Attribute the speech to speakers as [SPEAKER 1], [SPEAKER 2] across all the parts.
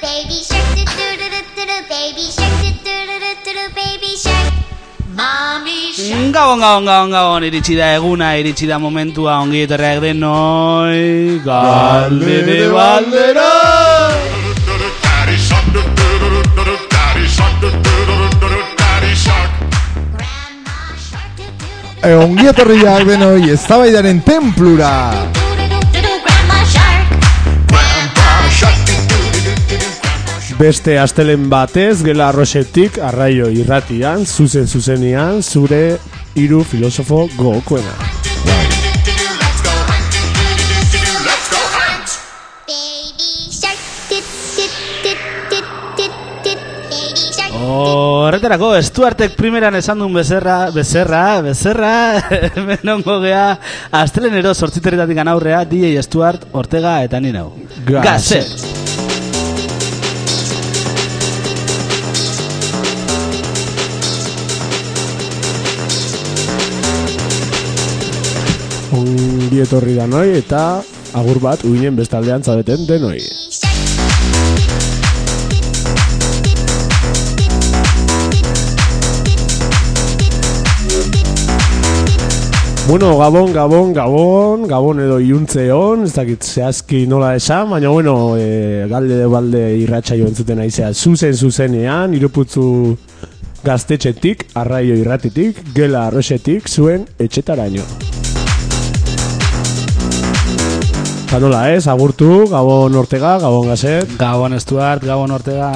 [SPEAKER 1] baby shark do do do do do do baby shark do do do do do do baby shark mommy shark
[SPEAKER 2] Gabon, gabon, gabon, gabon, iritsi da eguna, iritsi da momentua, ongi etorreak denoi, galdere baldera!
[SPEAKER 3] Daddy shark, daddy shark, daddy shark.
[SPEAKER 1] grandma shark do do do
[SPEAKER 4] E, ongi etorriak denoi, eztabaidaren templura!
[SPEAKER 1] do do do do do grandma shark
[SPEAKER 3] Grandpa shark,
[SPEAKER 5] Beste astelen batez, gela arroxetik, arraio irratian, zuzen zuzenean, zure hiru filosofo gogokoena.
[SPEAKER 3] let's go hunt, let's go hunt.
[SPEAKER 1] baby shark do do do do do do baby shark
[SPEAKER 2] Horretarako, Stuartek primeran esan duen bezerra, bezerra, bezerra, hemen ongo gea, astelenero sortziteretatik aurrea, DJ Stuart, Ortega eta ni nau.
[SPEAKER 5] Gazet. Ongi etorri da noi eta agur bat uinen bestaldean zabeten denoi. Bueno, Gabon, Gabon, Gabon, Gabon edo iuntzeon, ez dakit zehazki nola esan, baina bueno, e, galde de balde irratxa joan zuten aizea zuzen zuzenean, iruputzu gaztetxetik, arraio irratitik, gela arroxetik, zuen etxetaraino. Eta nola ez, agurtu, Gabon Ortega, Gabon Gazet,
[SPEAKER 2] Gabon Stuart, Gabon Ortega,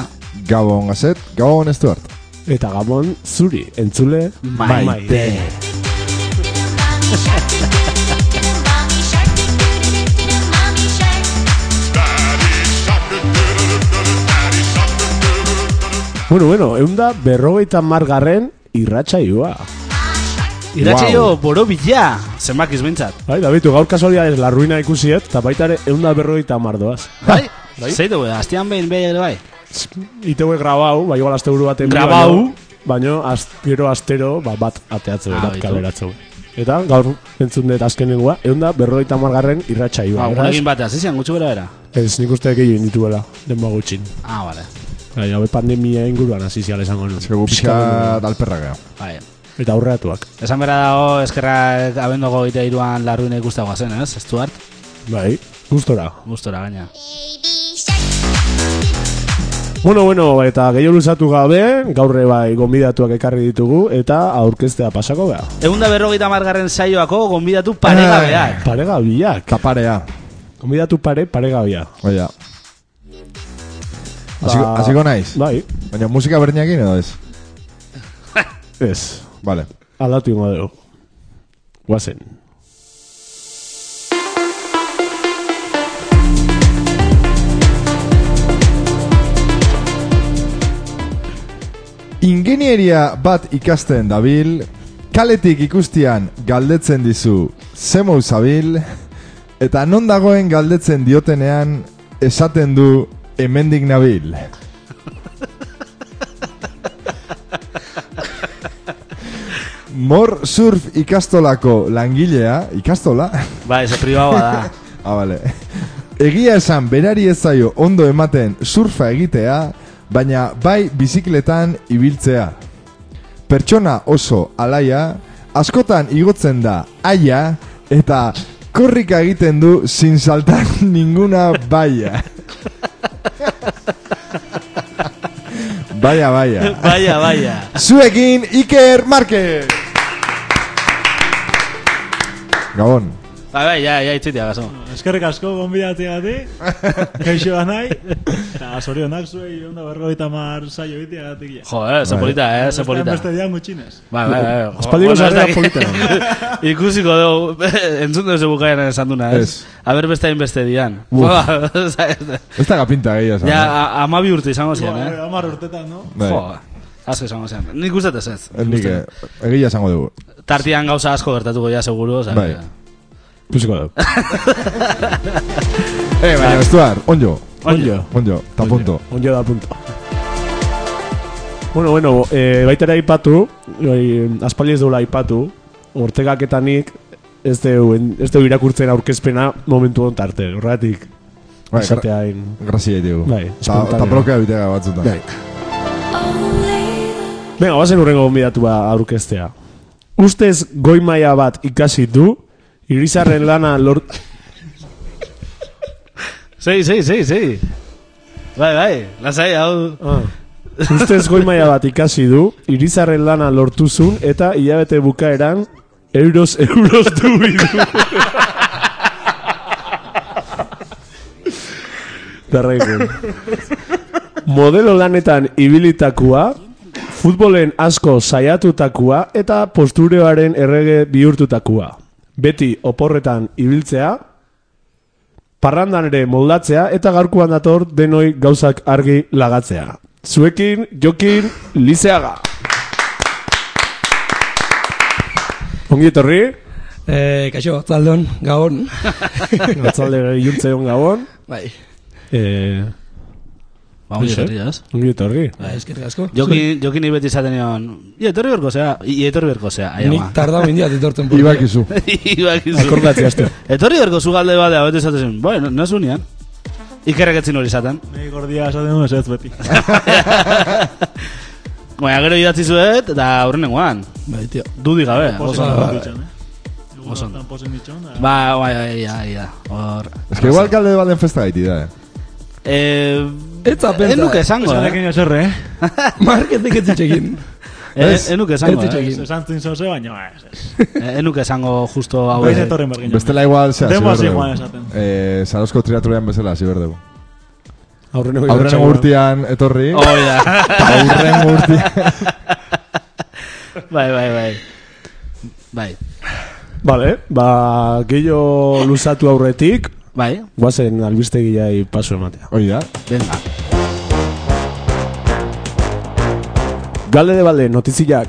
[SPEAKER 4] Gabon gazet, Gabon Estuart.
[SPEAKER 5] eta Gabon zuri, entzule,
[SPEAKER 2] maite.
[SPEAKER 1] mommy shark do do do mommy shark do do do do mommy shark
[SPEAKER 3] Daddy shark, daddy shark,
[SPEAKER 5] Bueno, bueno, eunda berrogeita margarren irratxaioa.
[SPEAKER 2] Iratxeio borobila, zenbakiz behintzat.
[SPEAKER 5] Bai, Davidu, gaur kasualidades la ruina ikusiet, eta baita ere eunda berrogeita mardoaz.
[SPEAKER 2] Bai? Zeitu, astean behin behin ere bai.
[SPEAKER 5] Iteue grabau, bai igual azte buru baten.
[SPEAKER 2] Grabau?
[SPEAKER 5] Baina, az, gero astero, ba, bat ateatzu,
[SPEAKER 2] Ah,
[SPEAKER 5] bat
[SPEAKER 2] baitu.
[SPEAKER 5] kaleratzu. Eta gaur entzun dut azkenengoa, eunda berrogeita margarren irratxaioa.
[SPEAKER 2] Ba,
[SPEAKER 5] beraz,
[SPEAKER 2] gurekin bateaz, izan gutxi bera bera.
[SPEAKER 5] Ez nik uste egin dituela, denba gutxin.
[SPEAKER 2] Ah, bale.
[SPEAKER 5] Bai, hau pandemia inguruan hasi ziala esango nuen.
[SPEAKER 4] Zegu
[SPEAKER 5] Pixka-
[SPEAKER 4] pixka dalperraga.
[SPEAKER 2] Bai.
[SPEAKER 5] Eta aurreatuak.
[SPEAKER 2] Esan bera dago, eskerrak abendoko gita iruan larruina ikustagoa zen, ez? Stuart,
[SPEAKER 5] Bai, gustora.
[SPEAKER 2] gustora gaina.
[SPEAKER 1] baby shark
[SPEAKER 5] Bueno, bueno, eta gehiago luzatu gabe, gaurre bai gonbidatuak ekarri ditugu, eta aurkeztea pasako gara.
[SPEAKER 2] Egun da berrogeita margarren saioako, gonbidatu paregabeak.
[SPEAKER 5] Paregabiak.
[SPEAKER 4] Taparea.
[SPEAKER 5] Gonbidatu pare, paregabia.
[SPEAKER 4] Oia. Hasiko
[SPEAKER 5] Ba-
[SPEAKER 4] hasiko naiz.
[SPEAKER 5] Bai,
[SPEAKER 4] Baina musika berdinekin edo ez?
[SPEAKER 5] ez.
[SPEAKER 4] Vale.
[SPEAKER 5] Aldatu ingo dugu. Guazen.
[SPEAKER 4] Ingenieria bat ikasten dabil, kaletik ikustian galdetzen dizu zemou zabil, eta non dagoen galdetzen diotenean esaten du hemendik nabil. Mor surf ikastolako langilea, ikastola?
[SPEAKER 2] Bai, ez pribaua da.
[SPEAKER 4] Ah, bale. Egia esan berari ez zaio ondo ematen surfa egitea, baina bai bizikletan ibiltzea. Pertsona oso alaia, askotan igotzen da aia, eta korrika egiten du sin saltar ninguna baia. Baia, baia.
[SPEAKER 2] Baia, baia.
[SPEAKER 4] Zuekin Iker Marquez! Gabon.
[SPEAKER 2] Bai, bai, ja, ja, itzitia, gazo.
[SPEAKER 6] Eskerrik asko gonbidatzeagatik, kaixo da nahi, eta zorionak zuei onda berrogeita mar saio itiagatik ja.
[SPEAKER 2] Jo, eh, ze polita, eh, ze polita.
[SPEAKER 6] Beste dian gutxinez.
[SPEAKER 2] Bai, bai, bai. jo,
[SPEAKER 5] Aspaldiko
[SPEAKER 2] bueno, ez
[SPEAKER 5] sarrera
[SPEAKER 2] dakit.
[SPEAKER 5] polita.
[SPEAKER 2] Ikusiko dugu, entzun duzu bukaian esan duna, ez?
[SPEAKER 4] Ez.
[SPEAKER 2] Aber beste hain beste dian. Ba,
[SPEAKER 4] Uf. Ez da gapinta gehiago esan. eh?
[SPEAKER 2] Ja, a- amabi urte izango ziren, eh?
[SPEAKER 6] Bueno, amar urtetan, no?
[SPEAKER 4] Bai.
[SPEAKER 2] Jo, asko izango zen. Nik uste ez ez.
[SPEAKER 4] Nik eh, egia esango dugu.
[SPEAKER 2] Tartian gauza asko gertatuko ja, seguru. Oza,
[SPEAKER 4] Bai.
[SPEAKER 5] Pusiko dugu.
[SPEAKER 4] Eh, baina estuar, onjo,
[SPEAKER 2] Bai, Onjo.
[SPEAKER 4] onjo, ta punto.
[SPEAKER 5] Ondio da punto. Bueno, bueno, e, baita ere aipatu, e, aspaldi ez duela aipatu, ortegak eta nik ez deu, ez deu irakurtzen aurkezpena momentu ontarte, horregatik.
[SPEAKER 4] Bai,
[SPEAKER 5] Esatea hain.
[SPEAKER 4] Grazia ditugu.
[SPEAKER 5] Bai,
[SPEAKER 4] Eta
[SPEAKER 5] espontaneo.
[SPEAKER 4] bloka egitea batzutan.
[SPEAKER 5] Bai. Venga, bazen urrengo gonbidatua aurkeztea. Ustez goi maila bat ikasi du, irizarren lana lort...
[SPEAKER 2] Zei, zei, zei, zei. Bai, bai, lasai, hau...
[SPEAKER 5] Ah. Ustez goi maila bat ikasi du, irizarren lana lortuzun eta hilabete bukaeran euros euros du bidu. Darraikun. Modelo lanetan ibilitakua, futbolen asko saiatutakua eta postureoaren errege bihurtutakua. Beti oporretan ibiltzea, parrandan ere moldatzea eta gaurkoan dator denoi gauzak argi lagatzea. Zuekin, jokin, lizeaga. Ongi etorri,
[SPEAKER 7] Eh, kaixo, zaldon, gaon.
[SPEAKER 5] atzalde juntze hon gabon.
[SPEAKER 7] bai,
[SPEAKER 5] Eh,
[SPEAKER 2] Ba, ongi
[SPEAKER 5] Zer?
[SPEAKER 2] etorri, ez?
[SPEAKER 5] ongi etorri.
[SPEAKER 7] bai, eskerrik asko.
[SPEAKER 2] Jokin, jokin ibeti izaten egon, ietorri berko zea, ietorri berko zea, aia
[SPEAKER 7] Nik
[SPEAKER 2] ma.
[SPEAKER 7] tardau indiat etortzen. porque-
[SPEAKER 4] Ibakizu.
[SPEAKER 2] Bai. Ibakizu.
[SPEAKER 5] Akordatzea aste.
[SPEAKER 2] Etorri berko zu galde badea, bete izaten zen, bai, nasu nian. Ikerrak etzin hori izaten.
[SPEAKER 6] Nei gordia esaten duen ez beti.
[SPEAKER 2] Baina gero idatzi zuet, eta aurren nengoan.
[SPEAKER 7] Bai, tio.
[SPEAKER 2] Dudik gabe,
[SPEAKER 6] Posen
[SPEAKER 2] oso.
[SPEAKER 7] ba,
[SPEAKER 6] ditxan, eh? Oso. Posen ditxan, da-
[SPEAKER 2] Ba, bai, bai, bai, bai, hor...
[SPEAKER 4] Ez que igual kalde balen festa gaiti da, eh?
[SPEAKER 2] Eh,
[SPEAKER 7] Ez zapenta,
[SPEAKER 2] ez nuke
[SPEAKER 7] eh.
[SPEAKER 2] esango, eh?
[SPEAKER 6] Esatekin eserre, eh?
[SPEAKER 7] Marketek ez itxekin.
[SPEAKER 2] Ez ez nuke esango, eh?
[SPEAKER 7] Ez itxegin.
[SPEAKER 6] Esan zin zoze, baina, ez, ez.
[SPEAKER 2] Eh, Ez nuke esango justo
[SPEAKER 4] Bai,
[SPEAKER 2] hau...
[SPEAKER 6] Baiz
[SPEAKER 2] eh,
[SPEAKER 6] etorren bergin.
[SPEAKER 4] Bestela igual, zea,
[SPEAKER 6] Demo hasi
[SPEAKER 4] ziber dugu.
[SPEAKER 6] igual esaten.
[SPEAKER 4] Eh, Zarozko triaturean bezala, ziber dugu.
[SPEAKER 5] Aurreneko
[SPEAKER 4] Aurren
[SPEAKER 5] irratsaioan.
[SPEAKER 4] urtean etorri,
[SPEAKER 2] Hoi da.
[SPEAKER 4] aurren urtean...
[SPEAKER 2] Bai, bai, bai. Bai,
[SPEAKER 5] Vale, ba, gehiago luzatu aurretik,
[SPEAKER 2] bai,
[SPEAKER 5] guazen albistegiai paso ematea.
[SPEAKER 4] Hoi da.
[SPEAKER 2] venga.
[SPEAKER 5] Galde de balde, notiziak.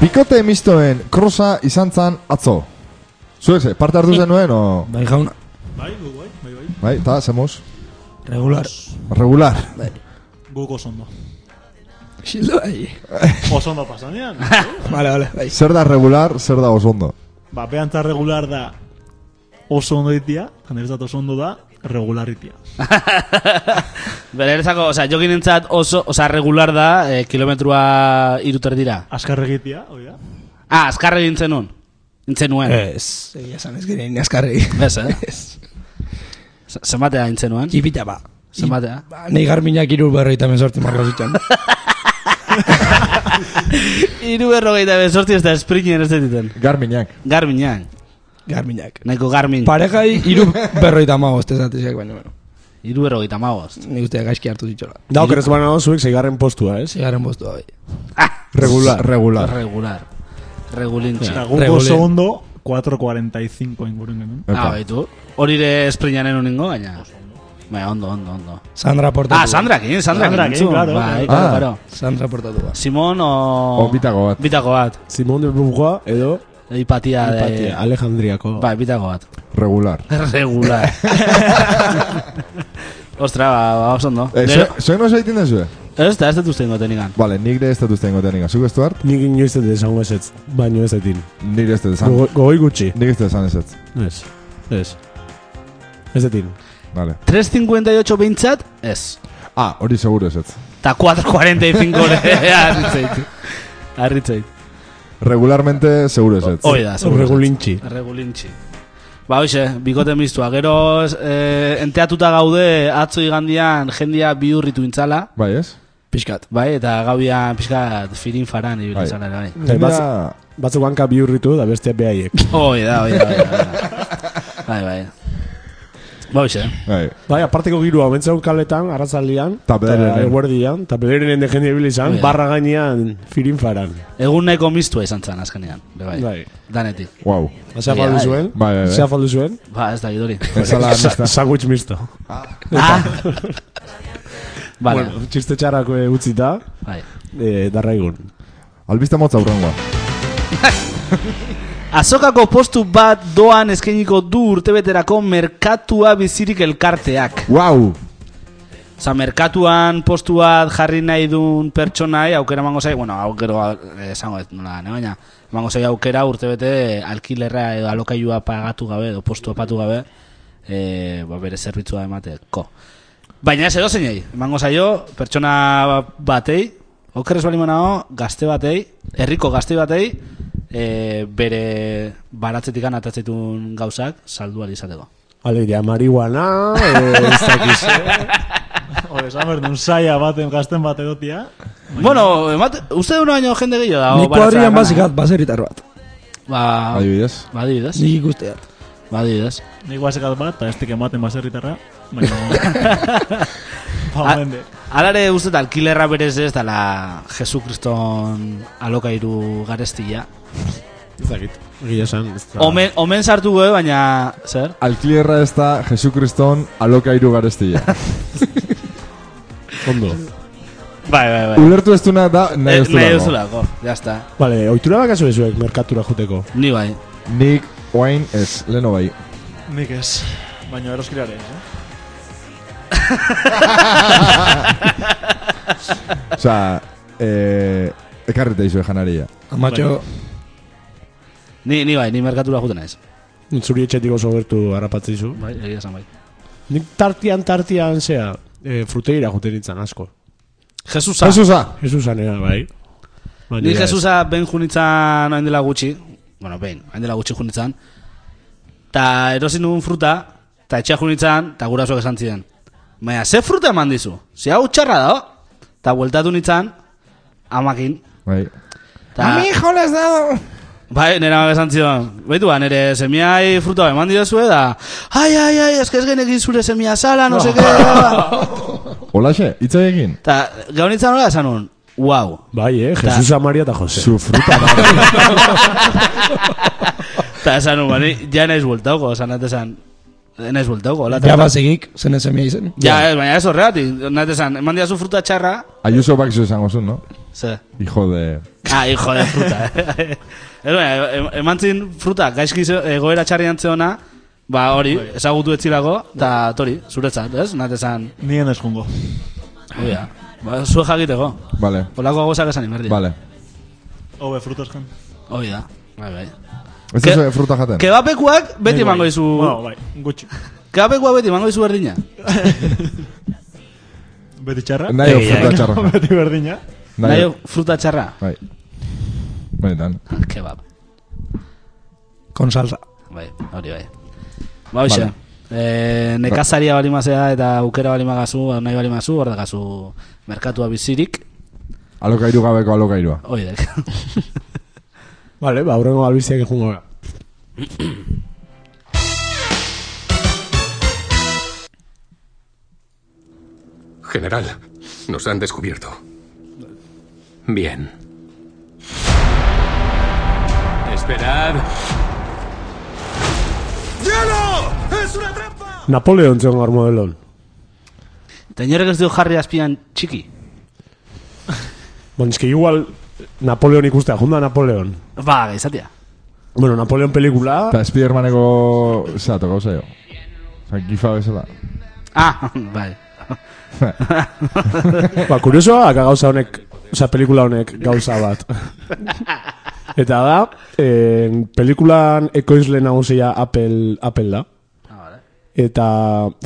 [SPEAKER 4] Bikote mistoen krosa izan zan atzo. Zuek ze, parte hartu zenuen, o...
[SPEAKER 7] Bai, jauna,
[SPEAKER 6] Bai, gu, bai, bai, bai.
[SPEAKER 4] Bai, eta, zemuz?
[SPEAKER 7] regular.
[SPEAKER 4] Regular.
[SPEAKER 6] Guk oso ondo.
[SPEAKER 7] Xildo, bai.
[SPEAKER 6] Oso ondo pasan, ean.
[SPEAKER 7] Vale, vale, bai.
[SPEAKER 4] Zer da regular, zer da osondo.
[SPEAKER 6] Ba, beantza regular da oso ondo ditia, janderetzat oso ondo da, regularitia.
[SPEAKER 2] Bera erezako, oza, jokin entzat oso, oza, regular da, eh, kilometrua iruter dira.
[SPEAKER 6] Askarregitia, hoi da?
[SPEAKER 2] Ah, azkarre gintzen nun. Gintzen nuen.
[SPEAKER 7] Ez. Egia san ez giren, askarri.
[SPEAKER 2] Ez, eh? Z- Zenbatea gintzen nuen?
[SPEAKER 7] Jipita, ba.
[SPEAKER 2] Zenbatea?
[SPEAKER 7] Ba, nei garminak iru berroita menzortzen marra zutxan.
[SPEAKER 2] Iru berrogeita bezortzi ez da sprinen ez dituten.
[SPEAKER 4] Garminak.
[SPEAKER 2] Garminan.
[SPEAKER 7] Garminak.
[SPEAKER 2] Nahiko garmin.
[SPEAKER 7] Parejai iru berroita magoz, ez datizak baina, bueno.
[SPEAKER 2] Iru berrogeita magoz.
[SPEAKER 7] Ni uste gaizki hartu zitxola.
[SPEAKER 5] Da, okerrez baina zuek zeigarren postua, ez?
[SPEAKER 7] Zigaren bostua, bai.
[SPEAKER 4] Regular. Regular.
[SPEAKER 2] Regular. Regulintxe.
[SPEAKER 6] Eta guk
[SPEAKER 7] Regular.
[SPEAKER 6] oso ondo, 4.45 ingurun genuen.
[SPEAKER 2] Ah,
[SPEAKER 4] Epa.
[SPEAKER 2] baitu. Horire sprinanen uningo, baina. Baina, ondo, ondo, ondo.
[SPEAKER 7] Sandra portatu.
[SPEAKER 2] Ah, Sandrakin, Sandrakin.
[SPEAKER 6] Sandrakin,
[SPEAKER 2] entzun.
[SPEAKER 6] claro,
[SPEAKER 2] Bai,
[SPEAKER 6] claro.
[SPEAKER 2] claro,
[SPEAKER 4] Ah.
[SPEAKER 2] claro.
[SPEAKER 7] Sandra portatu, ba.
[SPEAKER 2] Simon o...
[SPEAKER 4] O bitako bat.
[SPEAKER 2] Bitako bat.
[SPEAKER 5] Simon de Beauvoir edo
[SPEAKER 2] Hipatia de...
[SPEAKER 5] Patia, Alejandriako.
[SPEAKER 2] Bai, bitako bat.
[SPEAKER 4] Regular.
[SPEAKER 2] Regular. Ostra, ba, ba, oso ondo.
[SPEAKER 4] Eh,
[SPEAKER 2] Gero-
[SPEAKER 4] zue- Zuek no zaiten dezue?
[SPEAKER 2] Ez da, ez dut uste ingoten ikan.
[SPEAKER 4] Vale, nik de ez dut uste ingoten Zuk ez duart?
[SPEAKER 5] Nik inoiz ez esango ezetz, baino ez etin.
[SPEAKER 4] Nik ez dut esan.
[SPEAKER 5] Gogo- Gogoi gutxi.
[SPEAKER 4] Nik ez dut esan ez ez.
[SPEAKER 5] Ez, ez. Ez etin.
[SPEAKER 4] Vale.
[SPEAKER 2] 3.58 behintzat, ez.
[SPEAKER 4] Ah, hori seguro ez ez.
[SPEAKER 2] Ta 4.45 ore, arritzait. Arritzait.
[SPEAKER 4] Regularmente seguro ez ez.
[SPEAKER 2] Hoi da, seguro.
[SPEAKER 5] Regulintxi.
[SPEAKER 2] Regulintxi. Ba, hoxe, bikote miztua. Gero eh, enteatuta gaude atzo igandian jendia bihurritu intzala.
[SPEAKER 4] Bai, ez?
[SPEAKER 7] Piskat.
[SPEAKER 2] Bai, eta gauian pixka firin faran
[SPEAKER 4] Bai.
[SPEAKER 2] ibilizan ere, bai.
[SPEAKER 4] Jendea...
[SPEAKER 5] Batzuk banka bihurritu da beste behaiek.
[SPEAKER 2] Hoi da, hoi da, hoi da. Bai, bai. Ba, hoxe.
[SPEAKER 4] Bai.
[SPEAKER 5] Bai, aparteko girua, mentzaun kaletan, arratzaldian,
[SPEAKER 4] Ta bederenen.
[SPEAKER 5] eguerdian, eta bederenen de jende ibili izan,
[SPEAKER 2] Bai.
[SPEAKER 5] barra gainean firin faran.
[SPEAKER 2] Egun nahiko miztua izan zen azkenean. Be, bai.
[SPEAKER 5] Bai.
[SPEAKER 2] Danetik.
[SPEAKER 4] Wow.
[SPEAKER 5] Zea faldu
[SPEAKER 2] Bai.
[SPEAKER 5] zuen?
[SPEAKER 4] Bai, bai, bai.
[SPEAKER 5] Zea faldu zuen?
[SPEAKER 2] Ba, ez da, idori.
[SPEAKER 4] Ez ala
[SPEAKER 5] Sa-
[SPEAKER 4] mista.
[SPEAKER 5] Sandwich misto.
[SPEAKER 2] ah! vale,
[SPEAKER 5] Bueno, txiste txarrako eh, utzita,
[SPEAKER 2] bai.
[SPEAKER 5] eh, darraigun.
[SPEAKER 4] Albista motza urrengoa.
[SPEAKER 2] Azokako postu bat doan eskainiko du urtebeterako merkatua bizirik elkarteak.
[SPEAKER 4] Wow.
[SPEAKER 2] Osa, merkatuan postuat jarri nahi duen pertsonai aukera emango zai, bueno, aukero eh, esango ez nola, ne, baina emango zai aukera urtebete alkilerra edo alokailua pagatu gabe edo postua patu gabe eh, ba, bere zerbitzua emateko. Baina ez edo zeinei, emango zaio pertsona batei, okerrez bali manao, gazte batei, herriko gazte batei, e, bere baratzetik anatatzetun gauzak saldu ahal izateko.
[SPEAKER 5] Alegia, marihuana, eh, ez dakiz,
[SPEAKER 6] Hore, eh? esan behar duen saia baten gazten bat edotia.
[SPEAKER 2] Bueno, emate, uste duna baino jende gehiago dago
[SPEAKER 7] Niko
[SPEAKER 2] baratzeak
[SPEAKER 7] harrian
[SPEAKER 2] ana.
[SPEAKER 7] bazikat, baserritar bat.
[SPEAKER 2] Ba,
[SPEAKER 4] Adibidez.
[SPEAKER 2] badibidez,
[SPEAKER 7] Nik ikusteat.
[SPEAKER 2] badibidez.
[SPEAKER 6] Nik guazekat bat, eta ez dik ematen baserritarra. Baina... ba,
[SPEAKER 2] A-
[SPEAKER 6] mende.
[SPEAKER 2] Alare uste dut alkilerra berez ez dala Jesu Kriston alokairu garestia.
[SPEAKER 5] Egia esan, ez da-
[SPEAKER 2] Omen, omen sartu goe, baina, zer?
[SPEAKER 4] Alkilierra ez da Jesucriston alokairu garestilla.
[SPEAKER 5] Ondo.
[SPEAKER 2] Bai, bai, bai.
[SPEAKER 4] Ulertu ez duna da nahi
[SPEAKER 2] Eh,
[SPEAKER 4] ez
[SPEAKER 2] Nahi
[SPEAKER 4] dulako.
[SPEAKER 2] duzulako, jazta.
[SPEAKER 5] Vale, oitura bakazu ezuek merkatura juteko.
[SPEAKER 2] Ni bai.
[SPEAKER 4] Nik oain ez, leno bai.
[SPEAKER 6] Nik ez. Baina eroskirare ez, eh?
[SPEAKER 4] Osa, eh, ekarrita izue janaria.
[SPEAKER 7] Amatxo,
[SPEAKER 2] Ni, ni bai, ni merkatura juten naiz.
[SPEAKER 5] Zuri etxetik oso gertu harrapatzizu.
[SPEAKER 2] Bai, egia esan bai.
[SPEAKER 5] Nik tartian, tartian, zea, e, fruteira juten nintzen asko.
[SPEAKER 2] Jesusa.
[SPEAKER 4] Jesusa!
[SPEAKER 5] Jesusanea, bai. Baina
[SPEAKER 2] Ni
[SPEAKER 5] ez.
[SPEAKER 2] Jesusa ben junitzan hain dela gutxi, bueno, ben, hain dela gutxi junitzan, eta erosin dugun fruta, eta etxea junitzan, eta gurasoak esan ziren. Baina, ze fruta eman dizu? Ze hau txarra da, eta bueltatu nintzen, amakin.
[SPEAKER 4] Bai.
[SPEAKER 2] Ta,
[SPEAKER 4] jolas dado!
[SPEAKER 2] Bai, nera mabe esan zion, baitu ba, nere semiai fruta ba, eman didazue da, ai, ai, ai, ez que ez genekin zure semia sala, no seke,
[SPEAKER 4] Olaxe, itzai egin.
[SPEAKER 2] eta gaunitzen hori esan un, wow,
[SPEAKER 5] Bai, eh, Jesusa Maria eta Jose.
[SPEAKER 4] Zu fruta da.
[SPEAKER 2] Eta esan nuen, bani, ja naiz bueltauko, esan nahi esan, naiz bueltauko, hola,
[SPEAKER 7] ja bazegik, zen ez emia izen.
[SPEAKER 2] Ja, ez, baina ez horregatik, nahi esan, eman diazu fruta txarra,
[SPEAKER 4] Ayuso bakzu esango zuen, no?
[SPEAKER 2] ze,
[SPEAKER 4] Hijo de...
[SPEAKER 2] ah, hijo de fruta, eh. Ez baina, em- eman zin fruta, gaizki ze- egoera txarrian zeona, ba hori, ezagutu etzilako, eta tori, zuretzat, ez, nahi esan,
[SPEAKER 6] Nien ez jungo.
[SPEAKER 2] oia, ba, zue jakiteko,
[SPEAKER 4] Vale,
[SPEAKER 2] polako gozak esan imerdi,
[SPEAKER 4] vale.
[SPEAKER 6] Obe frutos jan.
[SPEAKER 2] hoi da, bai, bai.
[SPEAKER 4] Ez
[SPEAKER 2] Ke-
[SPEAKER 4] ez fruta jaten.
[SPEAKER 2] Kebapekuak beti emango izu,
[SPEAKER 6] Bueno, bai, gutxi.
[SPEAKER 2] kebapekuak beti emango izu berdina.
[SPEAKER 6] Beti txarra.
[SPEAKER 4] Nahi hau
[SPEAKER 2] Ei,
[SPEAKER 4] fruta
[SPEAKER 2] ei.
[SPEAKER 4] txarra.
[SPEAKER 6] Beti berdina.
[SPEAKER 2] Nahi,
[SPEAKER 4] Nahi hau.
[SPEAKER 2] fruta txarra,
[SPEAKER 4] Bai. Benetan.
[SPEAKER 2] kebab.
[SPEAKER 7] Kon salsa.
[SPEAKER 2] Bai, hori bai. Ba, hoxe.
[SPEAKER 4] Vale.
[SPEAKER 2] Eh, nekazaria bali mazea eta aukera bali magazu, ba, nahi bali magazu, hor dakazu merkatua bizirik,
[SPEAKER 4] Alokairu gabeko alokairua.
[SPEAKER 2] hori dek.
[SPEAKER 5] Vale, ba, horrengo albiziak jungo gara.
[SPEAKER 8] General, nos han descubierto. Bien. Esperad.
[SPEAKER 5] Napoleon zen gaur modelon.
[SPEAKER 2] Eta inorek ez du jarri azpian txiki.
[SPEAKER 5] Bon, eski igual Napoleon ikustea, junda Napoleon.
[SPEAKER 2] Ba, izatea.
[SPEAKER 5] Bueno, Napoleon pelikula,
[SPEAKER 4] Eta Spidermaneko zeato gauzaio. Osa, gifa bezala.
[SPEAKER 2] Ah, bai.
[SPEAKER 5] ba, kuriosoa, haka gauza honek, oza, pelikula honek gauza bat. Eta da, eh, pelikulan ekoizle nagusia Apple, Apple da. Eta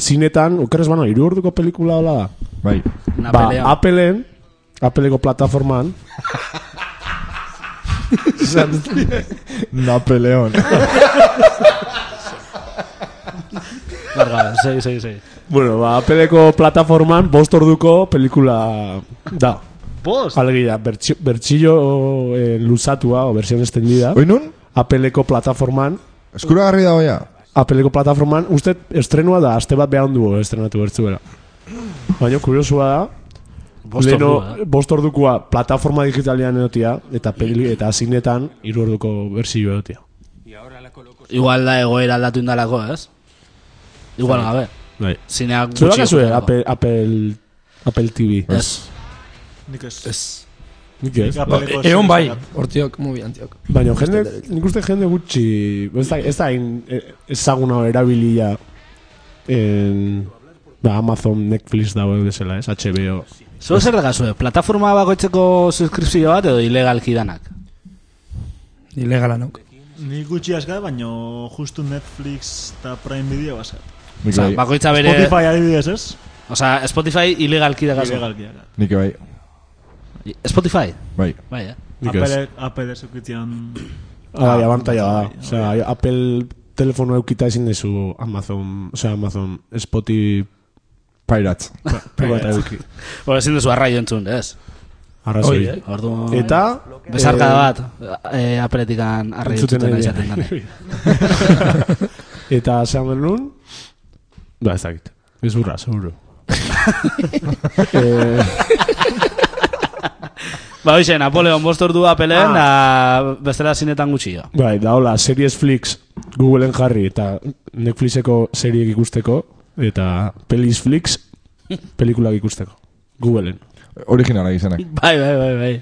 [SPEAKER 5] zinetan, okeres bano, hiru orduko pelikula hola da.
[SPEAKER 4] Bai.
[SPEAKER 2] Una
[SPEAKER 5] Ba,
[SPEAKER 2] pelea.
[SPEAKER 5] Appleen, Appleko plataforman,
[SPEAKER 4] Napoleon.
[SPEAKER 2] Barga, sei, sei, sei.
[SPEAKER 5] bueno, ba, Appleko plataforman bost orduko pelikula da.
[SPEAKER 2] Bost?
[SPEAKER 5] Alegia, bertxio, bertxio eh, luzatua, o versión extendida,
[SPEAKER 4] Oinun,
[SPEAKER 5] Appleko plataforman,
[SPEAKER 4] eskuragarri dago ja.
[SPEAKER 5] Apeleko plataforman, uste estrenua da, aste bat behan du estrenatu bertzuela. Baina, kuriosua da,
[SPEAKER 2] Bost
[SPEAKER 5] leno,
[SPEAKER 2] ordua, eh?
[SPEAKER 5] bost ordukua plataforma digitalean edotia, eta peli, eta zinetan, hiru orduko berzio edotia.
[SPEAKER 2] Igual da egoera aldatu indalako, ez? Igual gabe.
[SPEAKER 5] Bai.
[SPEAKER 2] Zineak gutxi.
[SPEAKER 5] Zura kasue,
[SPEAKER 2] jokutelako.
[SPEAKER 5] eh, Apple, Apple, Apple TV.
[SPEAKER 2] Ez.
[SPEAKER 6] Nik ez.
[SPEAKER 7] Ez.
[SPEAKER 5] Nik ez.
[SPEAKER 6] Nik apeleko ez-
[SPEAKER 7] Egon bai, hortiok, mugi antiok.
[SPEAKER 5] Baina, jende, nik uste jende gutxi, ez da, ez da hain, eh, ezaguna erabilia en, Ba, Amazon, Netflix dago bezala, ez? HBO.
[SPEAKER 2] Zor zer dagazue, plataforma bakoitzeko suskripzio bat edo ilegalki danak?
[SPEAKER 7] Ilegala nauk.
[SPEAKER 6] Ni gutxi aska, baino justu Netflix eta Prime Video basat.
[SPEAKER 4] Nik
[SPEAKER 2] Osa, ba-
[SPEAKER 4] bai,
[SPEAKER 2] bakoitza bere...
[SPEAKER 6] Spotify adibidez, ez?
[SPEAKER 2] Osa, Spotify ilegalki dagazu.
[SPEAKER 6] Ilegalkiak.
[SPEAKER 4] nik bai,
[SPEAKER 2] Spotify?
[SPEAKER 4] bai.
[SPEAKER 2] Bai, eh?
[SPEAKER 5] Nik ez.
[SPEAKER 6] Apple, Apple esukitzean...
[SPEAKER 5] Ah, bai, abantaia da.
[SPEAKER 6] bai,
[SPEAKER 5] Osea, Apple telefono eukita ezin dezu Amazon, osea, Amazon, Spotify,
[SPEAKER 4] Pirates.
[SPEAKER 5] privata euki.
[SPEAKER 2] Bueno, ezin duzu arraio entzun, ez?
[SPEAKER 5] Arrazoi.
[SPEAKER 2] Ordu...
[SPEAKER 5] Eta...
[SPEAKER 2] Besarka
[SPEAKER 5] eh,
[SPEAKER 2] bat, eh, apeletikan arraio
[SPEAKER 5] Entzuten
[SPEAKER 2] entzuten
[SPEAKER 5] ari
[SPEAKER 2] izaten
[SPEAKER 5] dira.
[SPEAKER 2] dane.
[SPEAKER 5] Eta zean nun... Ba, ez dakit. Ez burra, seguro. eh,
[SPEAKER 2] Ba, hoxe, Napoleon bost ordu apelen, ah. bestela zinetan gutxio.
[SPEAKER 5] bai, da hola, series flix Googleen jarri eta Netflixeko seriek ikusteko eta pelis flix pelikulak ikusteko. Googleen.
[SPEAKER 4] Originala izanak.
[SPEAKER 2] Bai, bai, bai, bai.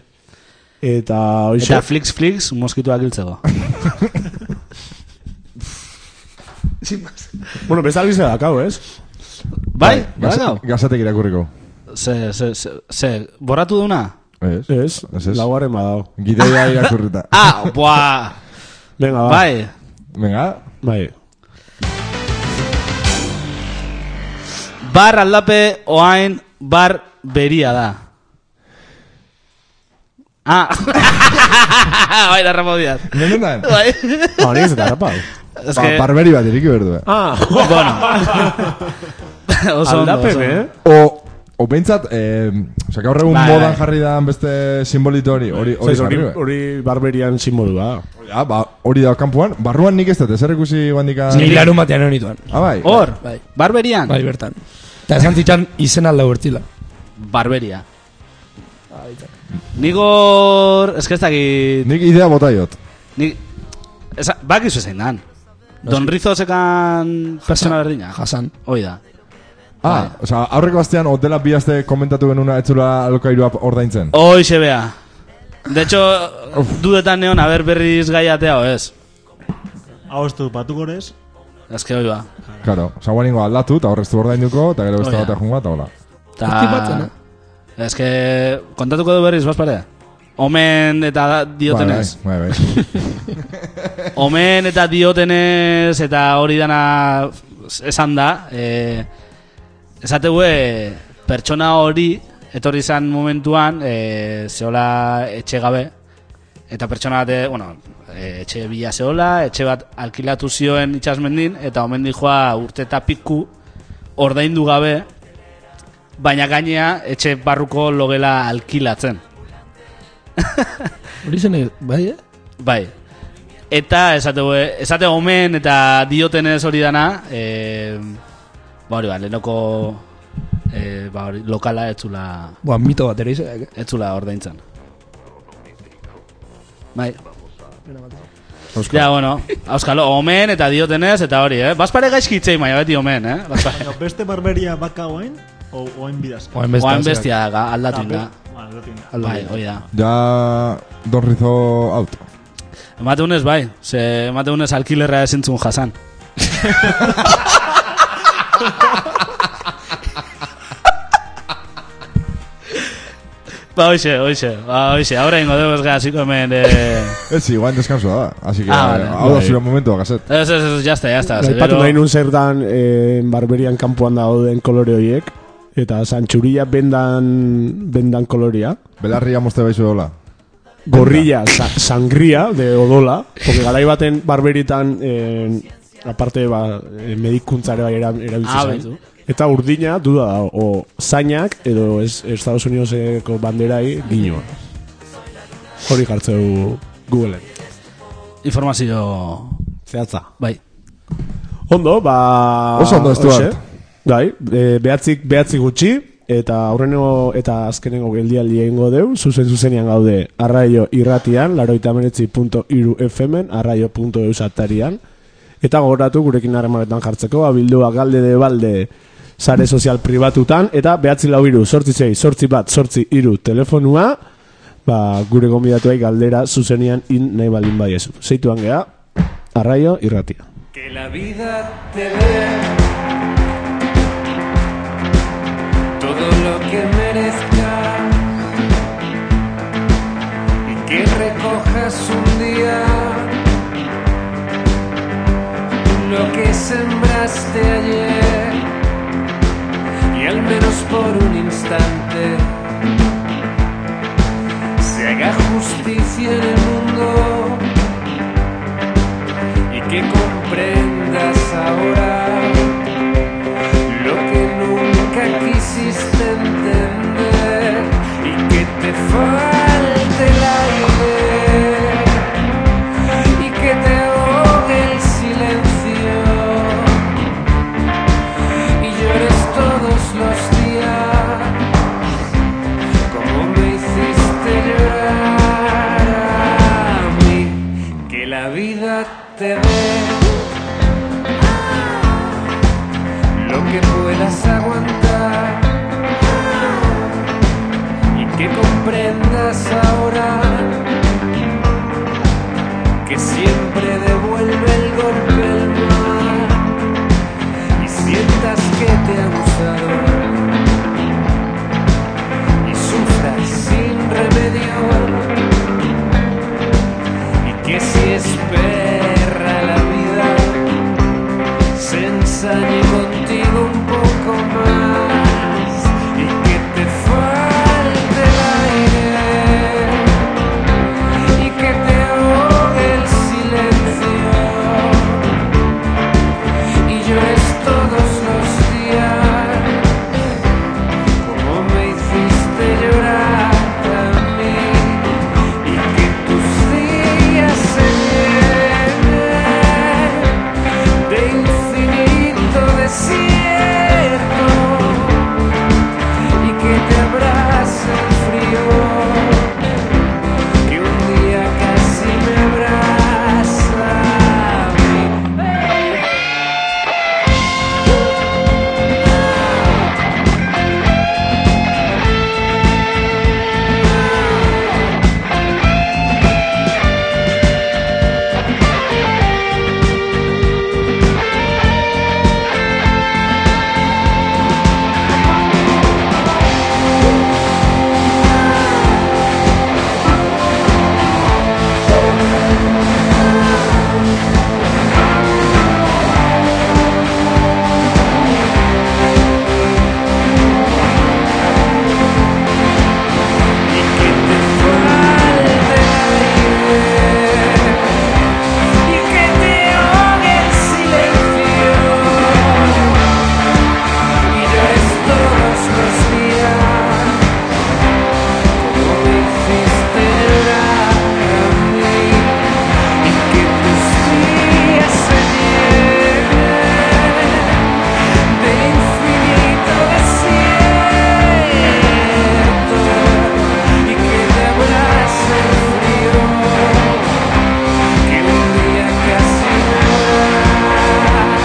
[SPEAKER 5] Eta hoxe...
[SPEAKER 2] Eta flix flix moskituak hiltzeko. Bai?
[SPEAKER 5] bueno, besta albizera dakau, ez?
[SPEAKER 2] Bai, bai,
[SPEAKER 4] Gaza- Gazatek irakurriko.
[SPEAKER 2] Ze, ze, ze, ze, borratu duna?
[SPEAKER 4] Ez?
[SPEAKER 5] Ez,
[SPEAKER 4] Ez, ez.
[SPEAKER 5] laugarren badao.
[SPEAKER 4] Gideia irakurrita.
[SPEAKER 2] Ah, boa,
[SPEAKER 5] Venga, ba.
[SPEAKER 2] bai.
[SPEAKER 4] Venga,
[SPEAKER 5] Bai.
[SPEAKER 2] Bar aldape oain bar beria da. Ah, bai, da Ramon Díaz.
[SPEAKER 4] Benetan?
[SPEAKER 2] Bai.
[SPEAKER 5] Ba, nik ez eta rapau.
[SPEAKER 2] Es
[SPEAKER 4] ba,
[SPEAKER 2] que,
[SPEAKER 4] barberi bat iriki berdu. eh?
[SPEAKER 5] Ah,
[SPEAKER 2] oso ondo, oso
[SPEAKER 5] aldapen,
[SPEAKER 2] ondo.
[SPEAKER 5] eh?
[SPEAKER 4] O, o behintzat, eh, osea, gaur egun
[SPEAKER 2] Bai,
[SPEAKER 4] modan
[SPEAKER 2] bai.
[SPEAKER 4] jarri da beste simbolito hori, hori hori
[SPEAKER 5] Zaiz, hori,
[SPEAKER 4] jarri, eh?
[SPEAKER 5] hori barberian simbolua.
[SPEAKER 4] Ah, ba, hori da kanpoan, barruan nik ez dut, ezer ikusi bandika...
[SPEAKER 7] Ni larun batean honituan.
[SPEAKER 4] Ah, bai.
[SPEAKER 2] Hor,
[SPEAKER 7] Ah, Bai.
[SPEAKER 2] barberian?
[SPEAKER 7] Bai, bertan. Eta esan zitan izen alda bertila.
[SPEAKER 2] Barberia. Nik hor, ez que ez dakit...
[SPEAKER 4] Nik idea bota jot.
[SPEAKER 2] Ni... Esa, bakizu zein dan. Don Rizo zekan persona berdina.
[SPEAKER 7] Hasan.
[SPEAKER 2] Hoi da. Bai.
[SPEAKER 4] Ah, osea, aurreko astean hotela bi aste komentatu genuna etzula alokairua ordaintzen.
[SPEAKER 2] Hoi se bea. De hecho, dudetan neon, haber berriz gaiatea, o ez?
[SPEAKER 6] Agostu patuko ere ez?
[SPEAKER 2] Ez que hoi ba.
[SPEAKER 4] Claro, osea, guain ingo aldatu, eta horreztu ordainduko, eta gero beste
[SPEAKER 2] Oia.
[SPEAKER 4] bat junga, eta hola.
[SPEAKER 7] Hortik batzen, eh?
[SPEAKER 2] Ta... Ez que... Kontatuko du berriz, bazpare? Omen eta da- diotenez.
[SPEAKER 4] Bai, bai, bai.
[SPEAKER 2] Omen eta diotenez eta hori dana esan da, e, esategu e, pertsona hori etorri izan momentuan e, zeola etxe gabe eta pertsona bate, bueno, e, etxe bila zeola, etxe bat alkilatu zioen itxasmendin eta omen dijoa urte eta piku ordaindu gabe baina gainea etxe barruko logela alkilatzen.
[SPEAKER 7] Hori zen, eh, bai, eh?
[SPEAKER 2] Bai. Eta esate, esate omen eta diotenez hori dana, eh, ba hori ba, lehenoko eh, ba hori, lokala etzula,
[SPEAKER 7] Boa, mito bat ere izanak, eh?
[SPEAKER 2] etzula ordaintzen. Bai.
[SPEAKER 4] Auskalo.
[SPEAKER 2] Ja, bueno, auskalo, omen eta diotenez eta hori, eh? Bazpare gaizkitzei maia beti omen, eh? Bazpare.
[SPEAKER 6] Baina beste barberia baka oain, o oain bidazka.
[SPEAKER 7] Oain beste.
[SPEAKER 2] Oan bestia ga- aldatu inda.
[SPEAKER 6] Aldatu
[SPEAKER 2] Bai, hoi da.
[SPEAKER 4] Ja, don rizo out.
[SPEAKER 2] Emateunez, bai. Ze, emateunez alkilerra ezintzun jasan. ba, hoxe, hoxe, ba, hoxe. Ahora ingo dugu ez gaziko hemen, eh...
[SPEAKER 4] Ez, zi, guain deskansoa da, así que,
[SPEAKER 2] Ah, vale.
[SPEAKER 4] hau da
[SPEAKER 5] Bai.
[SPEAKER 4] zure momentua, gazet.
[SPEAKER 2] Ez, ez, ez, jazta, jazta. ze
[SPEAKER 5] Aipatu
[SPEAKER 2] gero-
[SPEAKER 5] nahi nun zer dan eh, barberian kanpoan dauden kolore horiek. Eta zantxuria bendan, bendan koloria.
[SPEAKER 4] Belarria mozte baizu hola.
[SPEAKER 5] Gorrilla, sa- sangria, de odola. Porque garai baten barberitan, eh, aparte, ba, eh, medikuntzare bai era- erabiltzen
[SPEAKER 2] Ah,
[SPEAKER 5] zen.
[SPEAKER 2] bai, zu.
[SPEAKER 5] Eta urdina, duda da, o zainak, edo es, Estados Unidoseko banderai, ginoa. Hori jartzeu Googleen.
[SPEAKER 2] Informazio...
[SPEAKER 5] Zehatza.
[SPEAKER 2] Bai.
[SPEAKER 5] Ondo, ba...
[SPEAKER 4] Oso ondo, Stuart.
[SPEAKER 5] hoxe. Bai, e, behatzik, behatzik gutxi, eta aurrenengo eta azkenengo geldialdi egingo deu, zuzen zuzenean gaude arraio irratian, laroita meretzi.iru FM, arraio.eu satarian, eta gogoratu gurekin harremanetan jartzeko, abildua galde de balde sare sozial pribatutan, eta behatzi lau iru, sortzi zei, sortzi bat, sortzi iru telefonua, ba, gure gonbidatuai galdera zuzenean in nahi balin baiezu. Zeituan geha, arraio irratia.
[SPEAKER 9] Que la vida te dé Sembrarás un día lo que sembraste ayer y al menos por un instante se haga justicia en el mundo y que comprendas ahora lo que nunca quisiste entender y que te falte el aire y que te ahogue el silencio y llores todos los días como me hiciste llorar a mí que la vida te dé lo que puedas aguantar y que comprendas ahora que siempre devuelve el golpe el mar y sientas que te ha usado y sufras sin remedio y que si es perra la vida se ensañe contigo un poco más y que te falte el aire y que te ahogue el silencio y llores todos los días como me hiciste llorar a mí y que tus días se llenen de infinito desierto y que te abrace el frío que un día casi me abraza a mí. Y que te falte aire Y que te ahogue el silencio Y llores todos los días Como me hiciste llorar a mí Y que tus días se llenen De infinito desierto y que te abrace el frío que un día casi me abraza.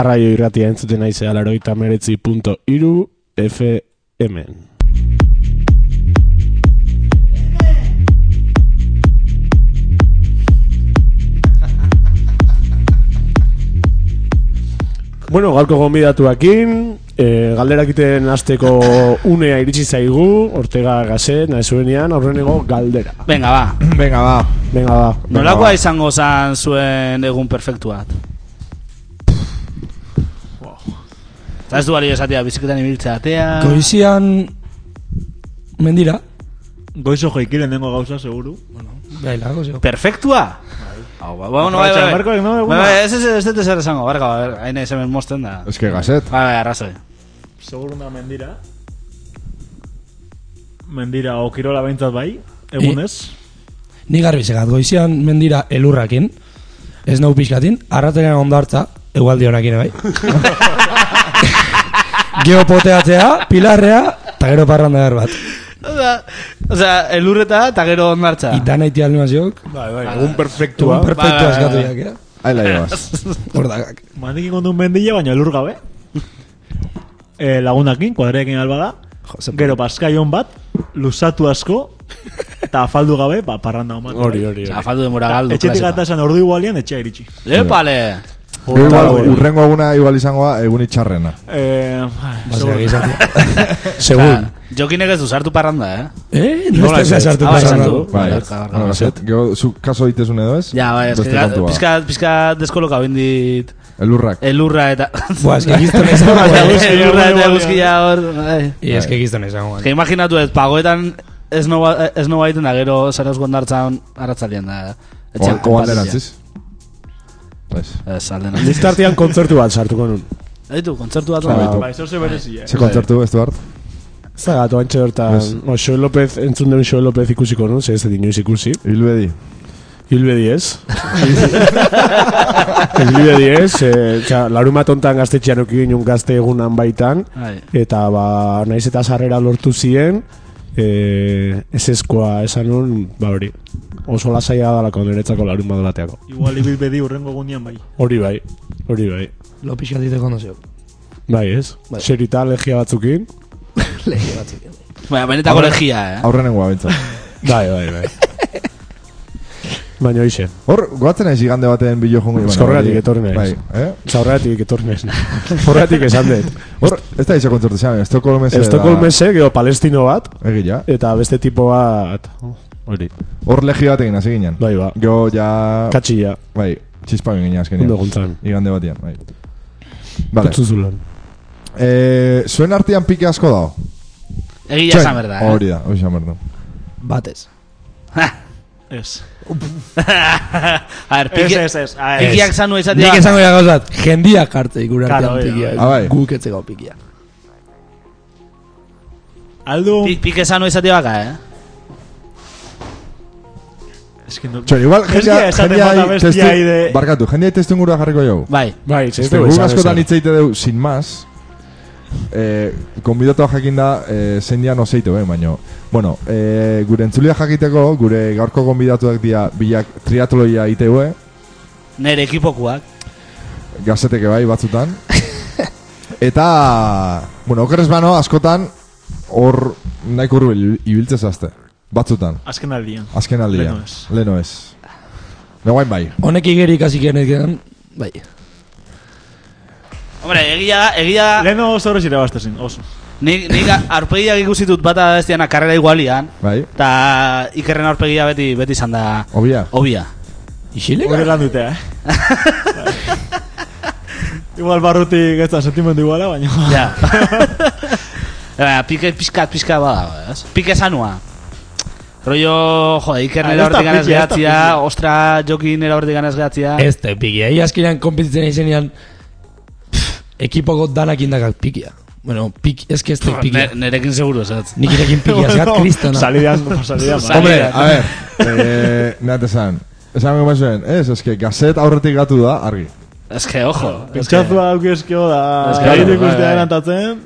[SPEAKER 5] Arraio irratia entzuten naizea laroita meretzi punto iru FM. Bueno, gaurko gonbidatuakin, e, galderakiten azteko unea iritsi zaigu, Ortega Gazet, nahi zuenean, aurreneko galdera.
[SPEAKER 2] Venga, ba.
[SPEAKER 4] Venga, ba.
[SPEAKER 5] Venga, ba.
[SPEAKER 2] Nolakoa izango zan zuen egun perfektuat? Eta ez du balio esatea, biziketan ibiltzea atea...
[SPEAKER 7] Goizian mendira.
[SPEAKER 6] Goizo joikiren dengo gauza, seguru.
[SPEAKER 7] Baila, gozio.
[SPEAKER 2] Perfektua? Hau, ba, ba, bueno, bai, bai,
[SPEAKER 6] Markoek,
[SPEAKER 2] bai,
[SPEAKER 6] no, eguna.
[SPEAKER 2] Bai, bai, ez, ez, ez, dut ezer esango, barka, ba, ber, hain ez hemen mozten da. Bai,
[SPEAKER 4] Es que gazet.
[SPEAKER 2] bai, arrazoi.
[SPEAKER 6] Seguru una mendira. Mendira, o kirola behintzat bai, egunez.
[SPEAKER 7] Ni garbi zegat, goizian mendira elurrakin, ez nau pixkatin, arratenean ondartza, egualdi honakin bai. Geopoteatzea, pilarrea, eta gero parranda behar bat.
[SPEAKER 2] Osa, osa, elurreta eta gero ondartza.
[SPEAKER 7] Itan haiti alnuaz jok,
[SPEAKER 5] Bai, bai, egun perfektua.
[SPEAKER 7] tuan perfektu
[SPEAKER 2] Ba-
[SPEAKER 7] askatu jak, eh?
[SPEAKER 4] Ahí la llevas.
[SPEAKER 7] Gordakak.
[SPEAKER 6] Mandik ingon duen mendila, baina elur gabe. Eh, lagunakin, kuadreekin alba da. Gero paskaion bat, luzatu asko, eta afaldu gabe, ba, parranda omat.
[SPEAKER 5] Hori, hori,
[SPEAKER 2] Osa,
[SPEAKER 5] hori.
[SPEAKER 2] faldu demora galdu.
[SPEAKER 6] Etxetik
[SPEAKER 2] klasikoa.
[SPEAKER 6] atasan ordu igualian, etxea iritsi.
[SPEAKER 2] Lepale!
[SPEAKER 4] Gero Igual, urrengo eguna igual izango da, egun itxarrena.
[SPEAKER 2] Bai,
[SPEAKER 6] Eh,
[SPEAKER 7] Baina
[SPEAKER 6] seguro.
[SPEAKER 7] gizatia.
[SPEAKER 2] Osa,
[SPEAKER 7] Segun.
[SPEAKER 2] jokinek ez du sartu parranda, eh?
[SPEAKER 7] Eh? Nola ez da sartu
[SPEAKER 2] Ah, bai, sartu.
[SPEAKER 7] pasarra.
[SPEAKER 4] Bai,
[SPEAKER 2] Barka, barka,
[SPEAKER 4] bueno, gazet. Gero, zu kaso ditezun edo ez?
[SPEAKER 2] Ja, bai, ez que
[SPEAKER 4] Beste
[SPEAKER 2] ga-
[SPEAKER 4] kontua.
[SPEAKER 2] pizka, Eh, pizka deskoloka bindit
[SPEAKER 4] Elurrak.
[SPEAKER 2] elurra eta...
[SPEAKER 7] Buah, eske gizton ez dago.
[SPEAKER 2] Elurra
[SPEAKER 7] eh?
[SPEAKER 2] elurra eta eguzkia hor... bai.
[SPEAKER 7] I, Eske gizton eh. ez dago.
[SPEAKER 2] Ez que imaginatu ez, pagoetan ez no, ba, ez no baiten da gero zaraz gondartzan arratzaldean da. etxean
[SPEAKER 4] O Bai.
[SPEAKER 2] konpartitzea.
[SPEAKER 4] alderantziz. Pues.
[SPEAKER 2] Ez, alderantziz.
[SPEAKER 5] Listartean kontzertu bat sartuko nun.
[SPEAKER 2] Aitu, kontzertu bat
[SPEAKER 4] Ba,
[SPEAKER 2] da.
[SPEAKER 6] Ba, eso se berezi, eh.
[SPEAKER 4] Ze kontzertu, ez du hart?
[SPEAKER 5] Zagatu, haintxe bertan,
[SPEAKER 4] Ez.
[SPEAKER 5] o, Joel López, entzun den Joel López ikusiko nun, ze ez dut inoiz ikusi.
[SPEAKER 4] Bilbedi.
[SPEAKER 5] Hilbedi ez. Hilbedi ez, eh, txa, larumat hontan gaztetxean eukin un gazte egunan baitan,
[SPEAKER 2] Bai.
[SPEAKER 5] eta ba, naiz eta sarrera lortu ziren, eh, ez eskoa esan nun, ba hori, oso lasaia dalako niretzako larun bat bateako.
[SPEAKER 6] Igual ibilbedi urrengo gunean bai.
[SPEAKER 5] Hori bai, hori bai.
[SPEAKER 7] Lo pixatite kondo zeo.
[SPEAKER 5] Bai ez,
[SPEAKER 7] Bai.
[SPEAKER 5] xerita legia batzukin,
[SPEAKER 7] Lege batzik.
[SPEAKER 2] Baina, benetako legia, eh?
[SPEAKER 4] Aurrenengoa bintzat.
[SPEAKER 5] bai, bai, bai. Baina hoxe,
[SPEAKER 4] Hor, goatzen aiz igande baten bilo jongo.
[SPEAKER 5] Ez
[SPEAKER 4] Baina,
[SPEAKER 5] horregatik
[SPEAKER 4] hori-
[SPEAKER 5] etorri naiz.
[SPEAKER 4] Bai, eh?
[SPEAKER 5] zaurratik etornez. Horregatik esan dut.
[SPEAKER 4] Hor, ez da izan kontzertu, zean, Estokolmese.
[SPEAKER 5] Estokolmese, gero palestino bat,
[SPEAKER 4] Egia.
[SPEAKER 5] eta beste tipo bat, hori,
[SPEAKER 4] Hor legi bat egin, hasi ginen.
[SPEAKER 5] bai ba.
[SPEAKER 4] Geo, ja...
[SPEAKER 5] Katxilla,
[SPEAKER 4] Bai, txispa egin ginen azkenean.
[SPEAKER 5] ondo gontzan.
[SPEAKER 4] Igande batean, bai. Vale.
[SPEAKER 5] Zuzulan.
[SPEAKER 4] Eh, zuen artean pike asko dago.
[SPEAKER 2] Egia esan berda, eh?
[SPEAKER 4] Hori da, hori esan berda.
[SPEAKER 7] Batez.
[SPEAKER 6] Ez.
[SPEAKER 2] A ver,
[SPEAKER 6] Ez,
[SPEAKER 2] pike...
[SPEAKER 6] ez, ez. Ah, ez.
[SPEAKER 2] Pikiak zanu esatea...
[SPEAKER 7] Nik esango ja gauzat, jendiak hartze gure
[SPEAKER 6] Claro,
[SPEAKER 7] artean
[SPEAKER 6] bai,
[SPEAKER 7] pikia.
[SPEAKER 4] bai. Ah, bai.
[SPEAKER 7] Guk etzeko pikia.
[SPEAKER 6] Aldu...
[SPEAKER 2] Pi- Pike zanu esatea baka, eh?
[SPEAKER 6] Es que no...
[SPEAKER 4] Txor, igual,
[SPEAKER 6] Es que
[SPEAKER 4] jendea,
[SPEAKER 6] esaten bada
[SPEAKER 4] jendea
[SPEAKER 6] bestia
[SPEAKER 4] testu,
[SPEAKER 6] ahí de-
[SPEAKER 4] barkatu, jendea testu ingurua jarriko jau.
[SPEAKER 2] Bai.
[SPEAKER 5] Bai, ez
[SPEAKER 4] Este, guk askotan itzeite deu, sin más, eh, konbidatoa jakin da, eh, zein dian ozeite, ben, baino. Bueno, eh, gure entzulia jakiteko, gure gaurko konbidatuak dia bilak triatloia iteue,
[SPEAKER 2] Nere ekipokuak.
[SPEAKER 4] gazeteke bai batzutan. Eta, bueno, okerrez bano, askotan, hor nahi kurbil ibiltze zazte, batzutan.
[SPEAKER 6] Azken aldian.
[SPEAKER 4] Azken aldia.
[SPEAKER 6] Leno ez.
[SPEAKER 4] Leno ez. Neguain bai.
[SPEAKER 7] Honek igeri ikasi genekean, bai.
[SPEAKER 2] Hombre, egia da, egia da...
[SPEAKER 6] Leno oso horrez irabaztezin, oso.
[SPEAKER 2] Nik, nik a- aurpegiak ikusitut bata bestiana karrera igualian.
[SPEAKER 4] Bai.
[SPEAKER 2] Eta ikerren aurpegia beti beti izan da...
[SPEAKER 4] Obia.
[SPEAKER 2] Obia.
[SPEAKER 7] Isileka?
[SPEAKER 6] Hore lan dutea, eh? Igual barrutik ez da sentimendu iguala, baina...
[SPEAKER 2] Ja. Eh, Baina, pike pizkat pizka bada, ez? Pike zanua. Rollo, jode, Iker
[SPEAKER 6] Ah,
[SPEAKER 2] nera
[SPEAKER 6] ez da
[SPEAKER 2] hortik ganez
[SPEAKER 6] pike, ez da
[SPEAKER 2] gehatzia, ostra, Joki nera hortik ganez gehatzia.
[SPEAKER 7] Ez da pikia. Ia azkenean kompetitzen izenean pff, ekipoko danak indakak pikia. Bueno, pik, ez que ez da pikia.
[SPEAKER 2] Ba, Ne- Nerekin seguru, ez?
[SPEAKER 7] Nik irekin pikia, zegat kristana.
[SPEAKER 6] Salidean, por salidean, bai.
[SPEAKER 4] Hombre, a ver. eh, Nat esan. Esan gomez zuen, ez, eske, gazet aurretik gatu da, argi.
[SPEAKER 2] Ez que, ojo. ez que-
[SPEAKER 6] Pentsatua hauki eskio da...
[SPEAKER 2] Ez que-
[SPEAKER 6] Gaitik
[SPEAKER 2] bai,
[SPEAKER 6] ustea
[SPEAKER 2] bai.
[SPEAKER 6] erantatzen...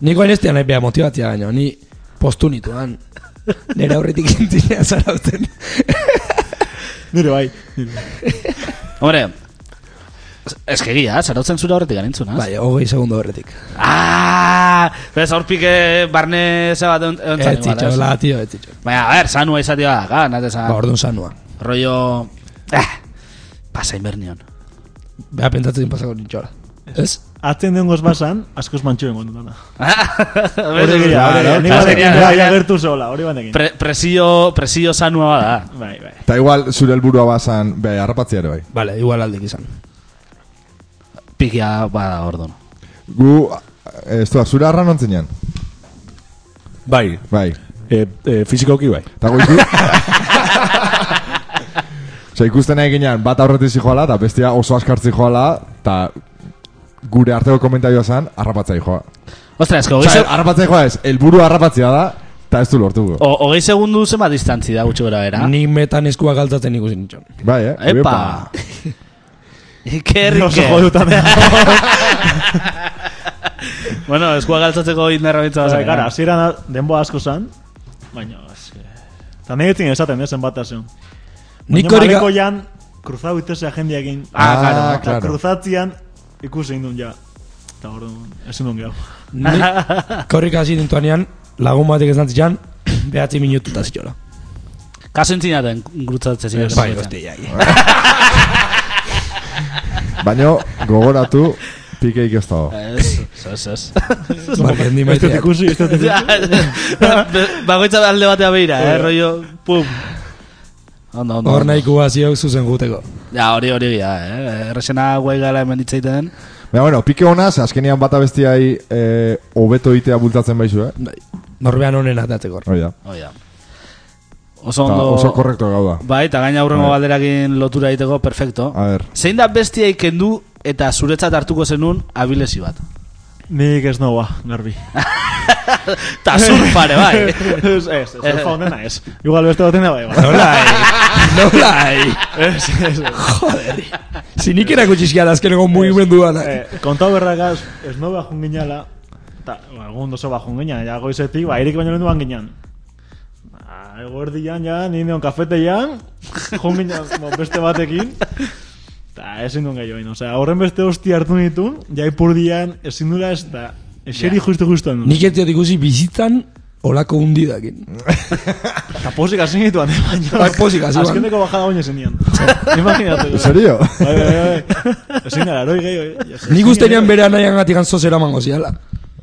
[SPEAKER 7] Niko hain ez da nahi beha motibatzea gaino, ni postu nituan. Nere aurretik intzinean zara uten.
[SPEAKER 6] Nire bai.
[SPEAKER 2] Hombre, ez que egia, zarautzen zure horretik ganintzuna.
[SPEAKER 7] Bai, hogei segundo horretik.
[SPEAKER 2] Ah, bez horpike barne ze bat egon- egon
[SPEAKER 7] Ez
[SPEAKER 2] zan igual,
[SPEAKER 7] zitxo,
[SPEAKER 2] ez? Ah.
[SPEAKER 7] la, tio, ez zitxo.
[SPEAKER 2] Baina, a ver, zanua izatea da, ga, nate
[SPEAKER 7] Ba,
[SPEAKER 2] zan,
[SPEAKER 7] orduan sanua.
[SPEAKER 2] rollo... Ah, pasa inbernion.
[SPEAKER 7] Beha pentsatzen pasako nintxola. Ez?
[SPEAKER 6] Atzen dengoz basan, askoz mantxo bengo dutana. Hori
[SPEAKER 2] Hori
[SPEAKER 6] gira, hori gira. Ni batekin,
[SPEAKER 2] Azkenean,
[SPEAKER 6] bai,
[SPEAKER 2] bai,
[SPEAKER 6] agertu sola, hori batekin.
[SPEAKER 2] Pre, presio, presio zanua bada.
[SPEAKER 6] Bai, bai.
[SPEAKER 4] Eta igual, zure helburua bazan, be, harrapatzea ere bai.
[SPEAKER 7] Vale, igual aldik izan.
[SPEAKER 2] Pikia bada, orduan.
[SPEAKER 4] Gu, ez da, zure harran ontzinean.
[SPEAKER 5] Bai,
[SPEAKER 4] Bai.
[SPEAKER 5] e, e, fizikoki bai.
[SPEAKER 4] Eta goizu... Osa, ikusten nahi ginen, bat aurretik zijoala, eta bestia oso askartzi joala, eta gure arteko komentarioa zan, harrapatzea joa.
[SPEAKER 2] Ostras, que hogei,
[SPEAKER 7] Bai.
[SPEAKER 4] Osa,
[SPEAKER 2] seg-
[SPEAKER 4] harrapatzea joa ez, helburu harrapatzea da, eta ez du lortuko.
[SPEAKER 2] o- hogei segundu zenbat distantzi da gutxi bera bera.
[SPEAKER 7] Nik metan eskua galtzaten ikusi nintxon.
[SPEAKER 4] Bai, eh?
[SPEAKER 2] Epa! Iker,
[SPEAKER 6] Oso
[SPEAKER 2] Iker.
[SPEAKER 6] jodutan
[SPEAKER 2] Bueno, eskua galtzatzeko indarra bitza
[SPEAKER 6] Bai,
[SPEAKER 2] bazak.
[SPEAKER 6] Gara, hasieran a- denboa asko zan, baina, eske... Ta nahi etzin esaten, eh, zenbat azun.
[SPEAKER 7] Nik
[SPEAKER 6] Baina
[SPEAKER 7] korrika...
[SPEAKER 6] maleko jan, kruzau itese agendiakin.
[SPEAKER 4] Ah, claro,
[SPEAKER 6] eta
[SPEAKER 4] claro.
[SPEAKER 6] Kruzatzean, ikusi indun ja. Eta hor ezin duen gehiago.
[SPEAKER 7] Nik korrika hasi dintuanean, lagun batek ez nantzian, behatzi minutu eta zitxola.
[SPEAKER 2] Kaso entzinaten grutzatzen ziren.
[SPEAKER 7] Bai, hoste, jai.
[SPEAKER 4] Baina, gogoratu, pikeik ez dago.
[SPEAKER 2] Ez, ez, ez.
[SPEAKER 7] Barke,
[SPEAKER 6] Ez
[SPEAKER 7] ni
[SPEAKER 6] dut
[SPEAKER 7] maiteak.
[SPEAKER 6] ikusi, ez dut ikusi.
[SPEAKER 2] Bagoitza alde batea beira, eh, rollo, pum. Ondo, ondo.
[SPEAKER 7] Hor
[SPEAKER 2] ondo.
[SPEAKER 7] nahiko guaziok zuzen guteko.
[SPEAKER 2] Ja, hori hori gira, eh. Errexena guai gala hemen ditzaiten.
[SPEAKER 4] Baina, bueno, pike honaz, azkenean bata bestiai eh, hobeto itea bultatzen baizu, eh?
[SPEAKER 7] Bai. Norbean honen atateko.
[SPEAKER 4] Hoi da.
[SPEAKER 2] Hoi da. Oh, Oso
[SPEAKER 4] Eta
[SPEAKER 2] ondo...
[SPEAKER 4] Oso korrekto gau da.
[SPEAKER 2] Bai, eta gaina aurrengo
[SPEAKER 4] Bai.
[SPEAKER 2] galderakin lotura egiteko, perfecto.
[SPEAKER 4] A ber.
[SPEAKER 2] Zein da bestia ikendu eta zuretzat hartuko zenun abilesi bat?
[SPEAKER 6] Nik ez noa, garbi.
[SPEAKER 2] Ta zur pare, bai.
[SPEAKER 6] Ez, ez, ez, ez, faunena ez. Igual beste batena bai, bai.
[SPEAKER 7] Nola, eh? Nola, eh?
[SPEAKER 6] Ez, ez, ez.
[SPEAKER 7] Joder. Zinik erakutxizkia da azkeneko mugimendu duana.
[SPEAKER 6] Eh, kontau berrakaz, ez noa bajun ginala, eta egun dozo bajun ginan, ja goizetik, ba, irik baino lehen duan ginan. Ba, Eguerdian, ja, ni neon kafetean, jun ginan bo, beste batekin, eta ezin duen gehiago, osea, horren beste hosti hartu nitun, ja ipurdian, ezin dula ez da, eseri justu-justu handu.
[SPEAKER 7] Nik ez diot ikusi bizitzan olako hundidakin.
[SPEAKER 6] Eta posik hasi nituan, eh, baina...
[SPEAKER 7] Bai, pozik hasi ban.
[SPEAKER 6] Azkeneko bajada baino ezin nian. Imaginatu.
[SPEAKER 4] En serio?
[SPEAKER 6] Bai, bai, bai. Ezin gara, eroi gehiago. eh. Ja,
[SPEAKER 7] Nik
[SPEAKER 6] ezin
[SPEAKER 7] uste nian
[SPEAKER 6] gara.
[SPEAKER 7] bere anaian gatikan zozera mango ziala.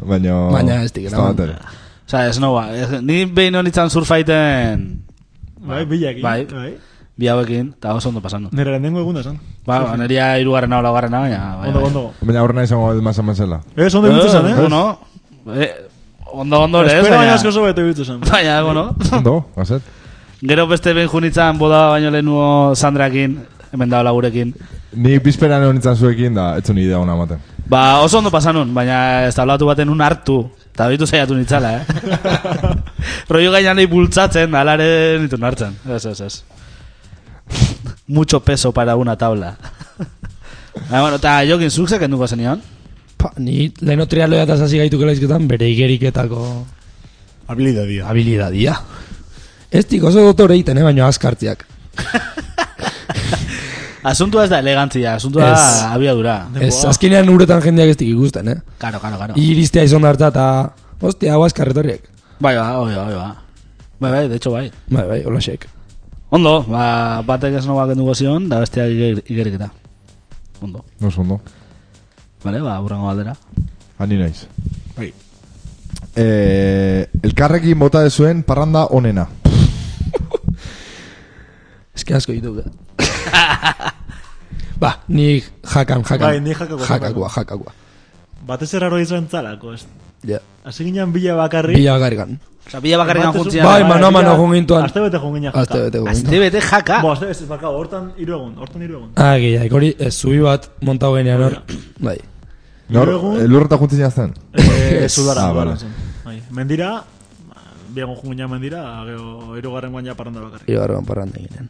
[SPEAKER 4] Baina...
[SPEAKER 7] Baina ez dik,
[SPEAKER 4] da
[SPEAKER 7] eraman.
[SPEAKER 4] batere.
[SPEAKER 2] Osa, ez noa. ez- Ni behin honitzen surfaiten
[SPEAKER 6] Bai, bilakin.
[SPEAKER 2] Bai.
[SPEAKER 6] Bai.
[SPEAKER 2] bi hauekin, eta oso ondo pasan.
[SPEAKER 6] Nire lehenengo eguna esan.
[SPEAKER 2] Ba, ba, neria irugarren hau laugarrena, baina... bai,
[SPEAKER 6] Ondo,
[SPEAKER 2] bai.
[SPEAKER 6] ondo.
[SPEAKER 4] Baina horrena izango mazan bezala.
[SPEAKER 6] Ez, ondo ibiltu zen, eh?
[SPEAKER 2] Bueno, eh, ondo, ondo, ere, ez?
[SPEAKER 6] Espero baina
[SPEAKER 2] baina-
[SPEAKER 6] asko zobeto ibiltu zen.
[SPEAKER 2] Baina, bueno.
[SPEAKER 4] Ondo, gazet.
[SPEAKER 2] Gero beste behin junitzan boda baino lehenuo Sandrakin, hemen da lagurekin.
[SPEAKER 4] Ni bizperan honetan zuekin da, etzun idea hona ematen.
[SPEAKER 2] Ba, oso ondo pasanun, baina ez tablatu baten un hartu. Eta bitu saiatu nitzala, eh? Rollo gainan nahi bultzatzen, alare nitun hartzen. Ez, ez, ez. Mucho peso para una tabla. Ah, bueno, eta jokin zuk zekenduko zenion?
[SPEAKER 7] Pa, ni leheno trialoa eta zazi gaituk laizketan bere igeriketako
[SPEAKER 5] Habilidadia.
[SPEAKER 7] habilidadia. Ez dik oso dotore egiten, eh, baina askartiak.
[SPEAKER 2] Asuntua ez da elegantzia, asuntua
[SPEAKER 7] Ez.
[SPEAKER 2] da abiadura.
[SPEAKER 7] Ez, azkenean uretan jendeak ez dik ikusten, eh?
[SPEAKER 2] Karo, karo, karo.
[SPEAKER 7] Iristea izan harta eta, hostia, hau askarretorriek.
[SPEAKER 2] Bai, ba, oi, oi, ba. Bai, bai, de hecho, bai.
[SPEAKER 7] Bai, bai, holasek.
[SPEAKER 2] Ondo, ba, batek ez noa kenduko zion, da besteak iger, igeriketa. Ondo.
[SPEAKER 4] No ondo.
[SPEAKER 2] Vale, ba, urrengo aldera.
[SPEAKER 4] Ani naiz. Eh, elkarrekin bota dezuen parranda onena.
[SPEAKER 7] Ez que asko ditu. ba, nik jakan, jakan.
[SPEAKER 6] Bai, nik jakakoa.
[SPEAKER 7] Jakakua, jakakua.
[SPEAKER 6] Batez erraro izan zalako, ez.
[SPEAKER 7] Ja.
[SPEAKER 6] Hasi ginen bila bakarrik.
[SPEAKER 7] Bila garrikan.
[SPEAKER 2] Osa, pila bakarrikan
[SPEAKER 6] Batez-
[SPEAKER 2] juntzia.
[SPEAKER 7] Bai, mano a mano
[SPEAKER 6] bila-
[SPEAKER 7] joan gintuan.
[SPEAKER 6] Aste bete jungina.
[SPEAKER 7] Azte bete
[SPEAKER 2] Azte
[SPEAKER 7] gugu.
[SPEAKER 2] bete jaka.
[SPEAKER 6] Bo, azte bete, bakau, hortan hiru egun, hortan hiru egun.
[SPEAKER 7] Ah, gehiak, hori ez zubi bat montau genean hor. Bai.
[SPEAKER 4] Nor,
[SPEAKER 6] Luego-
[SPEAKER 4] elurreta juntzen jazten.
[SPEAKER 6] Eh,
[SPEAKER 7] Ez.
[SPEAKER 6] Zulara.
[SPEAKER 4] Ah, vale.
[SPEAKER 6] zen. Bai, Mendira, biagon jungina mendira, gero hirugarren guaina parranda bakarrik.
[SPEAKER 7] Ibarroan parranda ginen.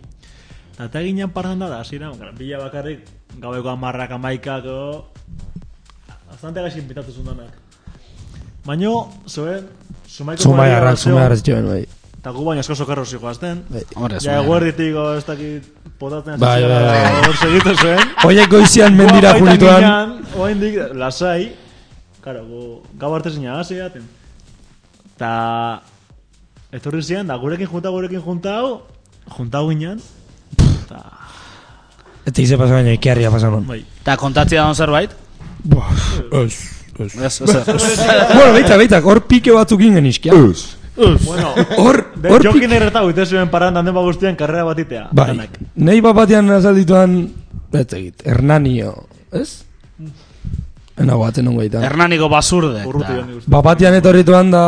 [SPEAKER 6] Eta eta ginen parranda da, zira, bila bakarrik, gaueko amarrak, amaikak, o... Azante gaxin pitatu zundanak. Baino, zoen, sumaiko...
[SPEAKER 7] Zumaiarrak, zumaiarrak zituen, bai.
[SPEAKER 6] Eta gu baino asko sokarro zijoazten.
[SPEAKER 7] Bai.
[SPEAKER 2] Hombre,
[SPEAKER 6] Ja,
[SPEAKER 2] zumaiarrak.
[SPEAKER 6] eguerditik, o, ez dakit, potatzen hasi
[SPEAKER 7] Bai,
[SPEAKER 6] zirela,
[SPEAKER 7] bai, bai.
[SPEAKER 6] Hor segitu zuen.
[SPEAKER 7] Oiek goizian mendira
[SPEAKER 6] Gu apaitan
[SPEAKER 7] junituan.
[SPEAKER 6] ginean, Oaindik, lasai. Karo, gu, gau arte zina hasi jaten. Ta... Etorri zian, da gurekin juntau, gurekin juntau, juntau ginean. Ta,
[SPEAKER 7] Eta ize pasa baina, ikerria pasa non.
[SPEAKER 6] bai,
[SPEAKER 2] Eta kontatzia daun zerbait?
[SPEAKER 7] Buah, ez, ez.
[SPEAKER 2] Ez, ez, ez.
[SPEAKER 7] bueno, behitak, behitak, hor pike batzuk ingen izkia.
[SPEAKER 4] Eus.
[SPEAKER 6] Bueno,
[SPEAKER 7] Hor,
[SPEAKER 6] de,
[SPEAKER 7] hor
[SPEAKER 6] jokin
[SPEAKER 7] pike.
[SPEAKER 6] erretau, ite zuen paran danden ba guztien karrera batitea.
[SPEAKER 7] Bai,
[SPEAKER 6] Danak.
[SPEAKER 7] nahi bat batean azaldituan, ez egit, Hernanio, ez? Ena guaten ongo ditan.
[SPEAKER 2] Hernaniko basurde.
[SPEAKER 6] Urruti joan
[SPEAKER 2] eta-
[SPEAKER 6] ikusten.
[SPEAKER 7] Bat batean etorrituan da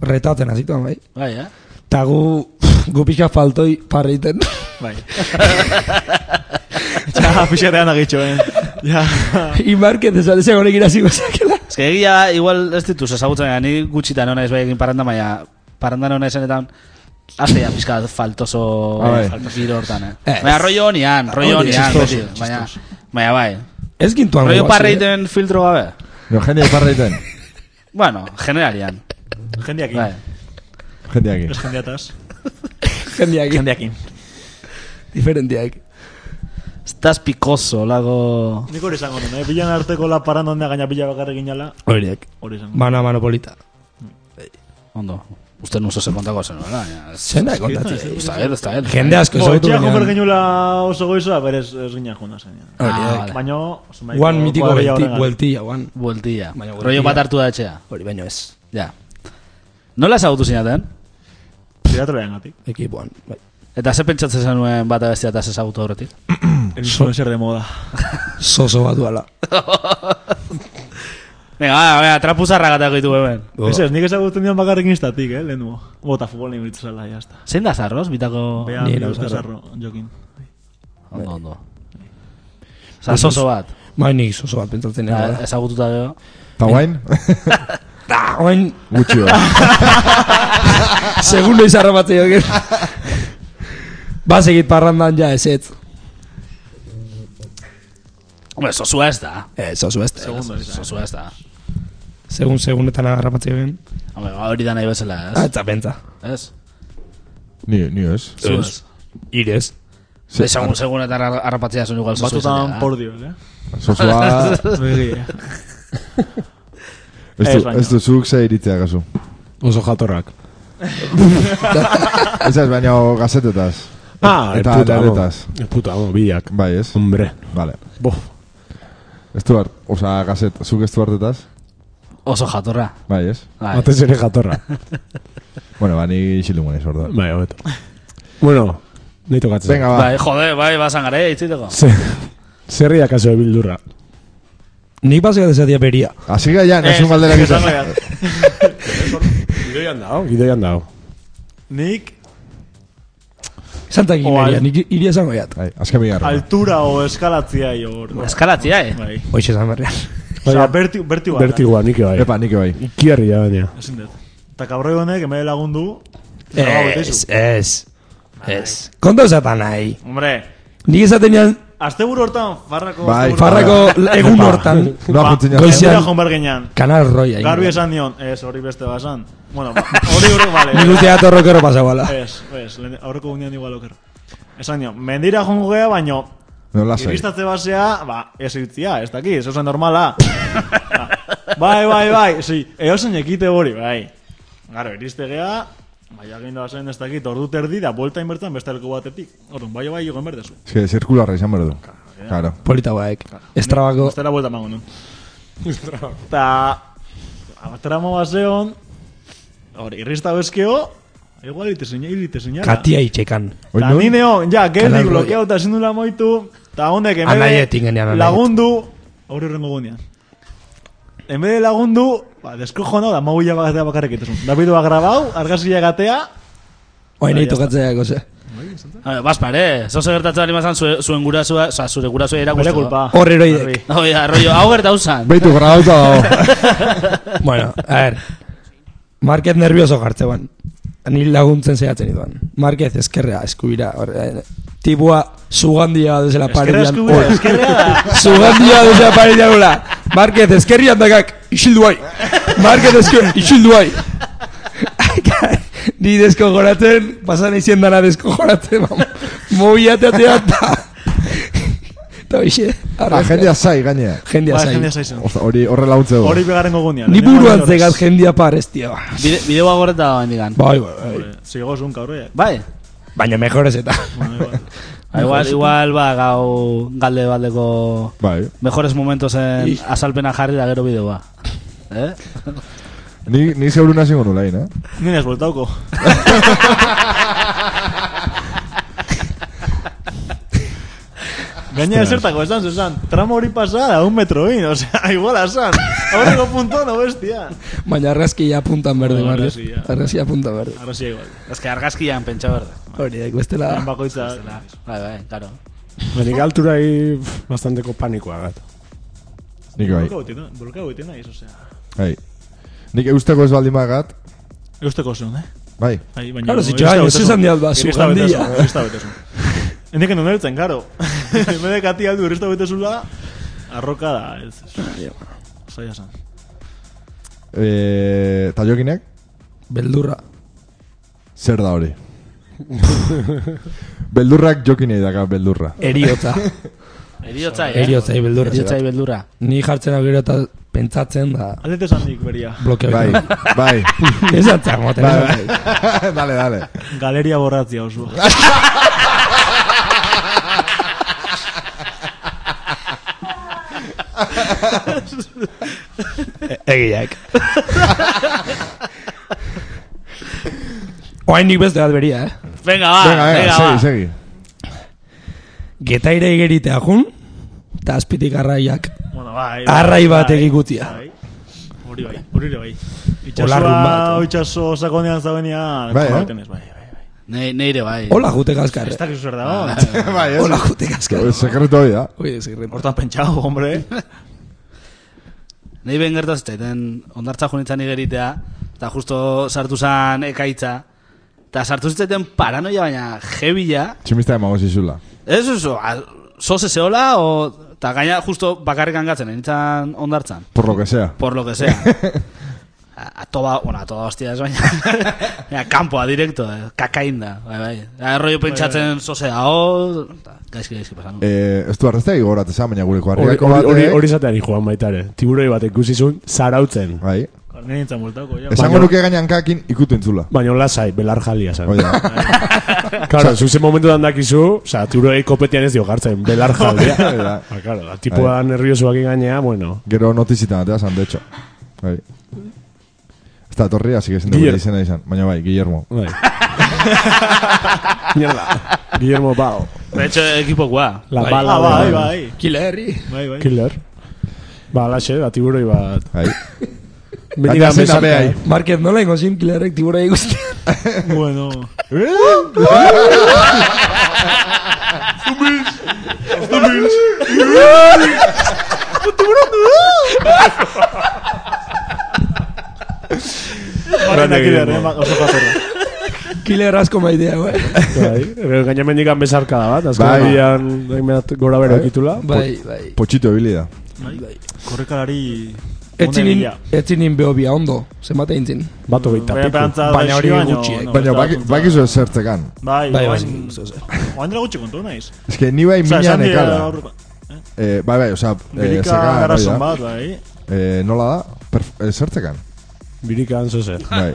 [SPEAKER 7] retaten azituan, bai.
[SPEAKER 2] Bai, eh?
[SPEAKER 7] Ta gu, gu pixka faltoi parriten.
[SPEAKER 6] Bai. Ja, pixatean agitxo, eh. Ja.
[SPEAKER 7] Imarket esaldezen honek irazi gozakela.
[SPEAKER 2] Ez que egia, da, igual ez dituz ezagutzen, baina ni gutxitan hona ez bai egin paranda, baina paranda hona esanetan Aztea pizka faltoso
[SPEAKER 4] Ah, bai.
[SPEAKER 2] faltoso giro hortan, eh?
[SPEAKER 7] Ez.
[SPEAKER 2] Baina rollo honian, rollo
[SPEAKER 7] Hori,
[SPEAKER 2] honian,
[SPEAKER 7] txistoso,
[SPEAKER 2] beti, baina, baina bai.
[SPEAKER 7] Ez gintuan
[SPEAKER 2] Rollo
[SPEAKER 7] guaz, eh?
[SPEAKER 2] parreiten filtro gabe.
[SPEAKER 4] No, jendeak parraiten.
[SPEAKER 2] Bueno, generalian.
[SPEAKER 6] Jendeakin.
[SPEAKER 2] Bai.
[SPEAKER 4] Jendeak.
[SPEAKER 6] Ez jendeataz.
[SPEAKER 7] Jendeak,
[SPEAKER 6] Jendeakin.
[SPEAKER 7] diferentiak.
[SPEAKER 2] Estás picoso, lago...
[SPEAKER 6] Nik hori izango nuen, eh. Bilan arteko la paran donde gaina pila bakarrik ginala.
[SPEAKER 7] Horiek.
[SPEAKER 6] Hori izango.
[SPEAKER 7] Bana manopolita.
[SPEAKER 2] Ondo, uste nuzo se kontako zen, hola?
[SPEAKER 7] Zena kontatzen.
[SPEAKER 2] Usta gel, usta gel.
[SPEAKER 7] Jende asko
[SPEAKER 6] Bo,
[SPEAKER 7] ezagutu
[SPEAKER 6] etxea joan
[SPEAKER 7] Ba, baina.
[SPEAKER 6] oso goizoa, berez ez gina jona zen. ja.
[SPEAKER 2] Ah, vale.
[SPEAKER 6] Baina...
[SPEAKER 7] Guan mitiko buelti- bueltia, guan.
[SPEAKER 2] Bueltia.
[SPEAKER 7] Baina bueltia.
[SPEAKER 2] Rollo bat hartu da etxea.
[SPEAKER 7] Hori baino ez.
[SPEAKER 2] Ja. Nola ezagutu zinaten?
[SPEAKER 6] Tiratorean gatik.
[SPEAKER 7] Ekipoan. Bai.
[SPEAKER 2] Eta ze pentsatzen zenuen bata bestia eta ezagutu aurretik?
[SPEAKER 7] Mm.
[SPEAKER 6] El influencer de moda.
[SPEAKER 7] Soso bat duala.
[SPEAKER 2] Venga, ba, ba, trapuzarra gatako ditu hemen.
[SPEAKER 6] Ez ez, nik ezagutzen dion bakarrik instatik, eh, lehen dugu. Bota futbol nire biltu zela, jazta.
[SPEAKER 2] Zein da zarroz, bitako...
[SPEAKER 6] Bea,
[SPEAKER 7] Ni
[SPEAKER 6] nire
[SPEAKER 7] nau
[SPEAKER 6] uste
[SPEAKER 7] zarro.
[SPEAKER 6] zarro, jokin.
[SPEAKER 2] Ondo, ondo. Osa, soso bat.
[SPEAKER 7] Bai nik soso bat pentsatzen
[SPEAKER 2] Ja,
[SPEAKER 7] nena. bai.
[SPEAKER 2] Ezagututa gero.
[SPEAKER 4] Ta guain?
[SPEAKER 7] Da, oain,
[SPEAKER 4] Gutxio.
[SPEAKER 7] segun noiz harrapatzei joker. Baz egit Ba, parrandan ja ez ez.
[SPEAKER 2] Hombre, sosua ez da.
[SPEAKER 7] Ez, oso ez.
[SPEAKER 2] Sosua ez da.
[SPEAKER 7] Eh, Segun, segunetan harrapatzei joken.
[SPEAKER 2] Hombre, ba, hori da nahi bezala,
[SPEAKER 7] Ah,
[SPEAKER 2] ez?
[SPEAKER 7] eta penta.
[SPEAKER 2] Ez?
[SPEAKER 4] Ni, ni ez.
[SPEAKER 2] Zu ez.
[SPEAKER 7] Irez.
[SPEAKER 4] Ze-
[SPEAKER 2] Ezagun segunetan har- harrapatzea zuen igual sosua
[SPEAKER 6] Batutan por dios, eh.
[SPEAKER 4] Zozoa...
[SPEAKER 6] Begi. eh.
[SPEAKER 4] Ez
[SPEAKER 6] Ez
[SPEAKER 4] du,
[SPEAKER 6] baino.
[SPEAKER 4] ez du zuk ze iritzea gazu.
[SPEAKER 5] Oso jatorrak.
[SPEAKER 4] Ez ez, baina gazetetaz.
[SPEAKER 5] Ah,
[SPEAKER 4] Eta
[SPEAKER 5] el puto amo.
[SPEAKER 4] laretaz.
[SPEAKER 5] El puto amo, bilak.
[SPEAKER 4] Bai, ez?
[SPEAKER 5] Hombre.
[SPEAKER 4] Vale.
[SPEAKER 5] Bo.
[SPEAKER 4] Ez du hart, oza, gazet, zuk ez du hartetaz?
[SPEAKER 2] Oso jatorra.
[SPEAKER 4] Bai, ez?
[SPEAKER 2] Bai.
[SPEAKER 5] Batez ere jatorra.
[SPEAKER 4] Bueno, ba, ni xilungan ez orduan.
[SPEAKER 5] Bai, hobeto. Bueno, nahi tokatzen.
[SPEAKER 4] Venga, ba.
[SPEAKER 2] Bai, jode, bai, bazan gara, itziteko.
[SPEAKER 5] Ze, zerriak azo bildurra.
[SPEAKER 7] Nik bazegat ezatia beria.
[SPEAKER 4] Asi gaia, nasun galdera
[SPEAKER 6] Esan
[SPEAKER 4] egiten.
[SPEAKER 6] behar.
[SPEAKER 5] Gidoian dago. Gidoian dago.
[SPEAKER 6] Nik
[SPEAKER 7] Santak imeria,
[SPEAKER 6] Oal.
[SPEAKER 7] nik iria zango jat.
[SPEAKER 4] Bai, azken bigarra.
[SPEAKER 6] altura o eskalatzia jo. hor.
[SPEAKER 2] Eskalatzia, eh?
[SPEAKER 6] Bai.
[SPEAKER 7] Hoxe zan berria.
[SPEAKER 6] Osa, berti, berti bat.
[SPEAKER 5] Bertigoa, nik bai.
[SPEAKER 4] Epa, nik bai.
[SPEAKER 5] Ikierri ja baina.
[SPEAKER 6] Ezin dut. Eta kabroi honek, emai lagundu.
[SPEAKER 7] Eh, Ez, ez. Ez. Konta zatan nahi.
[SPEAKER 6] Hombre,
[SPEAKER 7] Nik ezaten nian
[SPEAKER 6] asteburu hortan farrako...
[SPEAKER 4] Bai,
[SPEAKER 6] asteburu-
[SPEAKER 7] farrako egun
[SPEAKER 5] Epa.
[SPEAKER 7] hortan.
[SPEAKER 4] Noa
[SPEAKER 6] Ba,
[SPEAKER 4] juntzen
[SPEAKER 7] goizean-
[SPEAKER 4] jazta.
[SPEAKER 6] Goizean joan behar ginen.
[SPEAKER 7] Kanal roia.
[SPEAKER 6] Garbi esan dion, ez hori beste bat esan. Bueno, ba, hori hori, vale.
[SPEAKER 7] Nik uste dut horrokero pasauala.
[SPEAKER 6] Ez, ez, lehen- aurreko gunean igual oker. Esan dion, mendira jongo gea, baino,
[SPEAKER 4] No, lasai.
[SPEAKER 6] iristatze basea, ba, ez itzia, ez daki, ez oso normala. Ba, bai, bai, bai, si, eosen ekite hori, bai. Garo, iriste gea, bai, agindu zen ez dakit, ordu terdi, da, buelta inbertan beste leku batetik. Orduan, bai, bai, egon berdezu.
[SPEAKER 4] Ez que zirkularra izan behar du. Claro.
[SPEAKER 7] Polita guaek. Estrabako.
[SPEAKER 6] Beste la buelta mango, nun. Ta, abatramo baseon, hori, irrista bezkeo, igual iteseña, iteseña.
[SPEAKER 7] Katia itxekan.
[SPEAKER 4] Oin
[SPEAKER 6] Ta
[SPEAKER 4] nun?
[SPEAKER 6] ni neon, ja,
[SPEAKER 7] Kanal
[SPEAKER 6] geldik
[SPEAKER 7] Royal.
[SPEAKER 6] blokeauta ezin dula moitu, eta honek emede
[SPEAKER 7] Anaietik genean, anaiet.
[SPEAKER 6] lagundu, aurre horrengo gunean. Emede lagundu, ba, deskojo no, da mauila bagatea bakarrik itezun. Davidu agrabau, argazia gatea,
[SPEAKER 7] Oain nahi
[SPEAKER 6] Bai,
[SPEAKER 7] tokatzea goze.
[SPEAKER 2] Bai, Baspare, zoze gertatzen bali mazan zue- zuen gurasua, oza, zure gurasua
[SPEAKER 6] bere
[SPEAKER 2] irakusteko.
[SPEAKER 6] kulpa.
[SPEAKER 7] Hor heroidek.
[SPEAKER 2] Hoi, arroio, hau gertatu zan.
[SPEAKER 4] Beitu grabauta dago.
[SPEAKER 7] Bueno, a ver. Marquez nervioso jartzeban. Ni laguntzen zehatzen ituan. Marquez eskerrea, eskubira. Hor, eh, Tipua zugandia desela
[SPEAKER 6] Eskerra
[SPEAKER 7] paredean.
[SPEAKER 6] eskubidea,
[SPEAKER 7] Hor.
[SPEAKER 6] eskerra da.
[SPEAKER 7] Zugandia desela paredean hola. Marquez eskerrian dakak, isildu bai. Marquez eskerrian, isildu bai. Ni desko goratzen, pasan izien dana desko goratzen. Mobiateatea eta... Eta hoxe,
[SPEAKER 4] Ah,
[SPEAKER 7] arrezka.
[SPEAKER 4] jendea zai, gainea.
[SPEAKER 7] Jendia
[SPEAKER 6] Ba,
[SPEAKER 7] zain.
[SPEAKER 6] jendea zaizen.
[SPEAKER 4] Oza, Hori horre launtze
[SPEAKER 6] Hori
[SPEAKER 4] dugu.
[SPEAKER 6] begarengo gunean.
[SPEAKER 7] Ni
[SPEAKER 6] lehenengo
[SPEAKER 7] buruan
[SPEAKER 6] alde horrez.
[SPEAKER 7] zegat jendia parestia. ba.
[SPEAKER 2] Bide- Bideoa goreta da hendikan.
[SPEAKER 6] Eh,
[SPEAKER 7] Bai, bai, bai.
[SPEAKER 6] Zigo zun, kaurreak.
[SPEAKER 2] Bai,
[SPEAKER 7] Baina mejores eta.
[SPEAKER 6] Bueno, igual.
[SPEAKER 2] Ba, igual, igual, ba, gau galde baldeko
[SPEAKER 4] Bai.
[SPEAKER 2] mejores momentos en azalpena jarri da gero bideoa. Eh?
[SPEAKER 4] Ni, ni zeurun hasingo nulain, eh?
[SPEAKER 6] Ni nes bueltauko. Gaina zertako, esan, esan, tramo hori pasada, un metro in, osea, igual esan. Aurreko punto, no bestia.
[SPEAKER 7] Baina argazkia puntan berde,
[SPEAKER 6] Oh,
[SPEAKER 7] Marriott.
[SPEAKER 6] argazkia.
[SPEAKER 7] Argazkia puntan berde.
[SPEAKER 6] Ahora sí, igual.
[SPEAKER 2] Ez que argazkian pentsa berde.
[SPEAKER 7] Hori, daik bestela...
[SPEAKER 6] Lan bakoitza.
[SPEAKER 2] Bai, bai, claro.
[SPEAKER 5] Benik alturai pff, bastanteko panikoa gat.
[SPEAKER 4] Nik bai.
[SPEAKER 6] Burkau egiten naiz, osea.
[SPEAKER 4] Bai. Nik eusteko ez baldin bagat,
[SPEAKER 6] Eusteko zuen, eh?
[SPEAKER 4] bai.
[SPEAKER 6] Bai, baina...
[SPEAKER 7] Claro, zitxo, hain, ez esan diat, ba, zugandia.
[SPEAKER 6] Irista betezu. Hende que non ertzen, karo. Bede kati aldu irista betezula, arroka da, ez. Zaila esan.
[SPEAKER 4] Eh, ta jokinek
[SPEAKER 7] Beldurra.
[SPEAKER 4] zer da hori? beldurrak jokinei daka beldurra.
[SPEAKER 7] Eriotza.
[SPEAKER 2] Eriotzai, eh?
[SPEAKER 7] Eriotzai beldurra.
[SPEAKER 2] Eriotzai beldura.
[SPEAKER 7] Ni jartzen agero eta pentsatzen da
[SPEAKER 6] Aldete esan dik, beria.
[SPEAKER 7] bloke
[SPEAKER 4] Bai,
[SPEAKER 7] hori.
[SPEAKER 4] bai.
[SPEAKER 7] Ez atzak moten.
[SPEAKER 4] Bai, bai. dale, dale.
[SPEAKER 6] Galeria borratzia oso.
[SPEAKER 7] Egiak. Oain nik beste bat beria, eh?
[SPEAKER 2] Venga,
[SPEAKER 6] Ah,
[SPEAKER 2] va,
[SPEAKER 4] Venga, venga,
[SPEAKER 2] va.
[SPEAKER 4] segi, segi.
[SPEAKER 7] Getaire igeritea jun, eta azpitik arraiak.
[SPEAKER 6] Bueno, bai.
[SPEAKER 7] Arrai bat
[SPEAKER 6] bai,
[SPEAKER 7] egikutia.
[SPEAKER 6] bai. Hori bai, hori ere bai.
[SPEAKER 7] Olarrun
[SPEAKER 6] Itxasua,
[SPEAKER 7] bat, eh.
[SPEAKER 6] itxaso sakonean zauenean.
[SPEAKER 4] Bai, eh?
[SPEAKER 6] konbaiten ez, Bai, bai, bai.
[SPEAKER 2] Ne, neire bai.
[SPEAKER 7] Hola jute gazkar.
[SPEAKER 6] Ez dakizu zer dago.
[SPEAKER 4] bai, ez.
[SPEAKER 7] Hola jute gazkar.
[SPEAKER 4] Sekretu hori da.
[SPEAKER 7] Oi, ez irren.
[SPEAKER 6] Hortan pentsau, hombre.
[SPEAKER 2] Nei ben gertaz zaiten, ondartza junitzen igeritea, eta justo sartu zan ekaitza, eta sartu zitzaiten paranoia baina jebila,
[SPEAKER 4] Tximista emago zizula.
[SPEAKER 2] ez uso, soze zeola, o, eta gaina justo bakarrik hangatzen, nintzen ondartzan,
[SPEAKER 4] Por lo que sea.
[SPEAKER 2] por lo que sea. A- Atoba, bueno, atoba hostia ez baina, baina kanpoa direkto, eh, kakainda, bai, bai. Arroio pentsatzen soze dao, eta gaizki gaizki pasan.
[SPEAKER 4] Eh, ez du arreztea igoratzea, baina gureko
[SPEAKER 5] Hori
[SPEAKER 4] harriako
[SPEAKER 5] hori-
[SPEAKER 4] bat.
[SPEAKER 5] hori- hori zateari joan baitare. Tiburoi bat ikusi zuen, zarautzen.
[SPEAKER 4] Bai.
[SPEAKER 6] Kornien nintzen multako, ja.
[SPEAKER 4] Esango nuke gainankakin ikutu entzula.
[SPEAKER 5] Baina lasai, belar jalia zen.
[SPEAKER 4] Hoi da.
[SPEAKER 5] Claro, zuzen momentu dan dakizu, oza, tiburoi kopetian ez dio gartzen, belar jalia.
[SPEAKER 4] Hoi da.
[SPEAKER 5] Ah, claro, da, tipua
[SPEAKER 4] Bai.
[SPEAKER 5] nerviosuak gainea, bueno.
[SPEAKER 4] Gero notizitan atea zan, de hecho. Bai. Ez da, torria, así que zen dugu
[SPEAKER 5] Guillermo.
[SPEAKER 4] izena izan. Baina bai, Guillermo.
[SPEAKER 5] Bai. Mierda. Guillermo Bao.
[SPEAKER 2] De hecho, ekipokoa.
[SPEAKER 5] La
[SPEAKER 7] Bai.
[SPEAKER 5] bala.
[SPEAKER 6] Ah, bai, bai.
[SPEAKER 7] Kilerri.
[SPEAKER 6] Bai, bai.
[SPEAKER 5] Killer. Ba, alaxe, da, tiburoi bat.
[SPEAKER 4] Bai.
[SPEAKER 5] Beti
[SPEAKER 4] Baina
[SPEAKER 5] da
[SPEAKER 4] zena
[SPEAKER 5] bezarka,
[SPEAKER 4] behai.
[SPEAKER 5] eh.
[SPEAKER 7] Market nola ingo zin kilerrek tibura eguztian.
[SPEAKER 6] Bueno. Barrenak idearen, ba- oso jatorra.
[SPEAKER 7] Kiler asko maitea, bai.
[SPEAKER 5] Bai, gero gaina mendikan bezarka da bat, azken
[SPEAKER 4] Bai.
[SPEAKER 5] aldian hainbat gora bero
[SPEAKER 4] Bai.
[SPEAKER 5] ekitula.
[SPEAKER 7] Bai, bai.
[SPEAKER 4] Pochito ebili da.
[SPEAKER 6] Korrikalari...
[SPEAKER 7] Etzinin,
[SPEAKER 6] onena
[SPEAKER 7] etzinin beobia ondo, zenbat egin zin.
[SPEAKER 5] Bat hogeita
[SPEAKER 6] bila. Baina
[SPEAKER 5] piku.
[SPEAKER 6] perantza
[SPEAKER 7] Baina hori
[SPEAKER 6] desio baino,
[SPEAKER 7] gutxiek.
[SPEAKER 6] no,
[SPEAKER 4] Baina,
[SPEAKER 6] ez da
[SPEAKER 4] baki-
[SPEAKER 6] kontza.
[SPEAKER 4] bakizu ez zertzekan.
[SPEAKER 6] Bai,
[SPEAKER 7] Bai, bai,
[SPEAKER 6] oain-
[SPEAKER 7] ez, ez, ez.
[SPEAKER 6] Oain dela gutxi kontu naiz.
[SPEAKER 4] Ez que ni bai
[SPEAKER 6] Osea,
[SPEAKER 4] mina
[SPEAKER 6] esan dira
[SPEAKER 4] nekala.
[SPEAKER 6] aurreko-
[SPEAKER 4] Eh, bai, bai, oza, eh,
[SPEAKER 6] Birika
[SPEAKER 4] zekan, hori
[SPEAKER 6] garasun
[SPEAKER 4] da.
[SPEAKER 6] bat, bai.
[SPEAKER 4] Eh, nola da? Perf- eh, Zertzekan.
[SPEAKER 5] Birikan zozer.
[SPEAKER 4] Bai.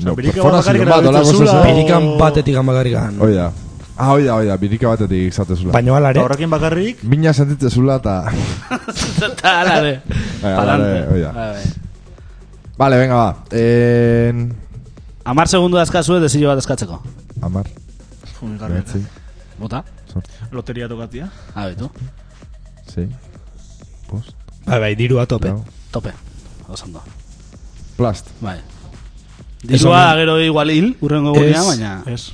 [SPEAKER 4] No,
[SPEAKER 6] Birika
[SPEAKER 4] perforazio bat,
[SPEAKER 6] bakarrik erabiltzen
[SPEAKER 4] holako
[SPEAKER 6] zula,
[SPEAKER 4] zezer.
[SPEAKER 6] o-
[SPEAKER 7] Pirikan batetik bakarrik gan.
[SPEAKER 4] Hoi da. Ah, hoi da, hoi da, birika batetik zatezula.
[SPEAKER 7] Baina
[SPEAKER 6] Eta
[SPEAKER 7] alare,
[SPEAKER 6] horrekin bakarrik,
[SPEAKER 4] Mina sentitzezula eta...
[SPEAKER 2] Eta ala de.
[SPEAKER 4] Bai, ala de,
[SPEAKER 2] Palante.
[SPEAKER 4] hoi da.
[SPEAKER 2] Bai, bai.
[SPEAKER 4] Vale, venga, ba. En...
[SPEAKER 2] Amar segundu dazkazue desio bat eskatzeko.
[SPEAKER 4] Amar.
[SPEAKER 6] fumigarri.
[SPEAKER 4] Bederatzi.
[SPEAKER 2] Bota?
[SPEAKER 6] Loteria tokatia.
[SPEAKER 2] Abetu.
[SPEAKER 4] Sei. Bost.
[SPEAKER 7] bai, bai, dirua tope.
[SPEAKER 4] lau.
[SPEAKER 2] Tope. Osando.
[SPEAKER 4] Plast.
[SPEAKER 2] Bai.
[SPEAKER 7] Eso
[SPEAKER 2] Dirua gero igual hil, urrengo
[SPEAKER 7] Ez.
[SPEAKER 2] gurea, baina...
[SPEAKER 6] Ez.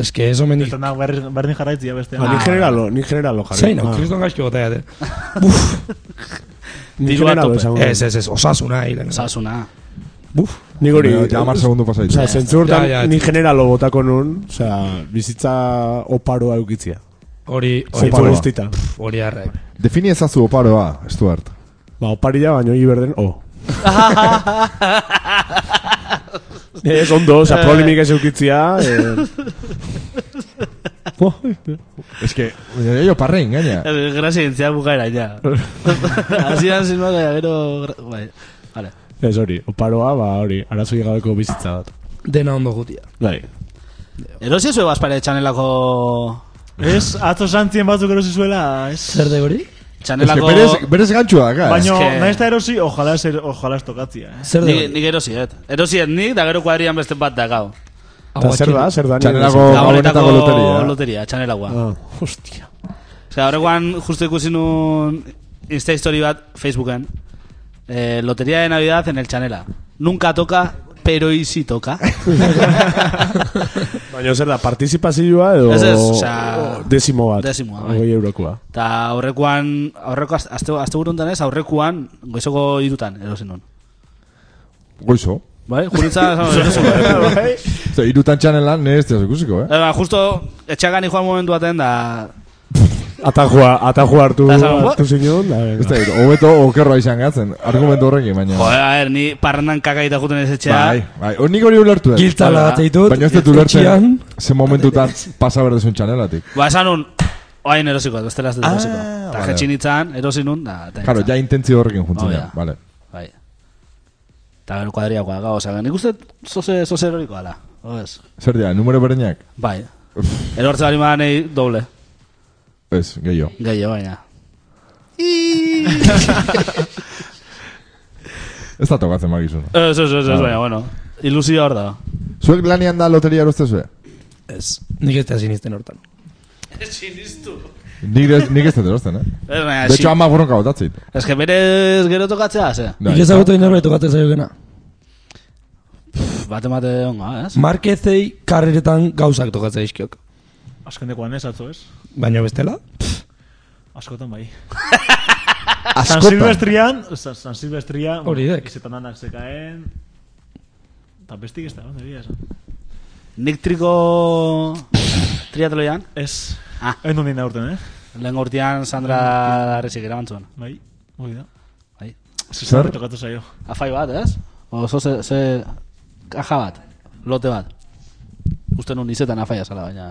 [SPEAKER 7] Ez que eso menik.
[SPEAKER 6] Eta nago berri- berdin jarraitzia beste.
[SPEAKER 5] Ba, ni generalo, ni generalo jarri.
[SPEAKER 7] Zaino,
[SPEAKER 5] Ah,
[SPEAKER 7] kriston gaizki bota jate.
[SPEAKER 5] Ni
[SPEAKER 2] Dirua
[SPEAKER 5] generalo
[SPEAKER 2] tope.
[SPEAKER 5] esango.
[SPEAKER 7] Ez, ez, ez, osasuna hilen.
[SPEAKER 2] Osasuna.
[SPEAKER 5] Buf. Nik hori...
[SPEAKER 4] Baina, Ja, amar segundu pasaitu.
[SPEAKER 5] Osa, zentzu hortan,
[SPEAKER 7] Ja, ja,
[SPEAKER 5] ni
[SPEAKER 7] ez-
[SPEAKER 5] generalo botako nun, osa, bizitza oparoa eukitzia.
[SPEAKER 7] Hori, hori,
[SPEAKER 5] Zentzu
[SPEAKER 4] Oparoa.
[SPEAKER 5] guztitan.
[SPEAKER 7] hori arrek.
[SPEAKER 4] Defini ezazu oparoa, Stuart.
[SPEAKER 5] Ba, oparilla baino iberden, o. ez ondo, osa, problemik ez eukitzia. Eh... Bo,
[SPEAKER 4] Es que, jo parrein, gaina.
[SPEAKER 2] Eh, Grazia entzia bukaera, ja. Azidan zinua gara, gero... gra- Bai. Vale.
[SPEAKER 5] Ez hori, oparoa, ba hori, arazoi gabeko bizitza bat.
[SPEAKER 7] Dena ondo gutia.
[SPEAKER 5] Bai.
[SPEAKER 2] Erosi zue bazpare txanelako...
[SPEAKER 6] Ez, atzo santzien batzuk erosi zuela, ez.
[SPEAKER 7] Zer de hori?
[SPEAKER 2] Txanelako...
[SPEAKER 4] berez, berez gantxua, gara.
[SPEAKER 6] Baina,
[SPEAKER 2] Ez que-
[SPEAKER 6] nahiz eta erosi, ojalá ez, er- ojalá ez tokatzia, eh.
[SPEAKER 7] Zer de
[SPEAKER 2] Nik,
[SPEAKER 7] hori?
[SPEAKER 2] nik erosi, et. Erosi et nik, da gero kuadrian beste bat da gau.
[SPEAKER 5] Eta zer da, zer da? ni-
[SPEAKER 4] Txanelako-
[SPEAKER 2] Gabonetako
[SPEAKER 4] Gabonetako loteria.
[SPEAKER 2] loteria, txanelagoa.
[SPEAKER 5] Oh, Ah, hostia.
[SPEAKER 2] Osea, horrekoan justo ikusi nun Insta story bat Facebooken. Eh, lotería de Navidad en el Chanela. Nunca toca, pero y si toca.
[SPEAKER 5] Baina zer da, partizipazioa edo...
[SPEAKER 2] Ez, ez, osea,
[SPEAKER 5] o Dezimo bat.
[SPEAKER 2] dezimoa, bai.
[SPEAKER 5] Ogoi eurokoa.
[SPEAKER 2] Eta horrekoan, aurreko az- azte, azte buruntan ez, aurrekoan goizoko irutan erosi nun.
[SPEAKER 4] Goizo.
[SPEAKER 2] Bai, juritza erosi
[SPEAKER 4] Bai,
[SPEAKER 2] nun.
[SPEAKER 4] Zer, irutan txanelan, nire ez dira ikusiko, eh?
[SPEAKER 2] Eba, ba, justo etxakan joan momentu baten da...
[SPEAKER 5] Atajua, atajua hartu,
[SPEAKER 2] Da, esan,
[SPEAKER 5] hartu zinon, da,
[SPEAKER 4] Ez
[SPEAKER 5] venga.
[SPEAKER 4] da, hobeto okerroa izan gatzen, argumento horrekin, baina...
[SPEAKER 2] Joder, a ver, ni parrandan kakaita juten ez etxea.
[SPEAKER 4] Bai, bai, hor nik hori ulertu dut.
[SPEAKER 7] Giltza lagatzei dut.
[SPEAKER 4] Baina ez dut ulertzen, ze momentutan pasa berdezun txanelatik.
[SPEAKER 2] Ba, esan nun, oain erosiko, ez bestela ez dut
[SPEAKER 4] Ah,
[SPEAKER 2] erosiko. Eta
[SPEAKER 4] vale.
[SPEAKER 2] jetxin nintzen, erosi nun, da... eta
[SPEAKER 4] Claro,
[SPEAKER 2] nintzen.
[SPEAKER 4] ja intentzio horrekin juntzen,
[SPEAKER 2] Oh,
[SPEAKER 4] ja,
[SPEAKER 2] ja.
[SPEAKER 4] vale.
[SPEAKER 2] Bai. Eta gero kuadriakoa dago, oza, nik uste zoze, zoze erorikoa da. Oez.
[SPEAKER 4] Zer dira, numero berenak?
[SPEAKER 2] Bai. Erortze bari madan nahi doble.
[SPEAKER 4] Ez, gehiago.
[SPEAKER 2] Gehiago, baina.
[SPEAKER 4] Ez da tokatzen magizun.
[SPEAKER 2] Ez, ez, ez, ez, baina, bueno. Ilusio hor da.
[SPEAKER 4] Zuek lanian da loteria erozte zue?
[SPEAKER 7] Ez, nik ez da sinisten hortan.
[SPEAKER 4] Nik, ez- nik ez dut erozten, eh?
[SPEAKER 2] Ez,
[SPEAKER 6] Ah,
[SPEAKER 2] baina,
[SPEAKER 4] De hecho, ama borronka botatzit.
[SPEAKER 2] Ez que berez gero tokatzea, ze.
[SPEAKER 4] Da,
[SPEAKER 7] Nik ez dagoetu inorbe bai tokatzen zaio gena.
[SPEAKER 2] Pff, Bate mate onga, eh, ez?
[SPEAKER 7] Markezei karreretan gauzak tokatzen dizkiok.
[SPEAKER 6] Azkendekoan ez, atzo ez.
[SPEAKER 7] Baina bestela?
[SPEAKER 6] Askotan bai. San
[SPEAKER 4] Askotan.
[SPEAKER 6] Silvestrian, San, San Silvestrian,
[SPEAKER 7] Hori dek.
[SPEAKER 6] izetan danak zekaen... Eta bestik ez da, ondo egia esan.
[SPEAKER 2] Nik triko... Triatloian.
[SPEAKER 6] Ez,
[SPEAKER 2] Ah.
[SPEAKER 6] ez non dina urten, eh?
[SPEAKER 2] Lehen gortian Sandra Arresik eramantzuen.
[SPEAKER 6] Bai, hori da.
[SPEAKER 2] Bai.
[SPEAKER 4] Zer?
[SPEAKER 6] Zer? Tokatu zaio.
[SPEAKER 2] Afai bat, ez? Oso ze... ze... Kaja bat. Lote bat. Uste nun izetan afaia zala, baina...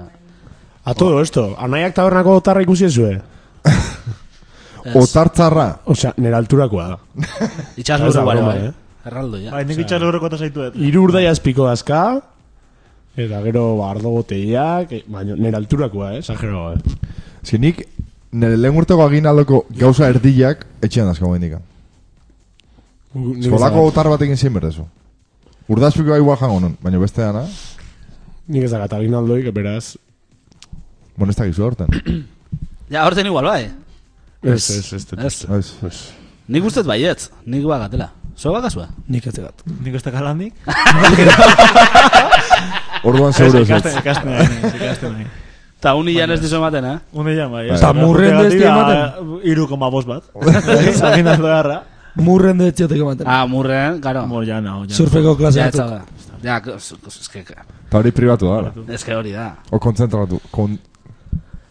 [SPEAKER 5] A todo esto, anaiak tabernako otarra ikusi ezue.
[SPEAKER 4] Otartzarra.
[SPEAKER 5] Osea, nera alturakoa da.
[SPEAKER 2] Itxas
[SPEAKER 5] Ez da
[SPEAKER 2] lurru bai,
[SPEAKER 5] broma,
[SPEAKER 2] bai.
[SPEAKER 5] eh?
[SPEAKER 2] Erraldo, ja.
[SPEAKER 6] Bai, nik itxar horreko zaitu dut.
[SPEAKER 5] Iru urdai azpiko dazka, eta gero ba, ardo boteiak, eh, baina nera alturakoa, eh? Sajero, eh?
[SPEAKER 4] Ez que nik, nire lehen urteko aginaldoko gauza erdilak etxean dazka guen dikan. Eskolako otar batekin zein berdezu. Urdazpiko bai jango non, baina beste dana,
[SPEAKER 5] Nik ez dakat aginaldoik, beraz...
[SPEAKER 4] bueno, ez dakizu horten.
[SPEAKER 2] Ja, horten igual, bai.
[SPEAKER 5] Ez, ez, ez, ez.
[SPEAKER 2] Ez. Eh?
[SPEAKER 4] Ez.
[SPEAKER 2] Nik ustet baietz. Nik ba bagatela. Zo bakazua?
[SPEAKER 7] Nik ez dakat.
[SPEAKER 6] Nik ez takalandik.
[SPEAKER 4] Orduan
[SPEAKER 6] Ez,
[SPEAKER 4] zeuro ez.
[SPEAKER 6] ikasten, ikasten, nahi, ikasten. nahi.
[SPEAKER 2] Ta un hilan ez dizu ematen, eh?
[SPEAKER 6] Une jan, bai.
[SPEAKER 7] Ta murren ez dia
[SPEAKER 6] Iru koma bost bat. Zaginaldo garra.
[SPEAKER 7] Murren de etxiotek ematen.
[SPEAKER 2] Ah, murren, garo.
[SPEAKER 6] Mor jan, hau jan.
[SPEAKER 7] Surfeko klase
[SPEAKER 2] Ja,
[SPEAKER 7] batzuk.
[SPEAKER 2] etzaga. Ja, kos- kos- eske,
[SPEAKER 4] Eta hori privatu da, ara.
[SPEAKER 2] eske hori da.
[SPEAKER 4] O kontzentratu. Kon,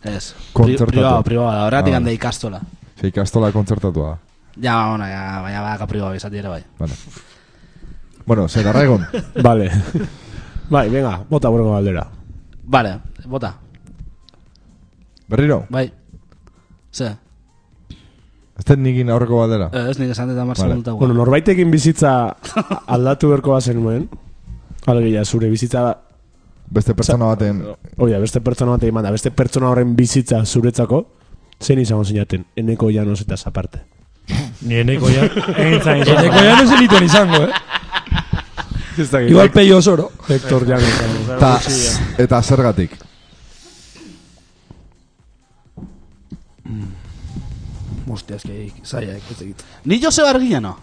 [SPEAKER 2] Ez. Pri-
[SPEAKER 4] Kontzertatu.
[SPEAKER 2] Privado, privado da. Horretik
[SPEAKER 4] Ah.
[SPEAKER 2] hande ikastola.
[SPEAKER 4] ze ikastola kontzertatua da.
[SPEAKER 2] Ja, ba, ona, ja, baina baka privado izati ere bai.
[SPEAKER 4] Vale. Bueno, zer arraigon.
[SPEAKER 5] Vale. Bai, venga, bota borgo galdera.
[SPEAKER 2] Vale, bota.
[SPEAKER 4] Berriro,
[SPEAKER 2] Bai. Ze,
[SPEAKER 4] ez den nikin aurreko baldera.
[SPEAKER 2] eh, ez nik esan dut amartzen
[SPEAKER 4] Vale.
[SPEAKER 2] dut
[SPEAKER 5] Bueno, norbaitekin bizitza aldatu berko bazen nuen. Alegia, zure bizitza...
[SPEAKER 4] Beste pertsona baten,
[SPEAKER 5] Oia, beste pertsona bat eman da, beste pertsona horren bizitza zuretzako, zein izango zinaten, eneko janos eta aparte.
[SPEAKER 7] Ni eneko ja.
[SPEAKER 6] Egin zain,
[SPEAKER 7] Eneko ja ez dituen izango, eh?
[SPEAKER 5] Ez da,
[SPEAKER 7] Igual peio osoro.
[SPEAKER 5] Hector Janos.
[SPEAKER 4] eta, eta zergatik.
[SPEAKER 7] Hostia, ez que zaila ez egit.
[SPEAKER 2] Ni Joseba Argina, no?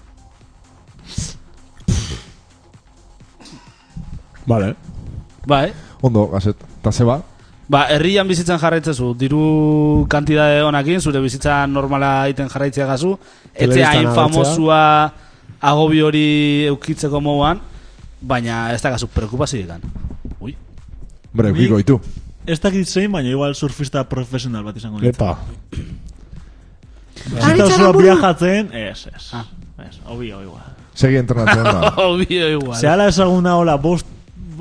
[SPEAKER 5] Vale.
[SPEAKER 2] Bai.
[SPEAKER 4] Ondo, gazet. Eta zeba,
[SPEAKER 2] Ba, herrian bizitzan jarraitzezu, diru kantidade honakin, zure bizitza normala egiten jarraitzea gazu, etzea
[SPEAKER 5] Telebistan
[SPEAKER 2] hain
[SPEAKER 5] agertzea.
[SPEAKER 2] famosua agobi hori eukitzeko moduan, baina ez da gazu preocupazidikan. Ui,
[SPEAKER 4] bere, giko itu.
[SPEAKER 6] Ez dakit zein, baina igual surfista profesional bat izango dut.
[SPEAKER 5] Epa.
[SPEAKER 6] Zita osoa viajatzen, ez, ez. Ez, obio, igual.
[SPEAKER 4] Segi entrenatzen da.
[SPEAKER 2] obio igual.
[SPEAKER 6] Zehala ezaguna hola, bost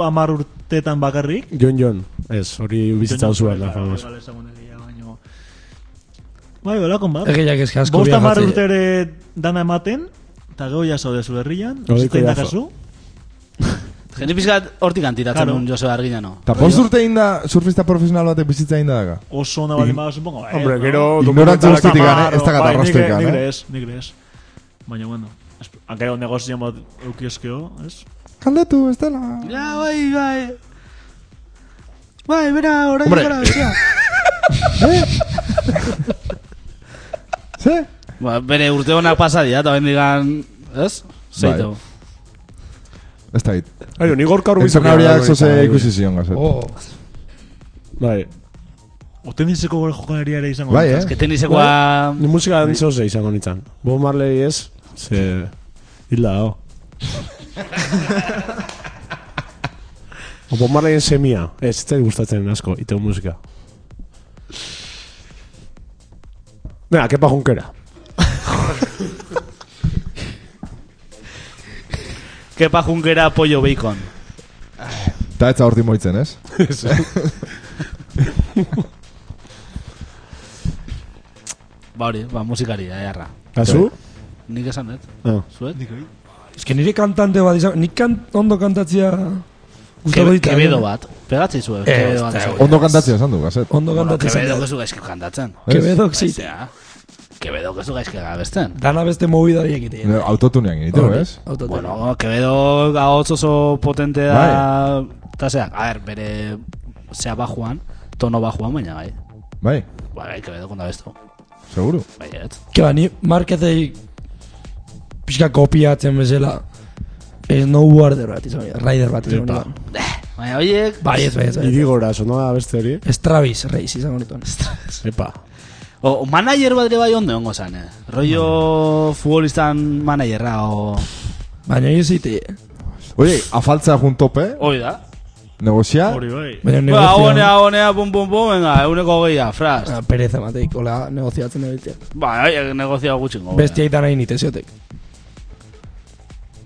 [SPEAKER 6] amar urtetan bakarrik.
[SPEAKER 5] Jon Jon. Ez, hori bizitza zuen da,
[SPEAKER 6] Claro,
[SPEAKER 5] famos.
[SPEAKER 6] igual ezaguna gehiago, baino- Bai, hola, konba.
[SPEAKER 7] Egeiak ez asko
[SPEAKER 6] Bost amar
[SPEAKER 7] biajatzei.
[SPEAKER 6] urtere dana ematen, eta gero ja zaude zu herrian,
[SPEAKER 5] Oiko
[SPEAKER 6] bizitzen
[SPEAKER 5] jazo.
[SPEAKER 6] dakazu.
[SPEAKER 2] Jende pizkat hortik antitatzen
[SPEAKER 6] Claro.
[SPEAKER 2] duen Joseba Arginano.
[SPEAKER 4] Eta bost urte inda, surfista profesional batek bizitza inda daga.
[SPEAKER 6] Oso ona bali bada, supongo. eh,
[SPEAKER 5] Hombre,
[SPEAKER 6] no.
[SPEAKER 5] gero...
[SPEAKER 4] Ignorantza
[SPEAKER 5] dokumentalak-
[SPEAKER 4] guztitik gane,
[SPEAKER 6] Claro,
[SPEAKER 4] ez da gata
[SPEAKER 6] bai, nik-
[SPEAKER 4] arrastoikan,
[SPEAKER 6] Nik
[SPEAKER 4] eh?
[SPEAKER 6] ere ez, nik ere ez. Baina, bueno, esp- hankera negozio bat eukieskeo, ez?
[SPEAKER 4] Kaldetu, ez dela.
[SPEAKER 2] Ja, bai, bai. Bai, bera, orain
[SPEAKER 4] Hombre.
[SPEAKER 2] gara, bestia.
[SPEAKER 4] Ze?
[SPEAKER 2] Ba, bere urte honak pasadia, eta ben digan, ez? Zeitu.
[SPEAKER 4] Ez da hit.
[SPEAKER 5] Aio, ni gorka urbizu...
[SPEAKER 4] Entrenariak zoze ikusi zion gazet.
[SPEAKER 7] Oh,
[SPEAKER 5] Bai,
[SPEAKER 6] Otenizeko gure jokalaria ere izango.
[SPEAKER 4] Bai,
[SPEAKER 6] dut,
[SPEAKER 4] eh?
[SPEAKER 2] Ez que tenisekoa...
[SPEAKER 5] ni musika dantzoze izango nintzen. Bo Marley ez, ze... Hilda dago. O Bob Marleyen semia. Ez, ez zait gustatzen asko, iteo musika. Venga, kepa junkera.
[SPEAKER 2] Kepa junkera pollo bacon.
[SPEAKER 4] Eta ez da horti moitzen, ez?
[SPEAKER 2] Ba hori, ba, musikari da, jarra.
[SPEAKER 5] Kasu?
[SPEAKER 2] Nik esan dut,
[SPEAKER 5] Ah.
[SPEAKER 2] zuet?
[SPEAKER 7] es que niri kantante bat izan, nik kan, ondo eh? kantatzia gustatu
[SPEAKER 2] Kebe-
[SPEAKER 7] dit.
[SPEAKER 2] Kebedo bat. Pegatzi zuen, kebedo bat. zuen.
[SPEAKER 4] Ondo kantatzea esan du, gazet.
[SPEAKER 7] Ondo
[SPEAKER 2] Bueno,
[SPEAKER 7] kantatzen
[SPEAKER 2] Kebedo
[SPEAKER 7] zaila.
[SPEAKER 2] gezu gaizki kantatzen.
[SPEAKER 7] Kebedo zite.
[SPEAKER 2] Zea. Kebedo gezu gaizki gabesten.
[SPEAKER 7] Dana beste movida horiek eh? egiten.
[SPEAKER 4] Ne, Autotunean egiteko,
[SPEAKER 7] Bai. Hori,
[SPEAKER 4] ez?
[SPEAKER 7] autotune.
[SPEAKER 2] Bueno, Kebedo gaotz oso potente da... Eta zeak, a ver, bere... Zea bajuan, tono bajuan, baina bai.
[SPEAKER 4] Bai,
[SPEAKER 2] Ba, bai, Kebedo konta bestu.
[SPEAKER 4] seguru.
[SPEAKER 2] Bai, et.
[SPEAKER 7] Ke ba, ni marketei pixka kopiatzen bezala eh, snowboarder bat izan dira, rider bat izan dira.
[SPEAKER 2] Eh, Baina, oiek...
[SPEAKER 7] Bai, ez, bai, ez, bai.
[SPEAKER 5] Irigora, sonora beste hori.
[SPEAKER 7] Stravis Reis izan honetan.
[SPEAKER 5] Epa.
[SPEAKER 2] O, manager bat ere bai ondo ongo zan, eh? Rollo futbolistan managerra, o...
[SPEAKER 7] Baina ez zite,
[SPEAKER 4] Oie, afaltza juntope,
[SPEAKER 2] Hoi da.
[SPEAKER 4] negozia,
[SPEAKER 6] Hori bai.
[SPEAKER 7] baina
[SPEAKER 2] Ba,
[SPEAKER 7] negozioan
[SPEAKER 2] agonea, agonea, pum, pum, pum, venga, euneko hogeia, fras.
[SPEAKER 7] Ah, pereza mateik, hola, negoziatzen da biltia.
[SPEAKER 2] Ba, oiek negozia gutxingo.
[SPEAKER 7] Bestia itan hain iteziotek.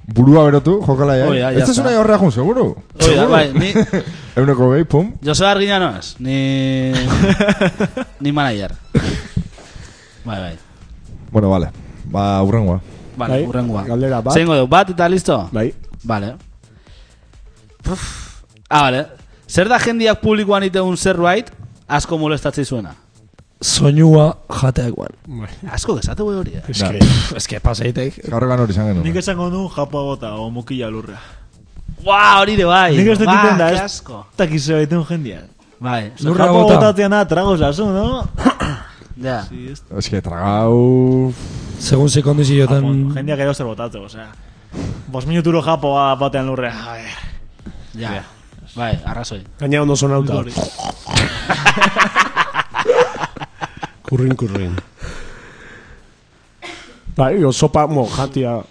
[SPEAKER 4] burua berotu, eh? jokalaia.
[SPEAKER 2] Hoi da,
[SPEAKER 4] Ez
[SPEAKER 2] ya
[SPEAKER 4] da zuna
[SPEAKER 2] está.
[SPEAKER 4] horrea jun, seguru.
[SPEAKER 2] Hoi da, bai, ni...
[SPEAKER 4] Euneko gehi, pum.
[SPEAKER 2] Jose Argina no es, ni... ni manager. Bai, bai.
[SPEAKER 4] Bueno, vale. Ba, urrengoa.
[SPEAKER 2] Vale,
[SPEAKER 5] Bai,
[SPEAKER 2] urrengoa.
[SPEAKER 5] galdera bat.
[SPEAKER 2] Zeingo dugu, bat eta listo?
[SPEAKER 5] Bai.
[SPEAKER 2] Vale. Puf. Ah, vale. Zer da jendiak publikoan iteun zerbait, asko molestatzi zuena?
[SPEAKER 7] Soinua jateak guan.
[SPEAKER 2] Asko gesate bai hori, eh?
[SPEAKER 4] Ja.
[SPEAKER 7] Ez que pasaitek.
[SPEAKER 4] Gaur egan hori izan
[SPEAKER 6] Nik
[SPEAKER 4] genuen.
[SPEAKER 6] esango du japo agota o mukila lurra.
[SPEAKER 2] Ba, hori de bai.
[SPEAKER 6] Nik ez dut
[SPEAKER 2] Ba,
[SPEAKER 6] iten da,
[SPEAKER 2] ke
[SPEAKER 6] ez?
[SPEAKER 2] asko.
[SPEAKER 6] Eta kizu egiten jendia.
[SPEAKER 2] Bai,
[SPEAKER 7] Lurra
[SPEAKER 6] Japo
[SPEAKER 7] bota.
[SPEAKER 6] agotateana tragos azu, no?
[SPEAKER 2] ja.
[SPEAKER 4] Ez que tragau...
[SPEAKER 7] Segun ze kondiziotan...
[SPEAKER 6] Jendia gero zer botatzeko, osea. Bos minuturo japoa batean bai, lurra. A ver.
[SPEAKER 2] Ja. Bai, arrazoi.
[SPEAKER 5] Gaina ondo sonauta. kurrin, kurrin. Bai, o sopa, mo, jatia...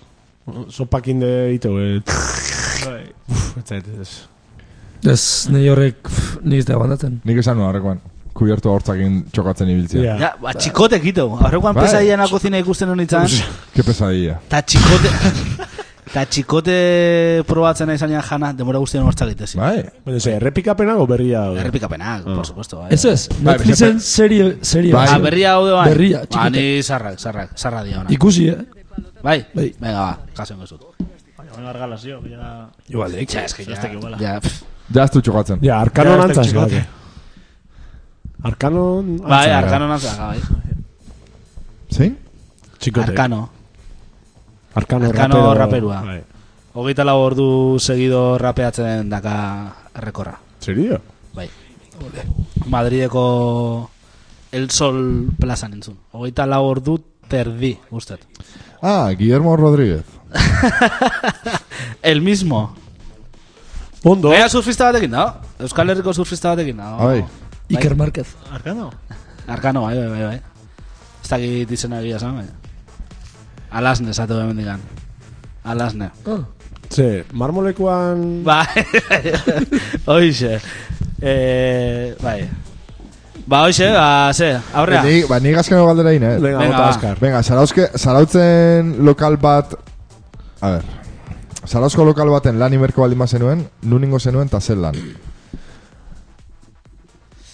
[SPEAKER 5] Sopakin de ito, eh.
[SPEAKER 6] Bai.
[SPEAKER 5] Uf, ez zait, ez.
[SPEAKER 7] Ez, nahi horrek, pff, nik ez da bandatzen.
[SPEAKER 4] Nik esan nuen horrekoan. Kubiertu hortzakin txokatzen ibiltzea.
[SPEAKER 5] Ja.
[SPEAKER 2] Ja, ba, txikotek ito. Aurrekoan
[SPEAKER 4] Ah, Bai.
[SPEAKER 2] pesaia en la cocina ikusten honi txan.
[SPEAKER 4] Ke pesadilla.
[SPEAKER 2] Ta txikote... Ta txikote probatzen nahi zanean jana, demora guztien hortzak egitezi.
[SPEAKER 4] Bai.
[SPEAKER 5] Baina, ze, errepikapena o berria? hau?
[SPEAKER 2] Errepikapenak, por supuesto. Bai.
[SPEAKER 7] Ez ez, Netflixen serie, serie.
[SPEAKER 4] Bai.
[SPEAKER 2] Ah,
[SPEAKER 7] bat.
[SPEAKER 2] berria hau de bai.
[SPEAKER 7] Berria,
[SPEAKER 2] Ba,
[SPEAKER 7] txikite.
[SPEAKER 2] ni zarrak, zarrak, zarra dia ona.
[SPEAKER 7] Ikusi, eh?
[SPEAKER 2] Bai?
[SPEAKER 7] Bai.
[SPEAKER 2] Venga, ba, kasen gozut.
[SPEAKER 6] Baina, bueno, argalazio, ya...
[SPEAKER 2] Igualdik. Ja, eski, ja,
[SPEAKER 6] Zastek iguala.
[SPEAKER 2] ja, pff.
[SPEAKER 4] Jaztu txokatzen.
[SPEAKER 5] Ja,
[SPEAKER 6] Ja,
[SPEAKER 5] arkanon
[SPEAKER 6] ez
[SPEAKER 5] antzaz.
[SPEAKER 6] dakit txikote.
[SPEAKER 5] Arkanon antzaz.
[SPEAKER 2] Bai, arkano nazak, bai.
[SPEAKER 4] Zein?
[SPEAKER 5] Txikote.
[SPEAKER 2] Arkano.
[SPEAKER 5] Arkano,
[SPEAKER 2] Arkano
[SPEAKER 5] rapero.
[SPEAKER 2] raperua.
[SPEAKER 5] Bai.
[SPEAKER 2] Hogeita lau ordu segido rapeatzen daka rekorra.
[SPEAKER 5] Serio?
[SPEAKER 2] Bai. Madrideko El Sol plazan entzun. Hogeita lau ordu terdi, guztet.
[SPEAKER 4] Ah, Guillermo Rodríguez.
[SPEAKER 2] El mismo.
[SPEAKER 5] Ondo.
[SPEAKER 2] Ea surfista batekin, no? Euskal Herriko surfista batekin,
[SPEAKER 5] Ah,
[SPEAKER 2] no?
[SPEAKER 4] Bai.
[SPEAKER 7] Iker Márquez.
[SPEAKER 6] Arkano?
[SPEAKER 2] Arkano, bai, bai, bai, bai. Ez dakit izena egia esan, bai. Alasne, zate behar mendikan. Alasne.
[SPEAKER 5] Ze, marmolekuan...
[SPEAKER 2] Bai, oixe. Bai. Eh, bai. Ba, oixe, ba, ze, aurrea.
[SPEAKER 4] Ni, ba, nik azkeneko galdera egin, eh?
[SPEAKER 5] Venga,
[SPEAKER 2] Venga,
[SPEAKER 5] bota
[SPEAKER 2] va.
[SPEAKER 5] azkar.
[SPEAKER 4] Venga, Sarauzke, Sarautzen lokal bat... A ver... Sarauzko lokal baten lan imerko baldin zenuen, nun ingo zenuen eta zer lan.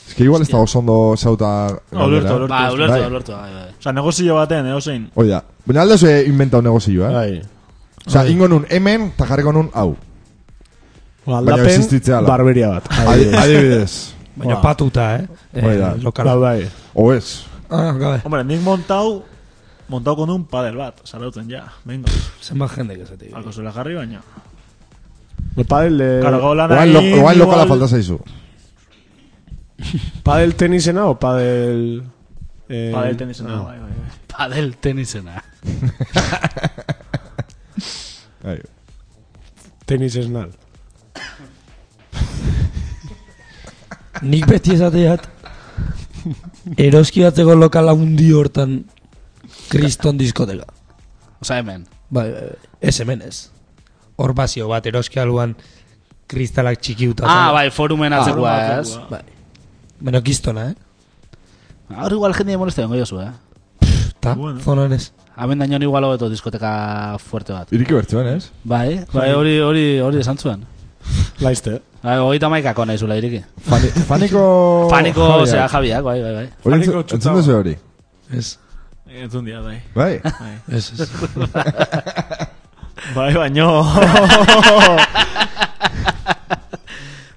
[SPEAKER 4] Ez que igual ez da oso ondo zauta... galdera.
[SPEAKER 6] ulertu, ulertu.
[SPEAKER 2] Ba, ulertu,
[SPEAKER 4] Bai.
[SPEAKER 2] ulertu, bai, bai.
[SPEAKER 6] Osa, negozio baten, eh, osein.
[SPEAKER 4] Hoi da. Baina alde zuen inventa un negozio, eh?
[SPEAKER 5] Bai.
[SPEAKER 4] Osa, ingo nun hemen, eta jarriko nun hau.
[SPEAKER 5] Aldapen,
[SPEAKER 4] existitzea ala.
[SPEAKER 5] Ba, barberia bat.
[SPEAKER 4] Adi- Adibidez.
[SPEAKER 7] Baina
[SPEAKER 4] Ba.
[SPEAKER 7] patuta, eh?
[SPEAKER 4] Bai
[SPEAKER 7] eh
[SPEAKER 4] da.
[SPEAKER 5] Bai,
[SPEAKER 7] lokala.
[SPEAKER 5] bai.
[SPEAKER 4] O ez.
[SPEAKER 7] Ah, gabe.
[SPEAKER 6] Hombre, nik montau, montau kondun padel bat, zarautzen ja, bengo.
[SPEAKER 7] Zenbat jende esate.
[SPEAKER 6] Alko zuela jarri baina.
[SPEAKER 5] No, Padel, eh,
[SPEAKER 6] Claro, gau lan
[SPEAKER 4] Oain, lo,
[SPEAKER 6] hain,
[SPEAKER 4] oain lokala
[SPEAKER 6] igual-
[SPEAKER 4] falta zaizu.
[SPEAKER 5] padel tenisena o padel... Eh,
[SPEAKER 6] Padel tenisena, bai, bai, bai.
[SPEAKER 2] Padel tenisena.
[SPEAKER 4] Bai.
[SPEAKER 5] Tenis esnal.
[SPEAKER 7] Nik beti esateat eroski batzeko lokala hundi hortan kriston diskoteka.
[SPEAKER 2] Osa hemen.
[SPEAKER 7] Bai, bai, bai. ez hemen ez. Hor bazio bat eroski aluan kristalak txikiuta.
[SPEAKER 2] Ah, bai, forumen atzekoa,
[SPEAKER 6] forumen
[SPEAKER 2] ez?
[SPEAKER 6] atzekoa.
[SPEAKER 7] bai. Baina kistona, eh?
[SPEAKER 2] Ba, Hor igual jende molesta dengo jozu, eh?
[SPEAKER 7] Ta,
[SPEAKER 6] Bueno.
[SPEAKER 7] zonan ez.
[SPEAKER 2] Hemen daño igual hobeto diskoteka fuerte bat.
[SPEAKER 4] Iriki bertzuan, ez?
[SPEAKER 2] Bai, bai, hori, hori, hori esan zuen.
[SPEAKER 5] Laizte.
[SPEAKER 2] Bai, hogeita maikako nahi zula iriki.
[SPEAKER 4] Fani, faniko...
[SPEAKER 2] Faniko,
[SPEAKER 4] Javiak.
[SPEAKER 2] zera, jabiak, bai, bai, bai.
[SPEAKER 4] Hori
[SPEAKER 5] Faniko
[SPEAKER 4] entzu- Entzun
[SPEAKER 5] txutaba.
[SPEAKER 4] duzu hori?
[SPEAKER 7] Ez,
[SPEAKER 6] Entzun dia, bai.
[SPEAKER 4] Bai.
[SPEAKER 7] ez, ez.
[SPEAKER 6] Bai, baino.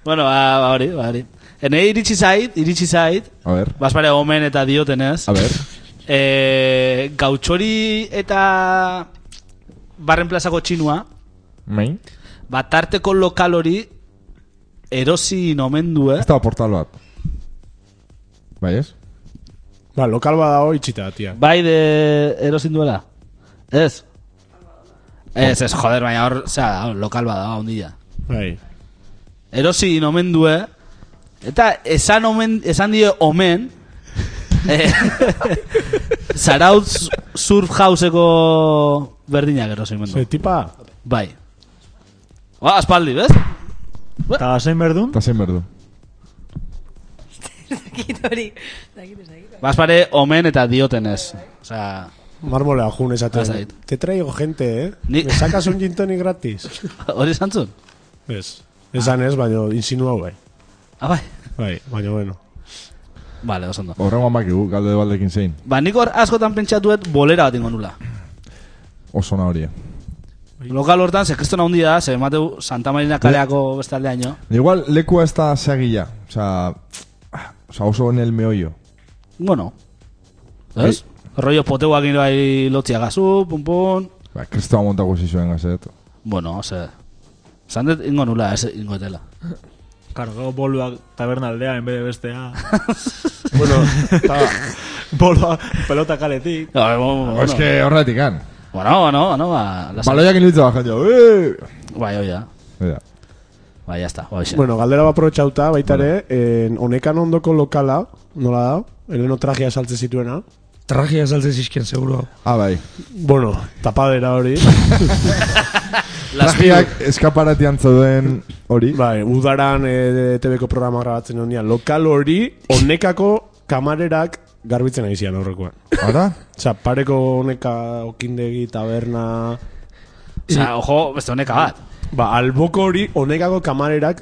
[SPEAKER 2] Bueno, ba, ba, hori, ba, hori. Hene iritsi zait, iritsi zait,
[SPEAKER 4] A ber.
[SPEAKER 2] bazpare gomen eta diotenez.
[SPEAKER 4] A ber.
[SPEAKER 2] E, gautxori eta barren plazako txinua,
[SPEAKER 4] Main.
[SPEAKER 2] bat tarteko lokal hori erosi nomendu, eh?
[SPEAKER 4] Ez da portal bat. Bai, ez?
[SPEAKER 5] Ba, lokal badago itxita, tia.
[SPEAKER 2] Bai, de erosin duela. Ez? Ez, ez, joder, baina hor, zera, hor, lokal bada, ondila.
[SPEAKER 5] Bai.
[SPEAKER 2] Erosi nomen du, eh? Eta esan, omen, esan dio omen, eh, Zarautz surf houseko berdinak erosi omen
[SPEAKER 5] Ze,
[SPEAKER 2] du.
[SPEAKER 5] tipa,
[SPEAKER 2] Bai. Ba, aspaldi, bez?
[SPEAKER 6] Eta zein berdun?
[SPEAKER 4] Eta zein berdu.
[SPEAKER 10] Kitori. Dakit, ez dakit.
[SPEAKER 2] Bazpare Ba, omen eta diotenez. Osea,
[SPEAKER 5] marmolea jun
[SPEAKER 2] Ez
[SPEAKER 5] esaten.
[SPEAKER 2] dakit.
[SPEAKER 5] Te traigo gente, eh?
[SPEAKER 2] Ni-
[SPEAKER 5] Me sacas un gin tonic gratis.
[SPEAKER 2] hori zantzun?
[SPEAKER 5] Ez. Esan ez, baino insinua bai.
[SPEAKER 2] Ah, bai.
[SPEAKER 5] Bai, baina bueno.
[SPEAKER 2] Vale, oso ondo.
[SPEAKER 4] Horrengo amakigu, galde de baldekin zein.
[SPEAKER 2] Ba, nik hor askotan pentsatuet bolera bat ingo nula.
[SPEAKER 4] Oso na hori.
[SPEAKER 2] Bai. Lokal hortan, ze kristona hundia da, ze emateu Santa Marina kaleako beste aldeaino.
[SPEAKER 4] Igual, lekua ez da segila. Osa... Osa oso en el meollo.
[SPEAKER 2] Bueno. Ez? Rollo poteuak nire bai lotzia gazu, pum pum.
[SPEAKER 4] Ba, kristoa montago zizuen gazet.
[SPEAKER 2] Bueno, ze... Zandet ingo nula, ez ingo etela.
[SPEAKER 6] Claro, gau boluak taberna aldea, en bere bestea.
[SPEAKER 5] Bueno,
[SPEAKER 6] Boluak pelota kaletik.
[SPEAKER 2] Ja, bueno,
[SPEAKER 4] Bueno.
[SPEAKER 2] bueno,
[SPEAKER 4] Es que horretik an.
[SPEAKER 2] bueno, bueno, bueno, ba... lasa.
[SPEAKER 4] Baloiak inilitza bajan jo.
[SPEAKER 2] Bai, hoi da. Bai, jazta, bai, xe.
[SPEAKER 5] bueno, galdera bat aprobetxauta, baita ere, en honekan ondoko lokala, nola da, heleno trajea saltze zituena.
[SPEAKER 7] Tragia saltzen zizkien, seguro.
[SPEAKER 4] Ah, bai.
[SPEAKER 5] Bueno, tapadera hori.
[SPEAKER 4] Trajiak eskaparatian zeuden hori.
[SPEAKER 5] bai, udaran e, TVko programa grabatzen ondian. Lokal hori, honekako kamarerak garbitzen ari zian aurrekoan.
[SPEAKER 4] Ara?
[SPEAKER 5] Osa, pareko honeka, okindegi, taberna...
[SPEAKER 2] Osea, ojo, beste honeka bat.
[SPEAKER 5] Ba, alboko hori honekako kamarerak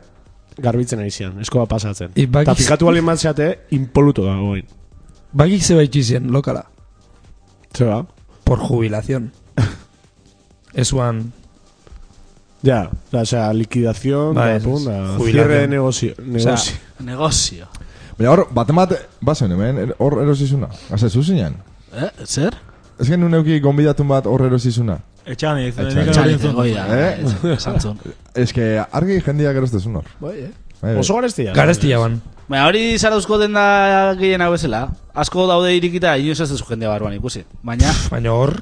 [SPEAKER 5] garbitzen ari zian, eskoa pasatzen.
[SPEAKER 7] I bakiz-
[SPEAKER 5] Eta fikatu bali matzeate, impoluto da goin.
[SPEAKER 7] Bakik zeba itxizien, lokala.
[SPEAKER 5] Zeba?
[SPEAKER 7] ba? Por jubilación. Esuan,
[SPEAKER 5] Ya, o sea, liquidación,
[SPEAKER 7] Bai,
[SPEAKER 5] da,
[SPEAKER 7] ez,
[SPEAKER 5] pum,
[SPEAKER 7] ez.
[SPEAKER 5] da,
[SPEAKER 7] Jubilación.
[SPEAKER 5] cierre de negocio. negocio.
[SPEAKER 2] Negozio.
[SPEAKER 4] Baina hor, bat emat, bazen hemen, er- hor erosizuna. Gaze, zuzinan.
[SPEAKER 2] Eh, zer?
[SPEAKER 4] Ez genuen euki gonbidatun bat hor erosizuna.
[SPEAKER 6] Etxan ez,
[SPEAKER 4] Etxan.
[SPEAKER 6] nik hori
[SPEAKER 2] Txalite,
[SPEAKER 6] entzun.
[SPEAKER 2] goi da.
[SPEAKER 4] Eh?
[SPEAKER 2] eh, Zantzun.
[SPEAKER 4] Ez que argi jendeak erostezun hor.
[SPEAKER 5] Bai, eh?
[SPEAKER 4] Bai, bai.
[SPEAKER 5] Oso garestia.
[SPEAKER 7] garestia ban.
[SPEAKER 2] Baina hori zarauzko denda gehien hau bezala. Asko daude irikita, inoiz ez duzu jendea barruan ikusi. Baina,
[SPEAKER 7] Baina hor,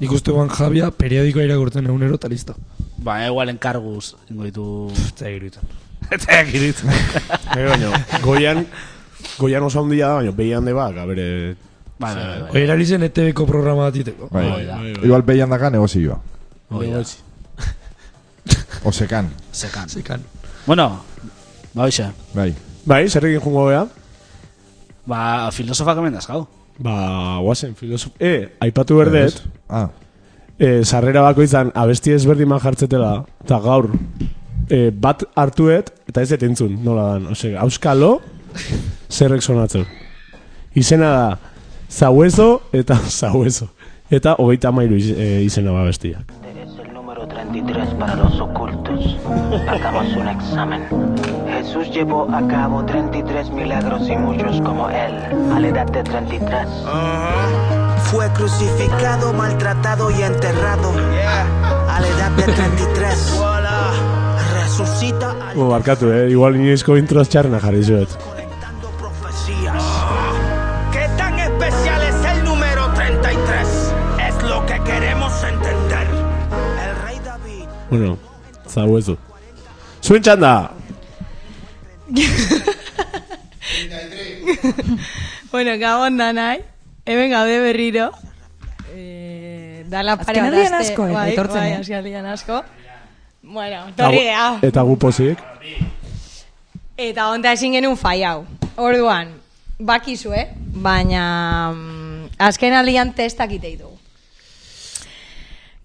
[SPEAKER 7] ikuste guan Javia periodikoa irakurtzen egunero eta listo.
[SPEAKER 2] baina Ba, igual enkarguz ingo ditu...
[SPEAKER 7] Eta egiruten.
[SPEAKER 2] Eta ekirit.
[SPEAKER 5] Eh, baino, goian, goian oso handia da, baina behian de baka, bere...
[SPEAKER 2] Bai, bai, bai.
[SPEAKER 7] Hoi erari zen E ETV-ko programa bat iteko.
[SPEAKER 4] Bai.
[SPEAKER 2] Hoi da.
[SPEAKER 4] Igual behian daka negozioa.
[SPEAKER 2] Hoi da.
[SPEAKER 4] Osekan.
[SPEAKER 2] Zekan.
[SPEAKER 7] Zekan.
[SPEAKER 2] Bueno, ba hoxe.
[SPEAKER 4] Bai.
[SPEAKER 5] Bai, zerrekin jungo bea?
[SPEAKER 2] Ba, filosofak hemen dazkau.
[SPEAKER 5] Ba, guazen, filosof... Eh, aipatu berdet,
[SPEAKER 4] Ah,
[SPEAKER 5] eh, sarrera bakoitzan abesti ezberdin man jartzetela, eta gaur, eh, bat hartuet, eta ez dut entzun, nola dan. Ose, auskalo, zerrek sonatzen. Izena da, zauezo eta zauezo. Eta hogeita mairu izena ba bestiak.
[SPEAKER 9] Eres el número 30
[SPEAKER 11] 23 para los ocultos. Hagamos un examen. Jesús llevó a cabo 33 milagros y muchos como él, a la edad de 33. Fue crucificado, maltratado y enterrado. A la edad de 33. Resucita al
[SPEAKER 5] Bo, barkatu, eh? Igual inoizko introz txarna jarri zuet.
[SPEAKER 11] Mesías. ¿Qué tan especial es el número 33? Es lo que queremos entender. El rey David.
[SPEAKER 5] Bueno, zau ez du. Zuen txanda!
[SPEAKER 9] bueno, gabon da nahi. Hemen gaude berriro. Eh, dala pare bat
[SPEAKER 12] Azkenaldian
[SPEAKER 9] aste-
[SPEAKER 12] asko, eh,
[SPEAKER 9] bai,
[SPEAKER 12] etortzen,
[SPEAKER 9] bai,
[SPEAKER 12] eh.
[SPEAKER 9] azkenaldian asko. Bueno, ah.
[SPEAKER 5] Eta gu-
[SPEAKER 9] torri gea.
[SPEAKER 5] Eta gu pozik.
[SPEAKER 9] Eta honta ezin genuen fai hau. Orduan, bakizu, eh? Baina, mm, azken alian testak itei dugu.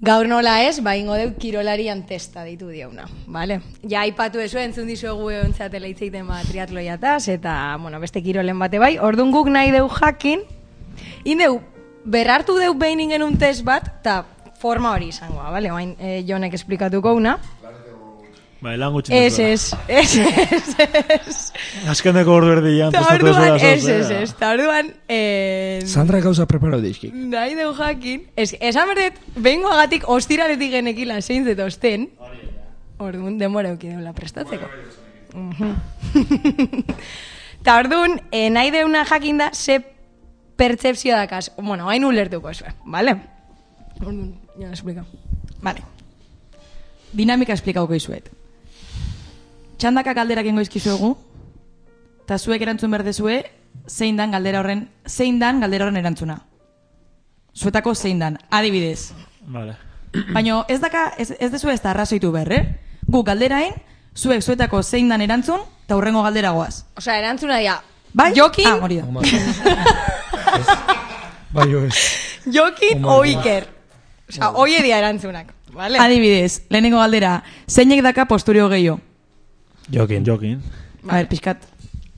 [SPEAKER 9] Gaur nola ez, ba ingo deu kirolarian testa deitu diauna, vale? Ja aipatu ezu entzun dizuegu eontzatela hitz egiten ba triatloiataz eta, bueno, beste kirolen bate bai. Orduan guk nahi deu jakin, indeu, berrartu deu behin ingenun test bat, eta forma hori izangoa, vale? Oain, eh, jonek esplikatuko una.
[SPEAKER 6] Bai, lan gutxi.
[SPEAKER 9] Ez, ez, ez, ez, ez.
[SPEAKER 6] Azkeneko ordu erdian.
[SPEAKER 9] Eta
[SPEAKER 6] prestatu
[SPEAKER 9] orduan,
[SPEAKER 6] ez dela
[SPEAKER 9] ez,
[SPEAKER 6] zozera.
[SPEAKER 9] ez, ez, eta orduan, eh,
[SPEAKER 7] Sandra gauza preparo dizki.
[SPEAKER 9] nahi deu jakin, ez, esan berdet, behingo agatik ostiraletik genekila zein zet osten, orduan denbora euki deula prestatzeko. Mhm. Eta orduan, eh, nahi deuna jakin da, ze pertsepzioa dakaz, bueno, hain ulertuko zuen, bale? Orduan, ja, esplikau. Bale.
[SPEAKER 12] Dinamika esplikauko izuet. Txandaka galderak ingo izkizuegu, eta zuek erantzun berdezue, zein dan galdera horren, zein dan galdera horren erantzuna. Zuetako zein dan, adibidez.
[SPEAKER 6] Vale.
[SPEAKER 12] Baina ez daka, ez, ez dezu ez da arrazoitu behar, eh? Gu galderain, zuek zuetako zein dan erantzun, eta hurrengo galdera goaz.
[SPEAKER 9] Osa, erantzuna dira,
[SPEAKER 12] Bai?
[SPEAKER 9] Jokin?
[SPEAKER 12] Ah, hori da.
[SPEAKER 7] Bai, ez.
[SPEAKER 9] jokin o iker. Osa, oie dira erantzunak, bale?
[SPEAKER 12] Adibidez, lehenengo galdera, zeinek daka posturio gehiago?
[SPEAKER 7] Jokin.
[SPEAKER 6] Jokin.
[SPEAKER 12] A ber, pixkat.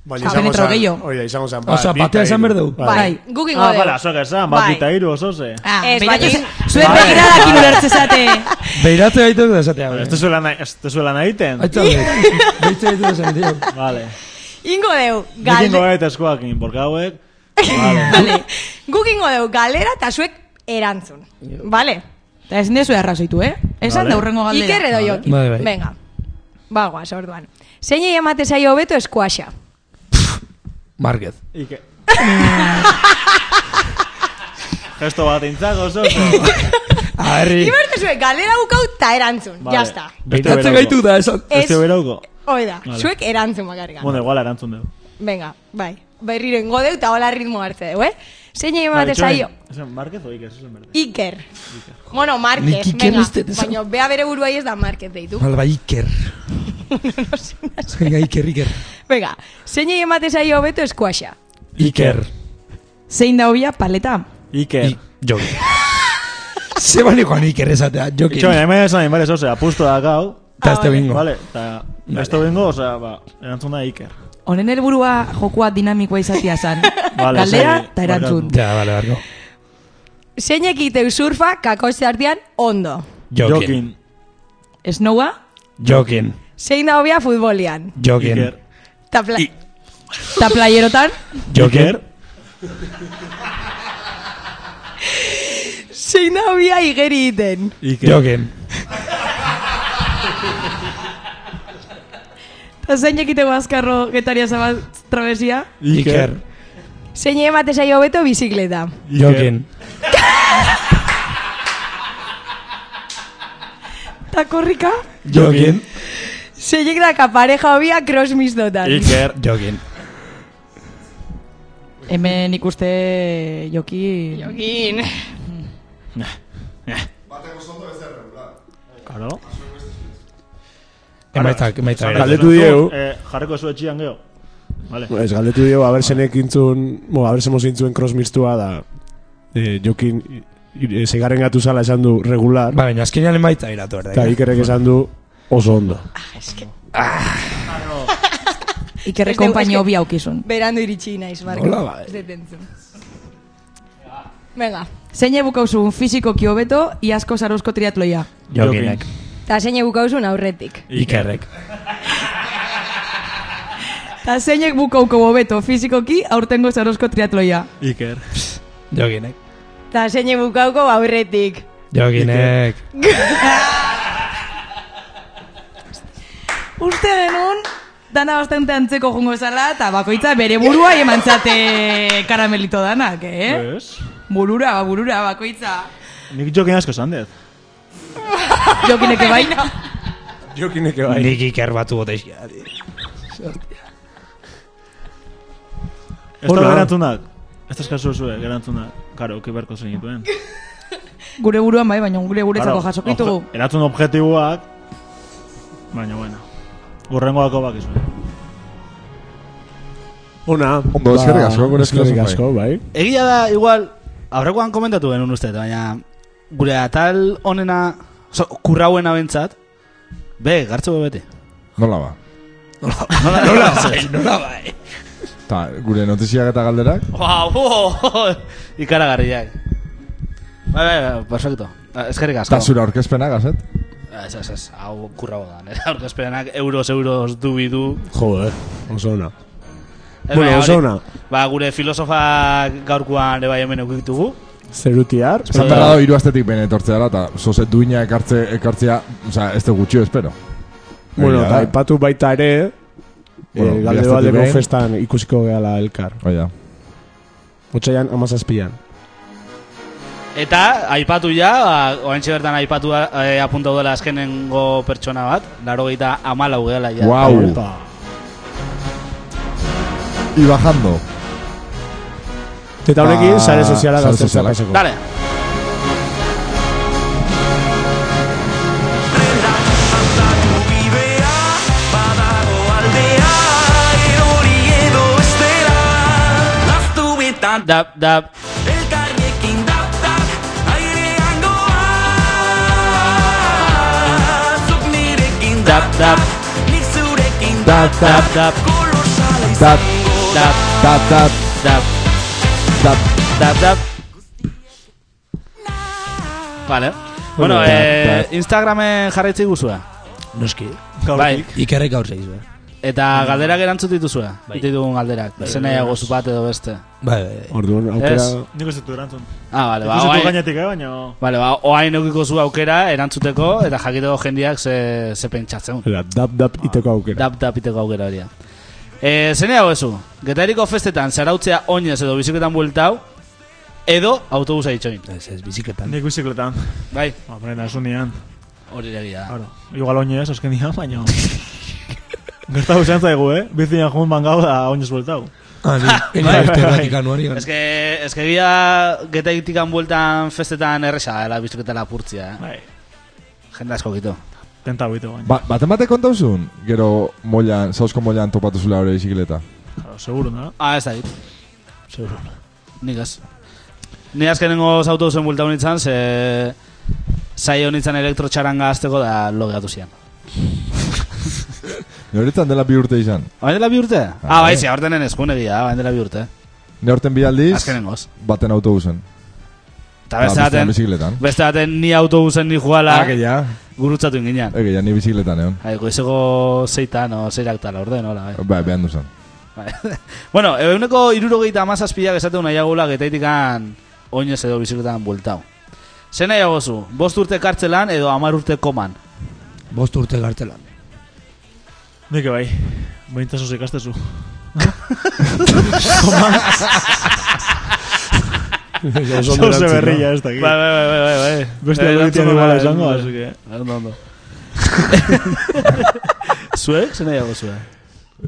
[SPEAKER 5] Baina
[SPEAKER 12] izango Penetrau zan- gehiago.
[SPEAKER 5] Oida, izango zan.
[SPEAKER 7] ba, Osea, bi batea eta esan hiru. behar dugu.
[SPEAKER 12] Bai.
[SPEAKER 9] Guk ingo
[SPEAKER 6] Ah,
[SPEAKER 9] dugu.
[SPEAKER 6] bala, soka esan, bat
[SPEAKER 9] Bai.
[SPEAKER 6] dita iru, oso ze.
[SPEAKER 12] Ah,
[SPEAKER 9] Ez,
[SPEAKER 12] beiratu
[SPEAKER 9] baina-
[SPEAKER 12] ze- Zuek begiradakin ulertze zate.
[SPEAKER 7] Beiratu gaitu dut esatea.
[SPEAKER 6] Ez
[SPEAKER 7] bai.
[SPEAKER 6] tezuela nahi, ez tezuela nahi iten?
[SPEAKER 7] Aitza dut. Beitza gaitu dut esatea.
[SPEAKER 6] Vale.
[SPEAKER 9] Ingo deu,
[SPEAKER 6] Nik ingo
[SPEAKER 9] galde...
[SPEAKER 6] eta eskuakin, porque hauek... Vale.
[SPEAKER 12] Vale.
[SPEAKER 9] Guk ingo deu, galera eta zuek erantzun. Vale?
[SPEAKER 12] Eta ezin dezu arrazoitu, eh? Esan
[SPEAKER 6] Vale.
[SPEAKER 12] da hurrengo galdera.
[SPEAKER 9] Iker edo jokin.
[SPEAKER 7] Bai, bai.
[SPEAKER 9] Venga. Bagoaz, orduan. Zeinei emate zaio hobeto eskuaxa.
[SPEAKER 7] Marquez.
[SPEAKER 6] Ike. Gesto bat intzak oso ze.
[SPEAKER 7] Arri.
[SPEAKER 9] Iberte zuek, galera bukau eta erantzun.
[SPEAKER 6] Vale.
[SPEAKER 9] Ya está.
[SPEAKER 6] Beste
[SPEAKER 7] Beiratzen
[SPEAKER 6] berauko.
[SPEAKER 7] gaitu da esan.
[SPEAKER 9] Ez,
[SPEAKER 6] Beste berauko.
[SPEAKER 9] hoi da,
[SPEAKER 6] Vale.
[SPEAKER 9] zuek erantzun bakarrik.
[SPEAKER 6] Bueno, igual erantzun dugu.
[SPEAKER 9] Venga, bai. Berriro ingo deu eta hola ritmo hartze deu, eh? Zeinei emate zaio.
[SPEAKER 6] Esan, Marquez o Iker, esan berde.
[SPEAKER 9] Iker. Bueno, Marquez,
[SPEAKER 7] Nik Iker
[SPEAKER 9] venga.
[SPEAKER 7] uste dut esan-
[SPEAKER 9] Baina, bea bere buruai ez da Marquez deitu.
[SPEAKER 7] Balba Iker. Venga, Iker, Iker.
[SPEAKER 9] Venga, zeinei emate zaio hobeto eskuaxa.
[SPEAKER 7] Iker.
[SPEAKER 12] Zein da hobia paleta?
[SPEAKER 6] Iker.
[SPEAKER 7] Jokin. Zeban ikuan Iker esatea,
[SPEAKER 6] Itxo,
[SPEAKER 7] Jokin.
[SPEAKER 6] baina, hemen esan, baina, oso, apustu da gau.
[SPEAKER 7] Eta azte bingo.
[SPEAKER 6] eh. Vale, eta... Esto bingo, osea, ba, erantzun da Iker.
[SPEAKER 12] Honen helburua jokoa dinamikoa izatea zan.
[SPEAKER 6] Vale,
[SPEAKER 12] Galdera
[SPEAKER 6] zei-
[SPEAKER 12] eta erantzun.
[SPEAKER 6] barkatu.
[SPEAKER 7] Ja, bale, barko.
[SPEAKER 9] Zeinek iteu surfa kakotxe artean ondo.
[SPEAKER 7] Jokin.
[SPEAKER 6] Jokin.
[SPEAKER 12] Esnoua,
[SPEAKER 7] Jokin.
[SPEAKER 9] Zein da hobia futbolian.
[SPEAKER 7] Jokin.
[SPEAKER 6] Iker.
[SPEAKER 9] Ta pla...
[SPEAKER 12] eta playerotan,
[SPEAKER 7] Jokin.
[SPEAKER 9] Zein da hobia igeri iten.
[SPEAKER 6] Iker.
[SPEAKER 7] Jokin.
[SPEAKER 12] eta zein jakiteko azkarro getaria zabal travesia,
[SPEAKER 7] Iker.
[SPEAKER 9] Zein emate zaio hobeto bizikleta.
[SPEAKER 7] Jokin.
[SPEAKER 12] eta korrika,
[SPEAKER 7] Jokin.
[SPEAKER 9] Zeinek daka pareja hobia cross mixtotan.
[SPEAKER 6] Iker.
[SPEAKER 7] Jokin.
[SPEAKER 12] hemen ikuste joki...
[SPEAKER 9] Jokin.
[SPEAKER 6] Karo.
[SPEAKER 7] Emaitak, emaitak.
[SPEAKER 5] Galdetu diegu.
[SPEAKER 6] Eh, jarreko zu etxian geho. Vale.
[SPEAKER 5] Ez, galdetu dio, abersenek intzun, bo, abersemo zintzuen cross mixtua da, eh, jokin, eh, zeigarren gatu zala esan du regular,
[SPEAKER 2] Bai.
[SPEAKER 7] Ba, baina azkenean emaita iratu erda.
[SPEAKER 5] eta ikerrek esan du oso ondo.
[SPEAKER 9] Ez
[SPEAKER 12] Ikerre
[SPEAKER 9] deu-
[SPEAKER 12] kompaini
[SPEAKER 9] eske-
[SPEAKER 12] hobia aukizun.
[SPEAKER 9] Berandu iritsi naiz, Marko.
[SPEAKER 7] Hola, bai.
[SPEAKER 9] Ez dut entzun. Venga.
[SPEAKER 12] Zein ebukauzun fizikoki hobeto, iasko zaruzko triatloia.
[SPEAKER 7] Jokinek.
[SPEAKER 10] Ta zeinek bukauzun aurretik.
[SPEAKER 7] Ikerrek.
[SPEAKER 13] Ta zeinek bukauko bobeto fizikoki aurtengo zarozko triatloia.
[SPEAKER 6] Iker.
[SPEAKER 7] Joginek.
[SPEAKER 10] Ta zeinek bukauko aurretik.
[SPEAKER 7] Joginek.
[SPEAKER 13] Uste genuen, dana bastante antzeko jungo zala, eta bakoitza bere burua eman zate karamelito danak, eh?
[SPEAKER 6] Pues,
[SPEAKER 13] Burura, burura, bakoitza.
[SPEAKER 6] nik jokin asko sandez.
[SPEAKER 13] Jokineke bai.
[SPEAKER 5] Jokineke bai.
[SPEAKER 7] Nik iker batu bote izkia.
[SPEAKER 6] Ez da
[SPEAKER 5] Hola.
[SPEAKER 6] gerantzunak. Ez da eskazu zuen gerantzunak. Karo, uki beharko zen dituen.
[SPEAKER 13] Gure buruan bai, baina gure guretzako
[SPEAKER 6] Claro,
[SPEAKER 13] jasoko ditugu.
[SPEAKER 6] obje- Erantzun objektiboak, baina, bueno. Urrengoako bak
[SPEAKER 5] Ona. Ba,
[SPEAKER 4] Ondo, eskerrik asko, gure
[SPEAKER 5] eskerrik
[SPEAKER 4] eskerrik
[SPEAKER 5] asko, bai.
[SPEAKER 2] Egia da, igual, aurrekoan komentatu genuen uste, baina gure atal onena, so, kurrauena bentsat, be, gartze bete.
[SPEAKER 4] Nola ba?
[SPEAKER 2] Nola, nola, nola, bai.
[SPEAKER 4] Ta, gure notiziak eta galderak?
[SPEAKER 2] Wow, wow, ikaragarriak. Bai, bai, bai, perfecto. Ah, Eskerrik asko.
[SPEAKER 4] Eta zure aurkezpenak, gazet?
[SPEAKER 2] Ah, Ez, ez, ez, hau kurrago da. Nera aurkezpenak euros, euros, du bidu.
[SPEAKER 5] Joder, oso ona.
[SPEAKER 2] Eh,
[SPEAKER 5] Bueno,
[SPEAKER 2] baina
[SPEAKER 5] oso
[SPEAKER 2] hori-
[SPEAKER 5] ona.
[SPEAKER 2] Ba, gure filosofa gaurkoan ere bai hemen eukitugu.
[SPEAKER 5] Zerutiar.
[SPEAKER 4] Zan behar dago hiru astetik bene etortzea dela, eta zoze duina ekartze, ekartzea, osea, ez de gutxio, espero.
[SPEAKER 5] Bueno,
[SPEAKER 4] Egia
[SPEAKER 5] eta
[SPEAKER 4] da. eh?
[SPEAKER 5] aipatu baita ere,
[SPEAKER 4] Bai, Bueno,
[SPEAKER 5] eh,
[SPEAKER 4] bi
[SPEAKER 5] galde
[SPEAKER 4] astetik
[SPEAKER 5] baldeko
[SPEAKER 4] behin.
[SPEAKER 5] festan ikusiko gehala elkar.
[SPEAKER 4] Oida.
[SPEAKER 5] Otxaian amazazpian.
[SPEAKER 2] Eta, aipatu ja, ba, oantxe bertan aipatu da, eh, apuntau dela azkenengo pertsona bat. Laro gehieta amalau gehala ja.
[SPEAKER 4] Guau. I bajando.
[SPEAKER 2] Bai.
[SPEAKER 5] Eta honekin,
[SPEAKER 4] Ah,
[SPEAKER 5] sare soziala
[SPEAKER 4] sare
[SPEAKER 5] gaztetza
[SPEAKER 4] sozialak.
[SPEAKER 5] pasako.
[SPEAKER 2] Dale. Dab, dab. Dab, dab.
[SPEAKER 4] Dab,
[SPEAKER 2] Dab, dab.
[SPEAKER 4] dab,
[SPEAKER 2] Dab,
[SPEAKER 4] dab, dab,
[SPEAKER 2] dab.
[SPEAKER 4] dab.
[SPEAKER 2] Dab, dab. Vale. Bueno,
[SPEAKER 7] Bueno,
[SPEAKER 2] eh,
[SPEAKER 7] dab,
[SPEAKER 2] Instagramen jarraitzi guzua.
[SPEAKER 7] Noski.
[SPEAKER 2] Bai.
[SPEAKER 7] Ikerrek gaur zeiz, bai.
[SPEAKER 2] Eta galderak erantzut dituzue. Bai. Ditugun galderak. Bai, Zenaia bat edo beste.
[SPEAKER 7] Bai, bai, bai.
[SPEAKER 5] Orduan, aukera...
[SPEAKER 2] Ez.
[SPEAKER 6] Nik ez dut erantzun.
[SPEAKER 2] Ah, vale,
[SPEAKER 6] Ba,
[SPEAKER 2] ba,
[SPEAKER 6] Ikusetu
[SPEAKER 2] oain,
[SPEAKER 6] gainetik, eh, baina...
[SPEAKER 2] vale, ba, oain eukiko zu aukera erantzuteko eta jakiteko jendiak ze, ze pentsatzen.
[SPEAKER 5] Eta, dap, dap, iteko aukera.
[SPEAKER 2] Dap tapiteko aukera hori. E, Zenea hoezu, getairiko festetan zarautzea oinez edo biziketan bueltau, edo autobusa itxoin.
[SPEAKER 7] Ez, ez, bizikletan.
[SPEAKER 6] Nik bizikletan.
[SPEAKER 2] Bai,
[SPEAKER 6] Hombre, nasunean.
[SPEAKER 2] hori egia da.
[SPEAKER 6] Claro. Igual oinez, oskendian, baina... Gertatu zen zaigu, eh? Bizian jun mangau da oinez bueltau.
[SPEAKER 7] Ah, ni. Bai, bai, bai.
[SPEAKER 2] Ez que, ez que gira getaitikan bueltan festetan erresa, dela biziketa lapurtzia, eh?
[SPEAKER 6] Bai.
[SPEAKER 2] Jende asko gitu.
[SPEAKER 6] Tenta bito, baina.
[SPEAKER 4] Ba, baten batek kontauzun? Gero moilan, sausko moilan topatu zula hori bizikleta.
[SPEAKER 6] Claro, seguro, na?
[SPEAKER 2] Ah, ez da dit.
[SPEAKER 6] Seguro.
[SPEAKER 2] Nik ez. Ni azkenengo autobusen bulta honitzen, ze... Zai honitzen elektrotxaranga azteko da logeatu zian.
[SPEAKER 4] Neuretan dela bi urte izan.
[SPEAKER 2] Habain dela bi urte? Ah, bai, ze, aurtenen eskun egia, habain dela bi urte.
[SPEAKER 4] Neurten bi aldiz,
[SPEAKER 2] Azkenengoz.
[SPEAKER 4] baten autobusen. Ba,
[SPEAKER 2] Eta beste baten,
[SPEAKER 4] bizikletan.
[SPEAKER 2] beste baten ni autobusen ni juala
[SPEAKER 4] Ah, que ja.
[SPEAKER 2] gurutzatu inginan.
[SPEAKER 4] Ege, ja, Eh, ni bizikletan egon.
[SPEAKER 2] Hai, goizeko zeitan, o zeirak tala, orde, nola, bai.
[SPEAKER 4] Ba, behan duzan.
[SPEAKER 2] Bai. bueno, euneko irurogeita amazazpiak esateu nahiagula getaitikan oinez edo bizikletan bueltau. Zer nahiago zu, bost urte kartzelan edo amar urte koman.
[SPEAKER 7] Bost urte gartelan.
[SPEAKER 6] Nik bai. Baintasun ikastezu.
[SPEAKER 5] Oso ondo
[SPEAKER 6] Zauze
[SPEAKER 5] erantzun,
[SPEAKER 6] berria
[SPEAKER 5] no?
[SPEAKER 6] ez dakit.
[SPEAKER 2] Bai, bai, bai, bai, bai, bai.
[SPEAKER 6] Beste
[SPEAKER 2] Eh,
[SPEAKER 6] erantzun
[SPEAKER 2] erantzun
[SPEAKER 6] iguala
[SPEAKER 2] iguala
[SPEAKER 6] izango,
[SPEAKER 2] izan-
[SPEAKER 6] así que-
[SPEAKER 2] Ondo, ondo. Zuek, zen nahiago zuek?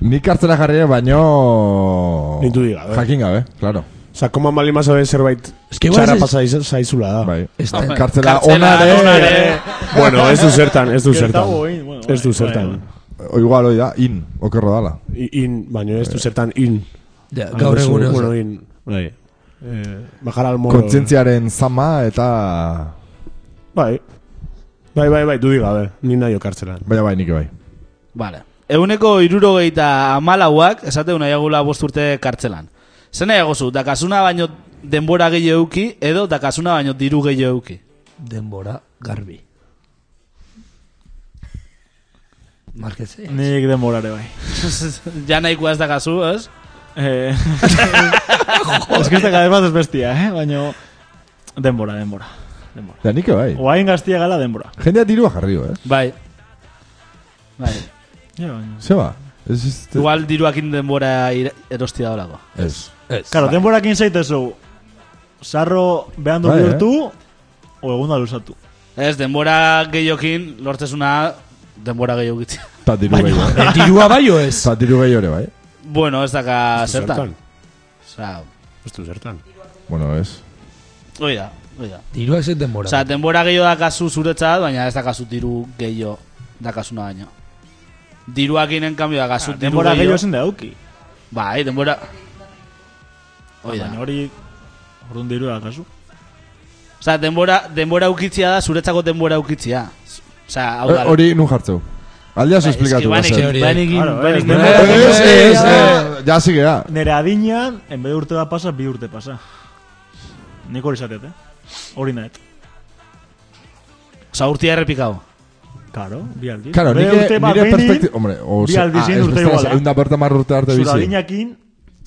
[SPEAKER 4] Nik hartzela jarria baino...
[SPEAKER 5] Deitu diga, eh?
[SPEAKER 4] Jakin gabe, claro.
[SPEAKER 5] Osa, koman bali mazoen zerbait
[SPEAKER 7] Ez que igual
[SPEAKER 5] txarra
[SPEAKER 7] ez-
[SPEAKER 5] pasa zaizula da.
[SPEAKER 4] Bai.
[SPEAKER 7] Ez da.
[SPEAKER 4] Kartzela, kartzela
[SPEAKER 2] Kartzela,
[SPEAKER 4] ona
[SPEAKER 2] ona
[SPEAKER 4] ere...
[SPEAKER 2] ere.
[SPEAKER 5] Bueno, ez du zertan, ez du zertan.
[SPEAKER 6] Gertago egin, bueno,
[SPEAKER 5] Ez du
[SPEAKER 6] bai, bai,
[SPEAKER 5] zertan.
[SPEAKER 4] O igual, oi da, in, okerro dala.
[SPEAKER 5] I- In, baino ez du zertan in.
[SPEAKER 7] Ja, gaur
[SPEAKER 5] Hau
[SPEAKER 7] egun
[SPEAKER 5] duzu,
[SPEAKER 7] ez.
[SPEAKER 5] Bueno, in. Bai. Eh, bajar al moro.
[SPEAKER 4] Kontzientziaren zama eta...
[SPEAKER 5] Bai. Bai, bai, bai, dudik gabe. Ni nahi okartzelan.
[SPEAKER 4] Baina bai, nik bai.
[SPEAKER 2] Vale. Euneko irurogeita amalauak, esateu nahiagula bost urte kartzelan. Zen nahiago zu, dakasuna baino denbora gehi euki, edo dakasuna baino diru gehi euki.
[SPEAKER 7] Denbora garbi. Marquez, eh.
[SPEAKER 6] Nik demorare bai.
[SPEAKER 2] ja nahikoa ez dakazu, ez?
[SPEAKER 6] Eh, es que esta cada vez más es bestia, eh? Baina denbora, denbora. denbora.
[SPEAKER 4] Da nik bai.
[SPEAKER 6] Oain gaztia gala denbora.
[SPEAKER 4] Jendea dirua jarrio, eh?
[SPEAKER 2] Bai. Bai.
[SPEAKER 6] Ja, baina.
[SPEAKER 4] Zeba. ba? Ez ez...
[SPEAKER 2] Igual diruakin denbora ira- erostia dolako.
[SPEAKER 4] Ez.
[SPEAKER 6] Claro,
[SPEAKER 2] Bai.
[SPEAKER 6] denborakin zaitezu. Sarro behandu
[SPEAKER 2] Bai, eh?
[SPEAKER 6] bihurtu, o egunda luzatu.
[SPEAKER 2] Ez, denbora gehiokin, lortezuna denbora gehiokitzea.
[SPEAKER 4] Ta diru gehiago. eh?
[SPEAKER 7] Dirua bai o ez?
[SPEAKER 4] Ta diru gehiago ere bai.
[SPEAKER 2] Bueno, ez daka
[SPEAKER 4] Ez du
[SPEAKER 2] zertan.
[SPEAKER 4] zertan.
[SPEAKER 2] Osa,
[SPEAKER 5] Estu zertan.
[SPEAKER 4] Bueno, ez.
[SPEAKER 2] oida, oida.
[SPEAKER 7] Dirua ez denbora.
[SPEAKER 2] Osa, denbora gehiago dakazu zuretzat, baina ez dakazu diru gehiago dakazuna baino. Diruakin, en cambio, dakazu diru
[SPEAKER 6] Ah, Denbora gehiago zen dauki.
[SPEAKER 2] Bai, denbora... Oida.
[SPEAKER 6] Ah, Baina hori, orduan diru dakazu.
[SPEAKER 2] Osa, denbora, denbora ukitzia da, zuretzako denbora ukitzia. Osa, hau
[SPEAKER 4] Eh,
[SPEAKER 2] da...
[SPEAKER 4] Hori nun jartzeu. Aldia
[SPEAKER 2] Bai,
[SPEAKER 4] zu esplikatu.
[SPEAKER 2] banekin,
[SPEAKER 4] bazen.
[SPEAKER 2] banekin,
[SPEAKER 6] Claro, eh,
[SPEAKER 2] banekin.
[SPEAKER 6] denbora-
[SPEAKER 4] Ez, ez,
[SPEAKER 6] Denbora-
[SPEAKER 4] ez. Ja, zigea.
[SPEAKER 6] Nere adinean, en vez de urte da pasa, bi urte pasa. Nik hori zatet, eh? Hori nahet. eh.
[SPEAKER 2] Osa, urtia errepikau.
[SPEAKER 6] Claro, bi aldiz.
[SPEAKER 4] Claro,
[SPEAKER 6] Bere
[SPEAKER 4] nire,
[SPEAKER 6] urte bat
[SPEAKER 4] nire
[SPEAKER 6] behin,
[SPEAKER 4] perspektiba... Hombre, o ah,
[SPEAKER 6] Bi aldiz egin urte iguala.
[SPEAKER 4] Egun da berta marrurte arte
[SPEAKER 6] Zure
[SPEAKER 4] bizi.
[SPEAKER 6] adinakin,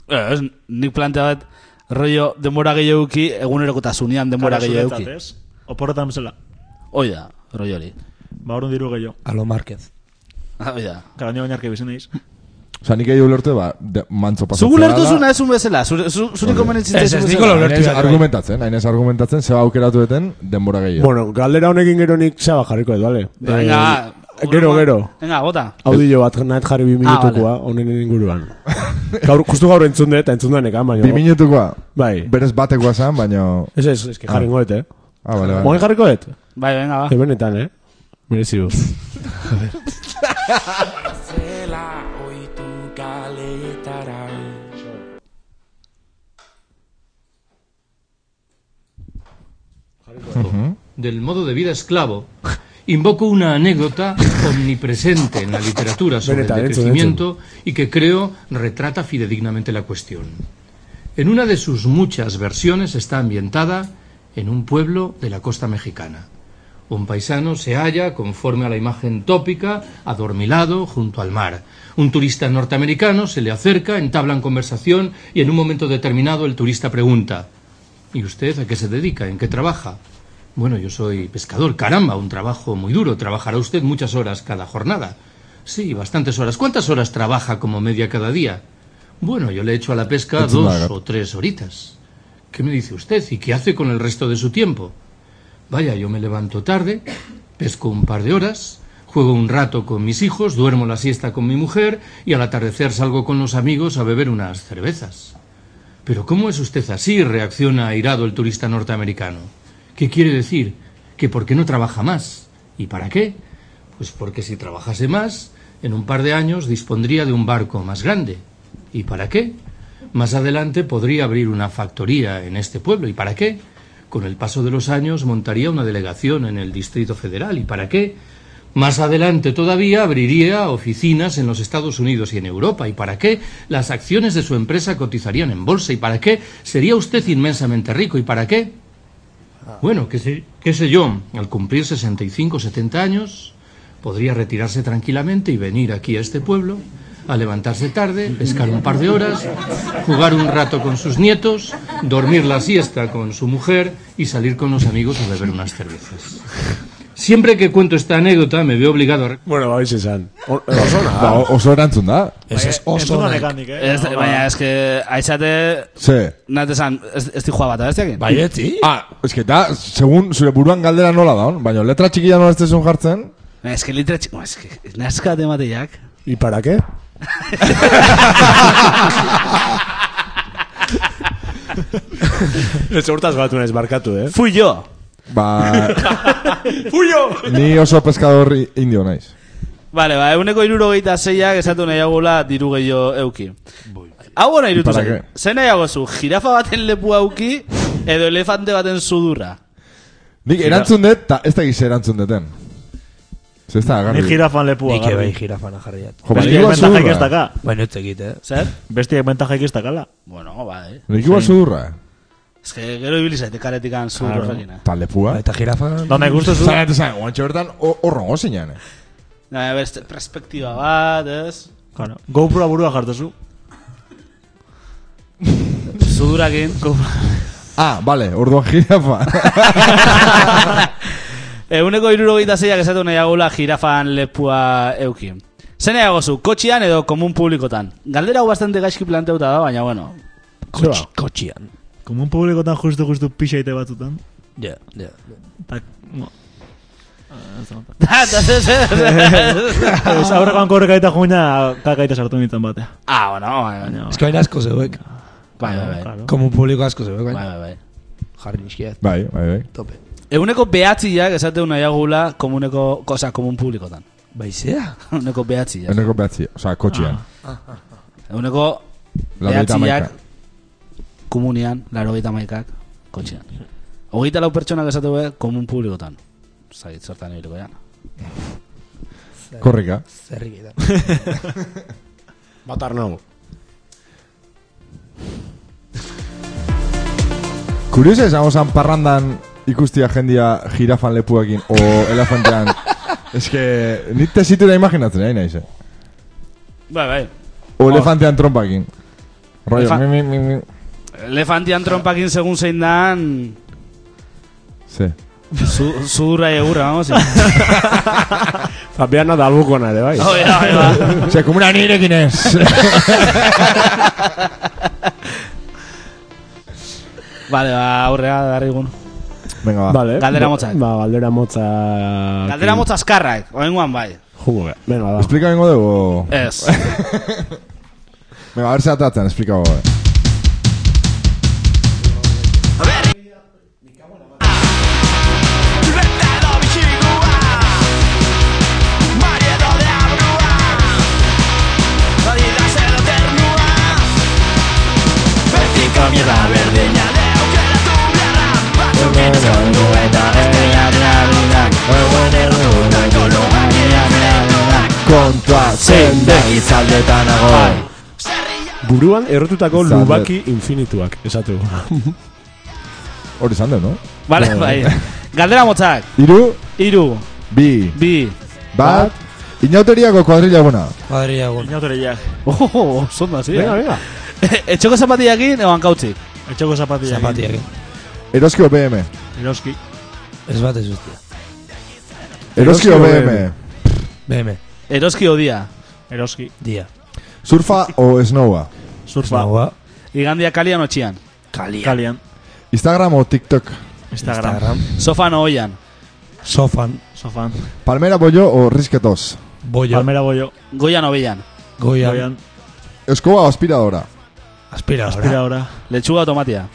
[SPEAKER 2] Eh, Ez, nik plantea bat, rollo, denbora gehiago uki, egunerokotasunean denbora
[SPEAKER 6] Kara,
[SPEAKER 2] gehiago
[SPEAKER 6] zuretzat,
[SPEAKER 2] uki.
[SPEAKER 6] eh. ez? Oporretan bezala.
[SPEAKER 2] Hoi da, rollo hori. Ah,
[SPEAKER 6] Ba, horren diru gehiago.
[SPEAKER 7] Alo Marquez.
[SPEAKER 2] Hoi da.
[SPEAKER 6] Kara, nio bainarke bizen eiz.
[SPEAKER 4] Osa, nik egin ulerte, ba, de, mantzo pasatzen.
[SPEAKER 2] Zugu lertu zuna ez un bezala, zure zu, zure
[SPEAKER 4] Hori.
[SPEAKER 2] konbenientzia
[SPEAKER 7] Ez, ez,
[SPEAKER 2] zaizun
[SPEAKER 7] Nikola
[SPEAKER 2] bezala.
[SPEAKER 7] ulertu
[SPEAKER 4] Hainez
[SPEAKER 7] behar, bai.
[SPEAKER 4] argumentatzen, hainez argumentatzen, zeba aukeratu eten, denbora gehiago.
[SPEAKER 5] Bueno, galdera honekin gero nik zaba jarriko edo, ale?
[SPEAKER 2] Venga,
[SPEAKER 5] Eh, gero, gero.
[SPEAKER 2] Venga, bota.
[SPEAKER 5] Audio bat nahet jarri
[SPEAKER 7] Ah,
[SPEAKER 5] bi minutukoa, honen inguruan. Gaur, justu gaur entzun dut, eta entzun da nekan, baina...
[SPEAKER 4] Bi minutukoa,
[SPEAKER 5] Bai.
[SPEAKER 4] berez batekoa zan, baina...
[SPEAKER 5] Ez, ez, ez, que jarri goet, eh?
[SPEAKER 4] Ah, bale,
[SPEAKER 5] Moen
[SPEAKER 4] bale.
[SPEAKER 5] jarriko dut?
[SPEAKER 2] Bai, venga,
[SPEAKER 5] Eh,
[SPEAKER 2] ba.
[SPEAKER 5] benetan, eh? Merezi du.
[SPEAKER 9] Zela oitu galetara
[SPEAKER 12] del modo de vida esclavo, invoco una anécdota omnipresente en la literatura sobre el
[SPEAKER 5] Benetan, entzun,
[SPEAKER 12] decrecimiento y que creo retrata fidedignamente la cuestión. En una de sus muchas versiones está ambientada en un pueblo de la costa mexicana. Un paisano se halla, conforme a la imagen tópica, adormilado junto al mar. Un turista norteamericano se le acerca, entablan conversación y en un momento determinado el turista pregunta ¿Y usted a qué se dedica? ¿En qué trabaja? Bueno, yo soy pescador, caramba, un trabajo muy duro. Trabajará usted muchas horas cada jornada. Sí, bastantes horas. ¿Cuántas horas trabaja como media cada día? Bueno, yo le echo a la pesca
[SPEAKER 4] Es una
[SPEAKER 12] dos
[SPEAKER 4] gata.
[SPEAKER 12] o tres horitas. ¿Qué me dice usted? ¿Y qué hace con el resto de su tiempo? Vaya, yo me levanto tarde, pesco un par de horas, juego un rato con mis hijos, duermo la siesta con mi mujer y al atardecer salgo con los amigos a beber unas cervezas. Pero ¿cómo es usted así? reacciona airado el turista norteamericano. ¿Qué quiere decir? Que ¿por qué no trabaja más? ¿Y para qué? Pues porque si trabajase más, en un par de años dispondría de un barco más grande. ¿Y para qué? Más adelante podría abrir una factoría en este pueblo. ¿Y para qué? Con el paso de los años montaría una delegación en el Distrito Federal. ¿Y para qué? Más adelante todavía abriría oficinas en los Estados Unidos y en Europa. ¿Y para qué? Las acciones de su empresa cotizarían en bolsa. ¿Y para qué? Sería usted inmensamente rico. ¿Y para qué? Bueno, qué sé, qué sé yo, al cumplir 65 o 70 años, podría retirarse tranquilamente y venir aquí a este pueblo, a levantarse tarde, pescar un par de horas, jugar un rato con sus nietos, dormir la siesta con su mujer y salir con los amigos a beber unas cervezas. Siempre que cuento esta anécdota me veo obligado a...
[SPEAKER 5] Bueno, ba, bizi esan. O- eh, Oso na.
[SPEAKER 4] Ba, o- oso erantzun da.
[SPEAKER 7] Ez ez oso
[SPEAKER 6] Bai, Entzun da
[SPEAKER 7] nahi.
[SPEAKER 6] nekanik, eh?
[SPEAKER 2] Ez, baina, ez que, aizate,
[SPEAKER 4] Ze.
[SPEAKER 2] nate zan, ez, ez di joa bat, ez
[SPEAKER 7] Bai.
[SPEAKER 2] diakin?
[SPEAKER 7] Baietzi?
[SPEAKER 4] Ah, ez que da, segun zure buruan galdera nola daun, baina letra txikia nola ez dezun jartzen,
[SPEAKER 2] Ez que litra txik, ez que, nazka demateiak.
[SPEAKER 5] I para qué? Ez hortaz batu naiz barkatu, eh?
[SPEAKER 2] Fui jo!
[SPEAKER 4] ba,
[SPEAKER 5] Fuyo!
[SPEAKER 4] ni oso pescador i- indio naiz.
[SPEAKER 2] Vale, ba, euneko iruro gehieta zeiak esatu nahiagula diru gehiago euki. Hau gona irutu
[SPEAKER 4] Para
[SPEAKER 2] zaitu. Zer nahiago zu, jirafa baten lepu auki, edo elefante baten sudurra.
[SPEAKER 4] Nik erantzun dut, eta ez da gize erantzun duten. Ze ez da,
[SPEAKER 6] Ni
[SPEAKER 4] garri.
[SPEAKER 6] jirafan lepua.
[SPEAKER 7] Nik bai
[SPEAKER 6] garbi.
[SPEAKER 7] ebai jirafana jarriat.
[SPEAKER 4] Jo, ba, bai. nik
[SPEAKER 6] Bestiak
[SPEAKER 4] igual
[SPEAKER 6] bentajaik ez
[SPEAKER 4] sudurra.
[SPEAKER 6] daka.
[SPEAKER 7] Baina ez egit, eh?
[SPEAKER 2] Zer?
[SPEAKER 6] Bestiak bentajaik ez dakala.
[SPEAKER 2] Bueno, ba, eh.
[SPEAKER 4] Nik igual sudurra.
[SPEAKER 2] Ez que gero ibilizaite karetikan sudurra jakina.
[SPEAKER 6] Bai,
[SPEAKER 4] Eta lepua.
[SPEAKER 7] Eta jirafan...
[SPEAKER 6] Dona ikustu zu.
[SPEAKER 4] Zan, eta zan, guantxe bertan, horrongo zinean. eh.
[SPEAKER 2] Da, beste perspektiba bat, ez?
[SPEAKER 6] Claro. GoPro burua jartezu.
[SPEAKER 2] Zudurakin.
[SPEAKER 4] Ah, vale, orduan jirafa.
[SPEAKER 2] Eguneko irurogeita zeiak esatu nahiagula jirafan lepua eukin. Zen zu, kotxian edo komun publikotan. Galdera hau bastante gaizki planteuta da, baina bueno. Kotx, kotxian.
[SPEAKER 6] Komun publikotan justu-justu pixaite batzutan.
[SPEAKER 2] Ja, ja.
[SPEAKER 6] Ta, no.
[SPEAKER 2] Ah, ez, ez, ez, ez.
[SPEAKER 6] Ez aurrekoan korreka eta juina kakaita sartu nintzen batea.
[SPEAKER 2] Ah, bueno, bueno.
[SPEAKER 7] Ez que hain asko zeuek.
[SPEAKER 2] Bai, bai, bai.
[SPEAKER 7] Komun publiko asko zeuek, baina.
[SPEAKER 2] Bai, bai, bai.
[SPEAKER 7] Jarri nizkiet.
[SPEAKER 4] Bai, bai, bai.
[SPEAKER 7] Tope.
[SPEAKER 2] Eguneko behatziak esateu nahiagula komuneko, kosa, komun publikotan.
[SPEAKER 7] Baizea?
[SPEAKER 2] Eguneko behatziak.
[SPEAKER 4] Eneko behatzi, oza, kotxian.
[SPEAKER 6] Ah,
[SPEAKER 2] Eguneko
[SPEAKER 4] Laurogeita
[SPEAKER 2] behatziak komunian, laro gaita maikak, kotxean. Hogeita lau pertsonak esatu be, komun publikotan. Zagit, zertan ibiliko jan.
[SPEAKER 4] Korrika.
[SPEAKER 7] Zerriketan.
[SPEAKER 5] Bat arnau.
[SPEAKER 4] Kuriosa esango zan parrandan ikustia jendia jirafan lepuekin o elefantean. Ez que nik tesitura imaginatzen, hain naiz, eh?
[SPEAKER 2] Bai, bai.
[SPEAKER 4] O elefantean trompakin. Oh. Rollo,
[SPEAKER 2] Elefa-
[SPEAKER 4] mi, mi, mi, mi.
[SPEAKER 2] Elefantian trompakin segun zein dan...
[SPEAKER 4] Ze.
[SPEAKER 2] Zu, zurra egurra, vamos.
[SPEAKER 5] Zapian nada albukona ere, bai.
[SPEAKER 2] Hoi da, hoi da.
[SPEAKER 4] Ze, komuna nirekin ez.
[SPEAKER 2] Vale, ba, aurrea darrigun.
[SPEAKER 4] Venga, ba.
[SPEAKER 5] Vale.
[SPEAKER 2] Galdera motzak.
[SPEAKER 5] Ba, galdera motza...
[SPEAKER 2] Galdera motz azkarrak, oengoan bai.
[SPEAKER 5] Jugo, eh. Venga, da.
[SPEAKER 4] Explika bengo dugu.
[SPEAKER 2] Ez.
[SPEAKER 4] Venga, a ver se atatzen, explika gogo. Kontua zende izaldetan nago.
[SPEAKER 5] Buruan errotutako
[SPEAKER 4] Zalde.
[SPEAKER 5] lubaki infinituak, esatu.
[SPEAKER 4] Hori izan da, no?
[SPEAKER 2] Vale, bai. Galdera motzak.
[SPEAKER 4] Iru,
[SPEAKER 2] Iru,
[SPEAKER 4] bi,
[SPEAKER 2] bi.
[SPEAKER 4] bat, inauteriako kuadrilla buena.
[SPEAKER 7] Madria gon.
[SPEAKER 6] Inautoreiak.
[SPEAKER 2] Oh, zonda, zi.
[SPEAKER 5] Venga,
[SPEAKER 2] eh?
[SPEAKER 5] venga.
[SPEAKER 2] Etxoko zapatiakin, egon kautzik.
[SPEAKER 6] Etxeko zapatillak.
[SPEAKER 7] Zapatiak.
[SPEAKER 4] Eroski OBM.
[SPEAKER 6] Eroski.
[SPEAKER 7] Ez bat ez ustia.
[SPEAKER 4] Eroski
[SPEAKER 5] Eroski
[SPEAKER 4] OBM.
[SPEAKER 7] BM.
[SPEAKER 2] Eroski odia.
[SPEAKER 6] Eroski.
[SPEAKER 7] Dia.
[SPEAKER 4] Surfa o snowa.
[SPEAKER 6] Surfa.
[SPEAKER 7] Nagoa.
[SPEAKER 2] Igandia kalian otxian.
[SPEAKER 7] Kalia.
[SPEAKER 6] Kalian.
[SPEAKER 4] Instagram o TikTok.
[SPEAKER 6] Instagram.
[SPEAKER 2] Sofan oian.
[SPEAKER 7] Sofan.
[SPEAKER 6] Sofan.
[SPEAKER 4] Palmera bollo o risquetos.
[SPEAKER 7] Boia.
[SPEAKER 6] Palmera Bollo.
[SPEAKER 2] Goian obeian.
[SPEAKER 7] Goia.
[SPEAKER 6] Goian.
[SPEAKER 4] Escoba o aspiradora.
[SPEAKER 7] Aspira
[SPEAKER 6] Tira
[SPEAKER 7] ahora.
[SPEAKER 6] ahora.
[SPEAKER 2] Lechuga tomatia.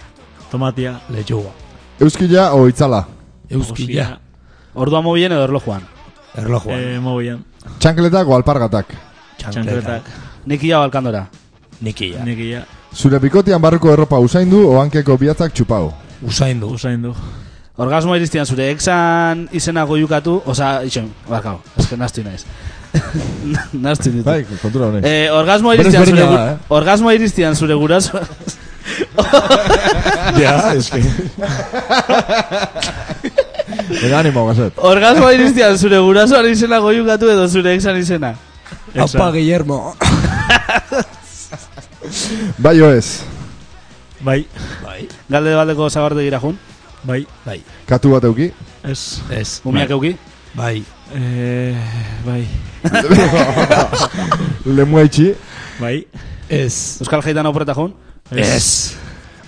[SPEAKER 6] Tomatia.
[SPEAKER 7] Lechuga.
[SPEAKER 4] Euskilla o itzala.
[SPEAKER 7] Euskilla.
[SPEAKER 2] Ordua mobilen edo erlojuan.
[SPEAKER 7] Erlojuan.
[SPEAKER 6] Eh, mobilan.
[SPEAKER 4] Chancletak o alpargatak.
[SPEAKER 6] Txankletak.
[SPEAKER 2] Nik ia balkandora.
[SPEAKER 7] Nikia.
[SPEAKER 6] Nikia.
[SPEAKER 4] Zure pikotian barruko erropa usaindu o hankeko biatzak txupau.
[SPEAKER 7] Usaindu.
[SPEAKER 6] Usaindu.
[SPEAKER 2] Orgasmo iristian zure exan izena goiukatu, oza, itxoin, barkau, ez que naztu naiz. naztu ditu.
[SPEAKER 4] Bai, kontura honek.
[SPEAKER 2] Eh, orgasmo
[SPEAKER 4] Berez
[SPEAKER 2] iristian zure,
[SPEAKER 4] berdina
[SPEAKER 2] gu-
[SPEAKER 4] da, eh?
[SPEAKER 2] orgasmo iristian zure guraso...
[SPEAKER 5] Ja, eski.
[SPEAKER 4] Venga, animo, gazet.
[SPEAKER 2] orgasmo iristian zure gurasoan izena goiukatu edo zure exan izena.
[SPEAKER 7] Apa Guillermo.
[SPEAKER 4] Bai o ez.
[SPEAKER 6] Bai.
[SPEAKER 2] Galde baldeko zabarte gira jun,
[SPEAKER 6] Bai.
[SPEAKER 4] Katu bat euki.
[SPEAKER 6] Ez.
[SPEAKER 7] Ez.
[SPEAKER 2] umiak euki.
[SPEAKER 7] Bai.
[SPEAKER 6] Eh, bai.
[SPEAKER 4] Lemua itxi.
[SPEAKER 6] Bai.
[SPEAKER 7] Ez.
[SPEAKER 2] Euskal jaitan opreta jun,
[SPEAKER 7] Ez.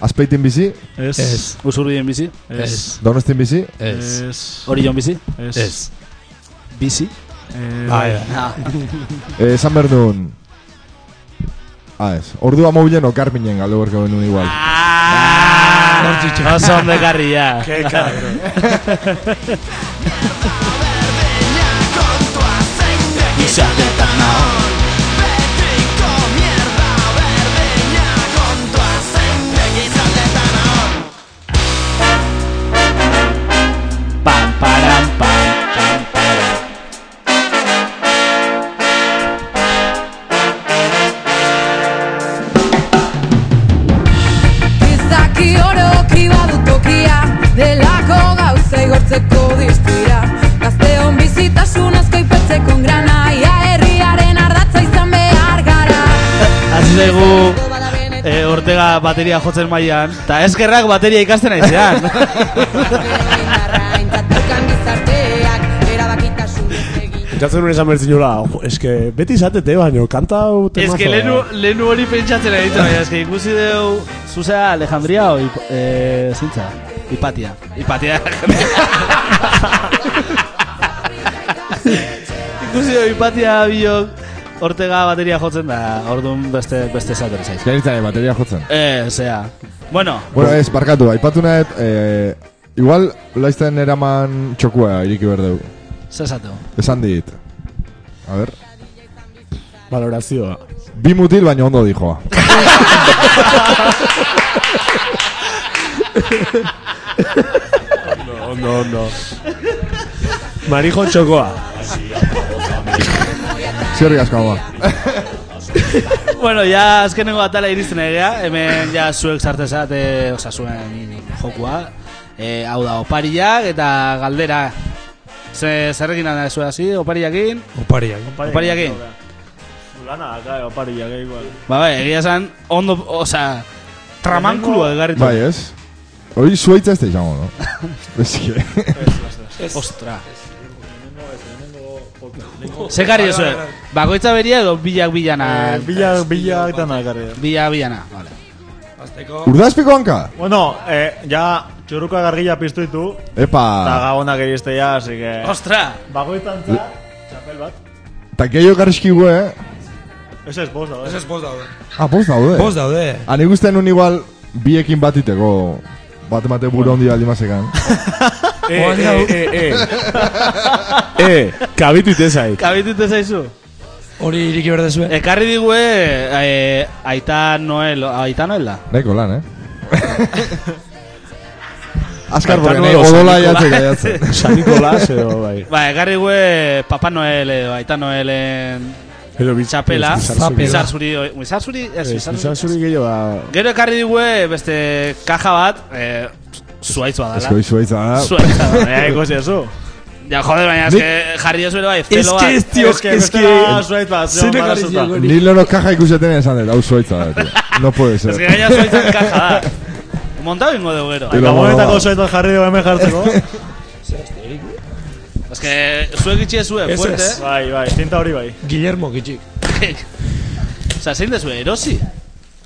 [SPEAKER 4] Azpeitin bizi.
[SPEAKER 6] Ez.
[SPEAKER 7] Ez.
[SPEAKER 2] usurbien bizi,
[SPEAKER 6] Ez.
[SPEAKER 4] Donostin bizi.
[SPEAKER 7] Ez.
[SPEAKER 6] Ez.
[SPEAKER 2] orion bizi,
[SPEAKER 6] Ez.
[SPEAKER 7] Ez.
[SPEAKER 2] bizi.
[SPEAKER 6] Eh,
[SPEAKER 7] Bai.
[SPEAKER 6] bai.
[SPEAKER 2] Ah,
[SPEAKER 4] Eh, San Bernun. Ah, ez. Ordua mobilen o Carminen galdu berko benun igual.
[SPEAKER 2] ah, oso ondo ekarri ja. Pam, param, pam, pam, param.
[SPEAKER 14] Gizaki oroki badu tokia Delako gauza igortzeko distira Gazteon bizitasun asko ipetzeko grana
[SPEAKER 2] eh, bateria jotzen mailan, eta eskerrak bateria ikasten aizean.
[SPEAKER 5] Pentsatzen nuen esan bertzinola, "Jo, eske beti izatete, baino, kanta hau temazo
[SPEAKER 2] eske
[SPEAKER 5] da."
[SPEAKER 2] lehenu, lehenu hori pentsatzen ari baina eske ikusi deu, zuzea Alejandria o ip, eh, zintza? Ipatia. Ipatia. ikusi deu Ipatia biok, Ortega bateria jotzen da, orduan beste beste zater zaiz.
[SPEAKER 4] Geritzaren bateria jotzen.
[SPEAKER 2] Eh, osea. Bueno,
[SPEAKER 4] Bueno, ez, barkatu, aipatu nahet, eh, igual laizten eraman txokua iriki berdeu.
[SPEAKER 2] zer esatu?
[SPEAKER 4] Esan dit. A ver.
[SPEAKER 5] Valorazioa.
[SPEAKER 4] Bi mutil baino ondo dijoa.
[SPEAKER 5] No, no, no. Marijo txokoa.
[SPEAKER 4] Zerrik asko, ba. ama.
[SPEAKER 2] bueno, ja azkenengo atala iristen egea, hemen ja zuek zartezat, e, oza, zuen jokua. E, hau da, opariak eta galdera. Ze, zerrekin da zuen hasi, opariakin?
[SPEAKER 7] Opariakin.
[SPEAKER 2] Opariakin.
[SPEAKER 6] Eh, Lana, claro, opariak, eh, igual.
[SPEAKER 2] Ba, bai, egia esan, ondo, oza, tramankulua egarritu.
[SPEAKER 4] Bai, ez? Hori zuaitza ez da izango, no? Bezke.
[SPEAKER 2] Ostra. Zekari ez bakoitza beria edo bilak bilana?
[SPEAKER 6] Eh, bilak- bilak dana ekarri.
[SPEAKER 2] Bilak bilana, vale.
[SPEAKER 4] Urdazpiko hanka?
[SPEAKER 6] Bueno, eh, ja, txurruka gargila piztu ditu. Eta
[SPEAKER 4] Epa.
[SPEAKER 6] gabonak iriste ja, así que...
[SPEAKER 2] Ostra!
[SPEAKER 6] Bagoitan za, txapel bat.
[SPEAKER 4] Ta gehiago garrizkigu, eh?
[SPEAKER 6] Ez ez bost daude. Ez ez
[SPEAKER 7] bost daude.
[SPEAKER 4] Ah, bost daude.
[SPEAKER 7] Bost daude.
[SPEAKER 4] Ah, nik uste nun igual biekin batiteko bat emate buru hondi aldi mazekan.
[SPEAKER 5] Eh, eh, eh, eh. eh, kabitu itezait.
[SPEAKER 2] Kabitute zaizu?
[SPEAKER 7] Hori iriki behar dezue.
[SPEAKER 2] Ekarri digue eh, Aita Noel, Aita Noel da?
[SPEAKER 4] Neko lan, eh? Azkar
[SPEAKER 2] Aita
[SPEAKER 4] porque
[SPEAKER 2] Noel
[SPEAKER 4] nahi
[SPEAKER 2] o San
[SPEAKER 4] odola
[SPEAKER 2] Nikola-
[SPEAKER 4] jatzeka jatzen.
[SPEAKER 5] San Nikolas edo, bai.
[SPEAKER 2] Ba, ekarri gue Papa Noel edo Aita Noelen
[SPEAKER 5] Edo bi-
[SPEAKER 2] txapela.
[SPEAKER 5] ez, izarzuri.
[SPEAKER 2] Izarzuri, oi- izarzuri, ez,
[SPEAKER 5] Ez,
[SPEAKER 2] izarzuri.
[SPEAKER 5] izarzuri gehiago ba- da.
[SPEAKER 2] Gero ekarri digue beste kaja bat, eh, zuaitz badala.
[SPEAKER 4] Esko izuaitza da.
[SPEAKER 2] Zuaitza
[SPEAKER 6] Eh, ikusi ezu.
[SPEAKER 2] Ja, joder, baina
[SPEAKER 4] Nik-
[SPEAKER 2] eske jarri ez bai, zelo bat.
[SPEAKER 4] Ni leno kaja ikuseten esan dut, hau zuaitza da. tío. No puede ser.
[SPEAKER 2] Ez que gaina zuaitza kaja da. Montau ingo dugu gero.
[SPEAKER 6] Gabonetako zuet bat jarri dugu hemen jartzeko.
[SPEAKER 2] Ez que zuek itxi ezue,
[SPEAKER 6] Ez,
[SPEAKER 2] fuerte. eh,
[SPEAKER 6] ez. Bai, bai, tinta hori bai.
[SPEAKER 7] Guillermo kitxik.
[SPEAKER 2] Osa, zein dezue, erosi?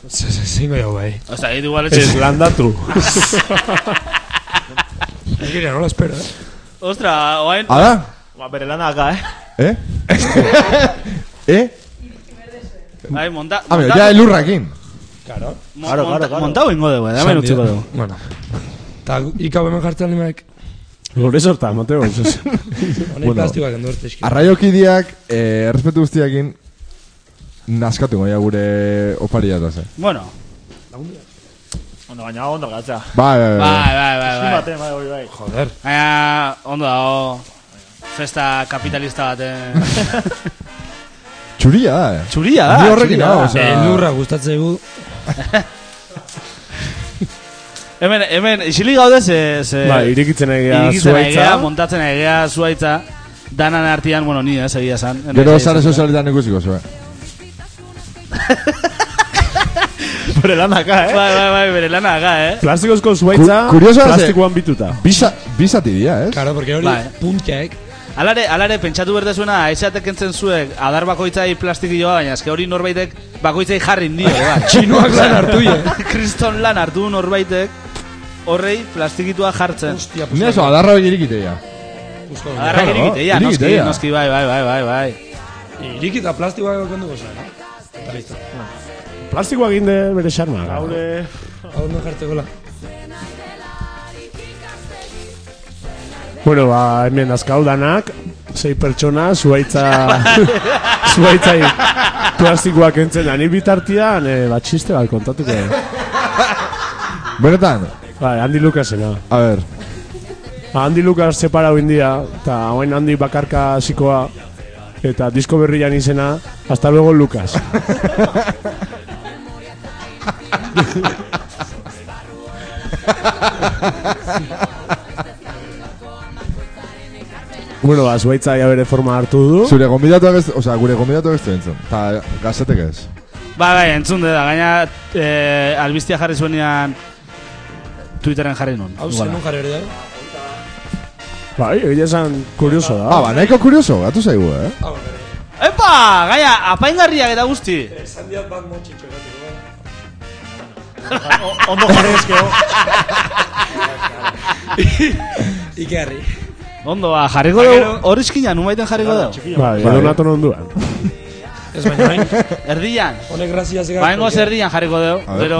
[SPEAKER 7] Zingo jau, bai.
[SPEAKER 2] Osa, egit igual etxe.
[SPEAKER 5] Ez landatu.
[SPEAKER 7] Gira, no lo espero, eh.
[SPEAKER 2] Ostra, oain...
[SPEAKER 4] Ala?
[SPEAKER 6] Ba, bere lana acá, eh.
[SPEAKER 4] Eh? Eh?
[SPEAKER 2] Bai, monta...
[SPEAKER 4] Ame,
[SPEAKER 2] monta-
[SPEAKER 4] ja elurrakin.
[SPEAKER 7] Claro.
[SPEAKER 2] Mon- monta- Montau ingo dugu, eh, hemen utziko dugu.
[SPEAKER 7] Bueno. Ta ikau hemen jartzen limaek.
[SPEAKER 5] Gure sorta, Mateo.
[SPEAKER 7] Honei plastikoak endo arte eski.
[SPEAKER 4] Arraiokideak, eh, errespetu guztiakin, naskatu goia gure opari jataz, eh?
[SPEAKER 2] Bueno.
[SPEAKER 6] Ondo, baina ondo gatza.
[SPEAKER 4] Bai, bai,
[SPEAKER 2] Bai,
[SPEAKER 4] bai.
[SPEAKER 2] bai, bai, bai.
[SPEAKER 6] Bai, hori bai.
[SPEAKER 7] Joder.
[SPEAKER 2] Baina, ondo dago... Festa kapitalista baten...
[SPEAKER 4] Txuria da, eh?
[SPEAKER 2] Txuria da,
[SPEAKER 4] Ni horrekin
[SPEAKER 2] txuria
[SPEAKER 4] hau,
[SPEAKER 2] da.
[SPEAKER 4] osea...
[SPEAKER 7] Elurra gustatzen zaigu.
[SPEAKER 2] Hemen, hemen, isili gaude ze... ze
[SPEAKER 5] Bai, irekitzen ari gara
[SPEAKER 2] irikitzen ari gara,
[SPEAKER 5] zuhaitza.
[SPEAKER 2] montatzen ari gara zuaitza. Danan artian, bueno, ni ez, egia esan. Bai,
[SPEAKER 4] Gero zare sozialetan ikusiko eh. zuen.
[SPEAKER 5] Bere lana
[SPEAKER 2] Bai, bai, bai, bere lana aga, eh?
[SPEAKER 5] Plastikozko zuaitza,
[SPEAKER 4] Ku- kuriosoa ze-
[SPEAKER 5] plastikoan bituta.
[SPEAKER 4] Bisa, bisati dia, ez?
[SPEAKER 7] Claro, porque hori
[SPEAKER 2] Bai.
[SPEAKER 7] puntiaek.
[SPEAKER 2] Alare, alare, pentsatu berdezuena, aizatek entzen zuek, adar bakoitzai plastikioa, baina eske hori norbaitek bakoitzai jarrin dio, bai.
[SPEAKER 7] Txinuak lan hartu, eh.
[SPEAKER 2] Kriston lan hartu norbaitek, horrei plastikitua jartzen.
[SPEAKER 7] Hostia, pues.
[SPEAKER 4] Ni eso, adarra hori irikitea.
[SPEAKER 7] Justo.
[SPEAKER 2] Adarrak
[SPEAKER 4] Claro,
[SPEAKER 2] irikiteia, noski,
[SPEAKER 4] irikiteia.
[SPEAKER 2] noski, bai, bai, bai, bai, bai.
[SPEAKER 7] Irikita plastikoak kondu goza, no? Eta listo.
[SPEAKER 5] Plastikoa egin de bere xarma.
[SPEAKER 6] Gaure...
[SPEAKER 7] Hau no jartzeko la.
[SPEAKER 5] Bueno, ba, hemen azkau danak, sei pertsona, zuaitza... zuaitzai plastikoak entzen da. Ni bitartian, eh, bat txiste bat kontatuko.
[SPEAKER 4] Benetan,
[SPEAKER 5] Bai, Andy Lucasena.
[SPEAKER 4] a ver,
[SPEAKER 5] Ba, Andy Lucas separau india, eta hauen Andy bakarka zikoa, eta disko berrian izena, hasta luego Lucas. bueno, ba, zuaitza ja bere forma hartu du.
[SPEAKER 4] zure gomidatuak ez, o sea, gure gomidatuak ez du entzun. Ta, gazetek ez.
[SPEAKER 2] Ba, bai, entzun da, gaina eh, albiztia jarri zuenean Twitteren jarri nun.
[SPEAKER 7] Hau
[SPEAKER 2] iguala.
[SPEAKER 7] zen nun jarri hori da?
[SPEAKER 5] Bai, egia esan kurioso da.
[SPEAKER 4] Ah, ba, nahiko kurioso, gatu zaigu, eh?
[SPEAKER 2] Epa, gaia, apaingarriak eta guzti.
[SPEAKER 7] Esan diat bat motxitxo egatuko.
[SPEAKER 2] Ondo jarri ezkeo.
[SPEAKER 7] Ikerri.
[SPEAKER 2] Ondo, ba, jarriko dugu, hori eskina, numaiten jarriko dugu.
[SPEAKER 5] Bai, edo nato non duan.
[SPEAKER 2] Ez baina, Erdian.
[SPEAKER 7] Honek graziaz
[SPEAKER 2] Ba, hengo zerdian jarriko
[SPEAKER 4] A
[SPEAKER 2] dugu,
[SPEAKER 4] ver.
[SPEAKER 2] gero,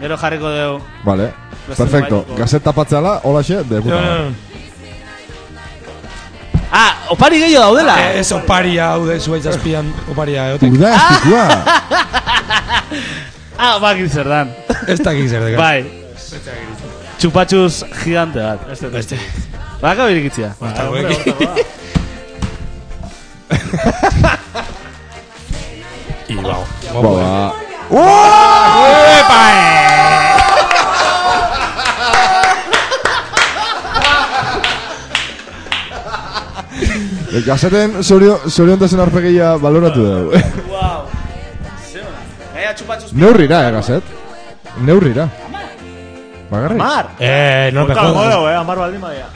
[SPEAKER 2] gero jarriko dugu.
[SPEAKER 4] Vale.
[SPEAKER 2] Beste
[SPEAKER 4] Perfecto.
[SPEAKER 2] nobaiteko.
[SPEAKER 4] Gazeta patzala, hola xe, de puta. madre.
[SPEAKER 2] Ah, opari gehiago daudela.
[SPEAKER 7] Eh, Ez oparia hau de zuaitz azpian oparia egotek.
[SPEAKER 4] Urda azpikua.
[SPEAKER 2] Ah, bakit zer dan.
[SPEAKER 7] Ez dakik zer dekan.
[SPEAKER 2] Bai. Txupatxuz gigante bat. Este, este. Baka birikitzia.
[SPEAKER 7] Ba, hombre, hor
[SPEAKER 2] Ibao.
[SPEAKER 4] Ba, ba. Gazeten zorion, zorion tasen arpegia baloratu dugu.
[SPEAKER 2] Wow. Zeona. Gaia txupatxuz.
[SPEAKER 4] Neurrira, eh, gazet? Neurrira. Bagarrik.
[SPEAKER 2] Amar.
[SPEAKER 7] Eh, no
[SPEAKER 6] Bota
[SPEAKER 7] me jodas.
[SPEAKER 6] gora, eh, amar baldin badia.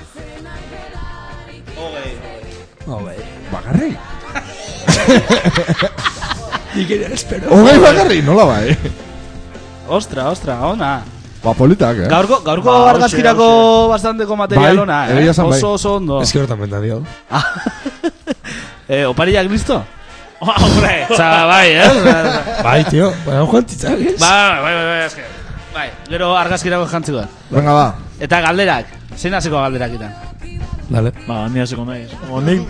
[SPEAKER 4] Bagarrik.
[SPEAKER 7] Ikerri espero.
[SPEAKER 4] Ogei bagarrik, nola bai.
[SPEAKER 2] Ostra, ostra, ona.
[SPEAKER 4] Ba, politak, eh?
[SPEAKER 2] Gaurko, gaurko
[SPEAKER 4] Ba,
[SPEAKER 2] argazkirako bastanteko material
[SPEAKER 4] Bai,
[SPEAKER 2] ona, eh?
[SPEAKER 4] egia esan bai.
[SPEAKER 2] Oso, oso ondo. Ah.
[SPEAKER 7] Ez que hortan mentan dio.
[SPEAKER 2] Eh, opariak listo? Hombre. Zaba, bai, eh?
[SPEAKER 7] Bai, tío. Baina un juantitzak, ez?
[SPEAKER 2] Ba, bai, bai, bai, eske. Bai, gero argazkirako jantziko da.
[SPEAKER 4] Venga, ba.
[SPEAKER 2] Eta galderak, zein hasiko galderak itan?
[SPEAKER 7] Dale.
[SPEAKER 6] Ba, ni hasiko nahi. O nik...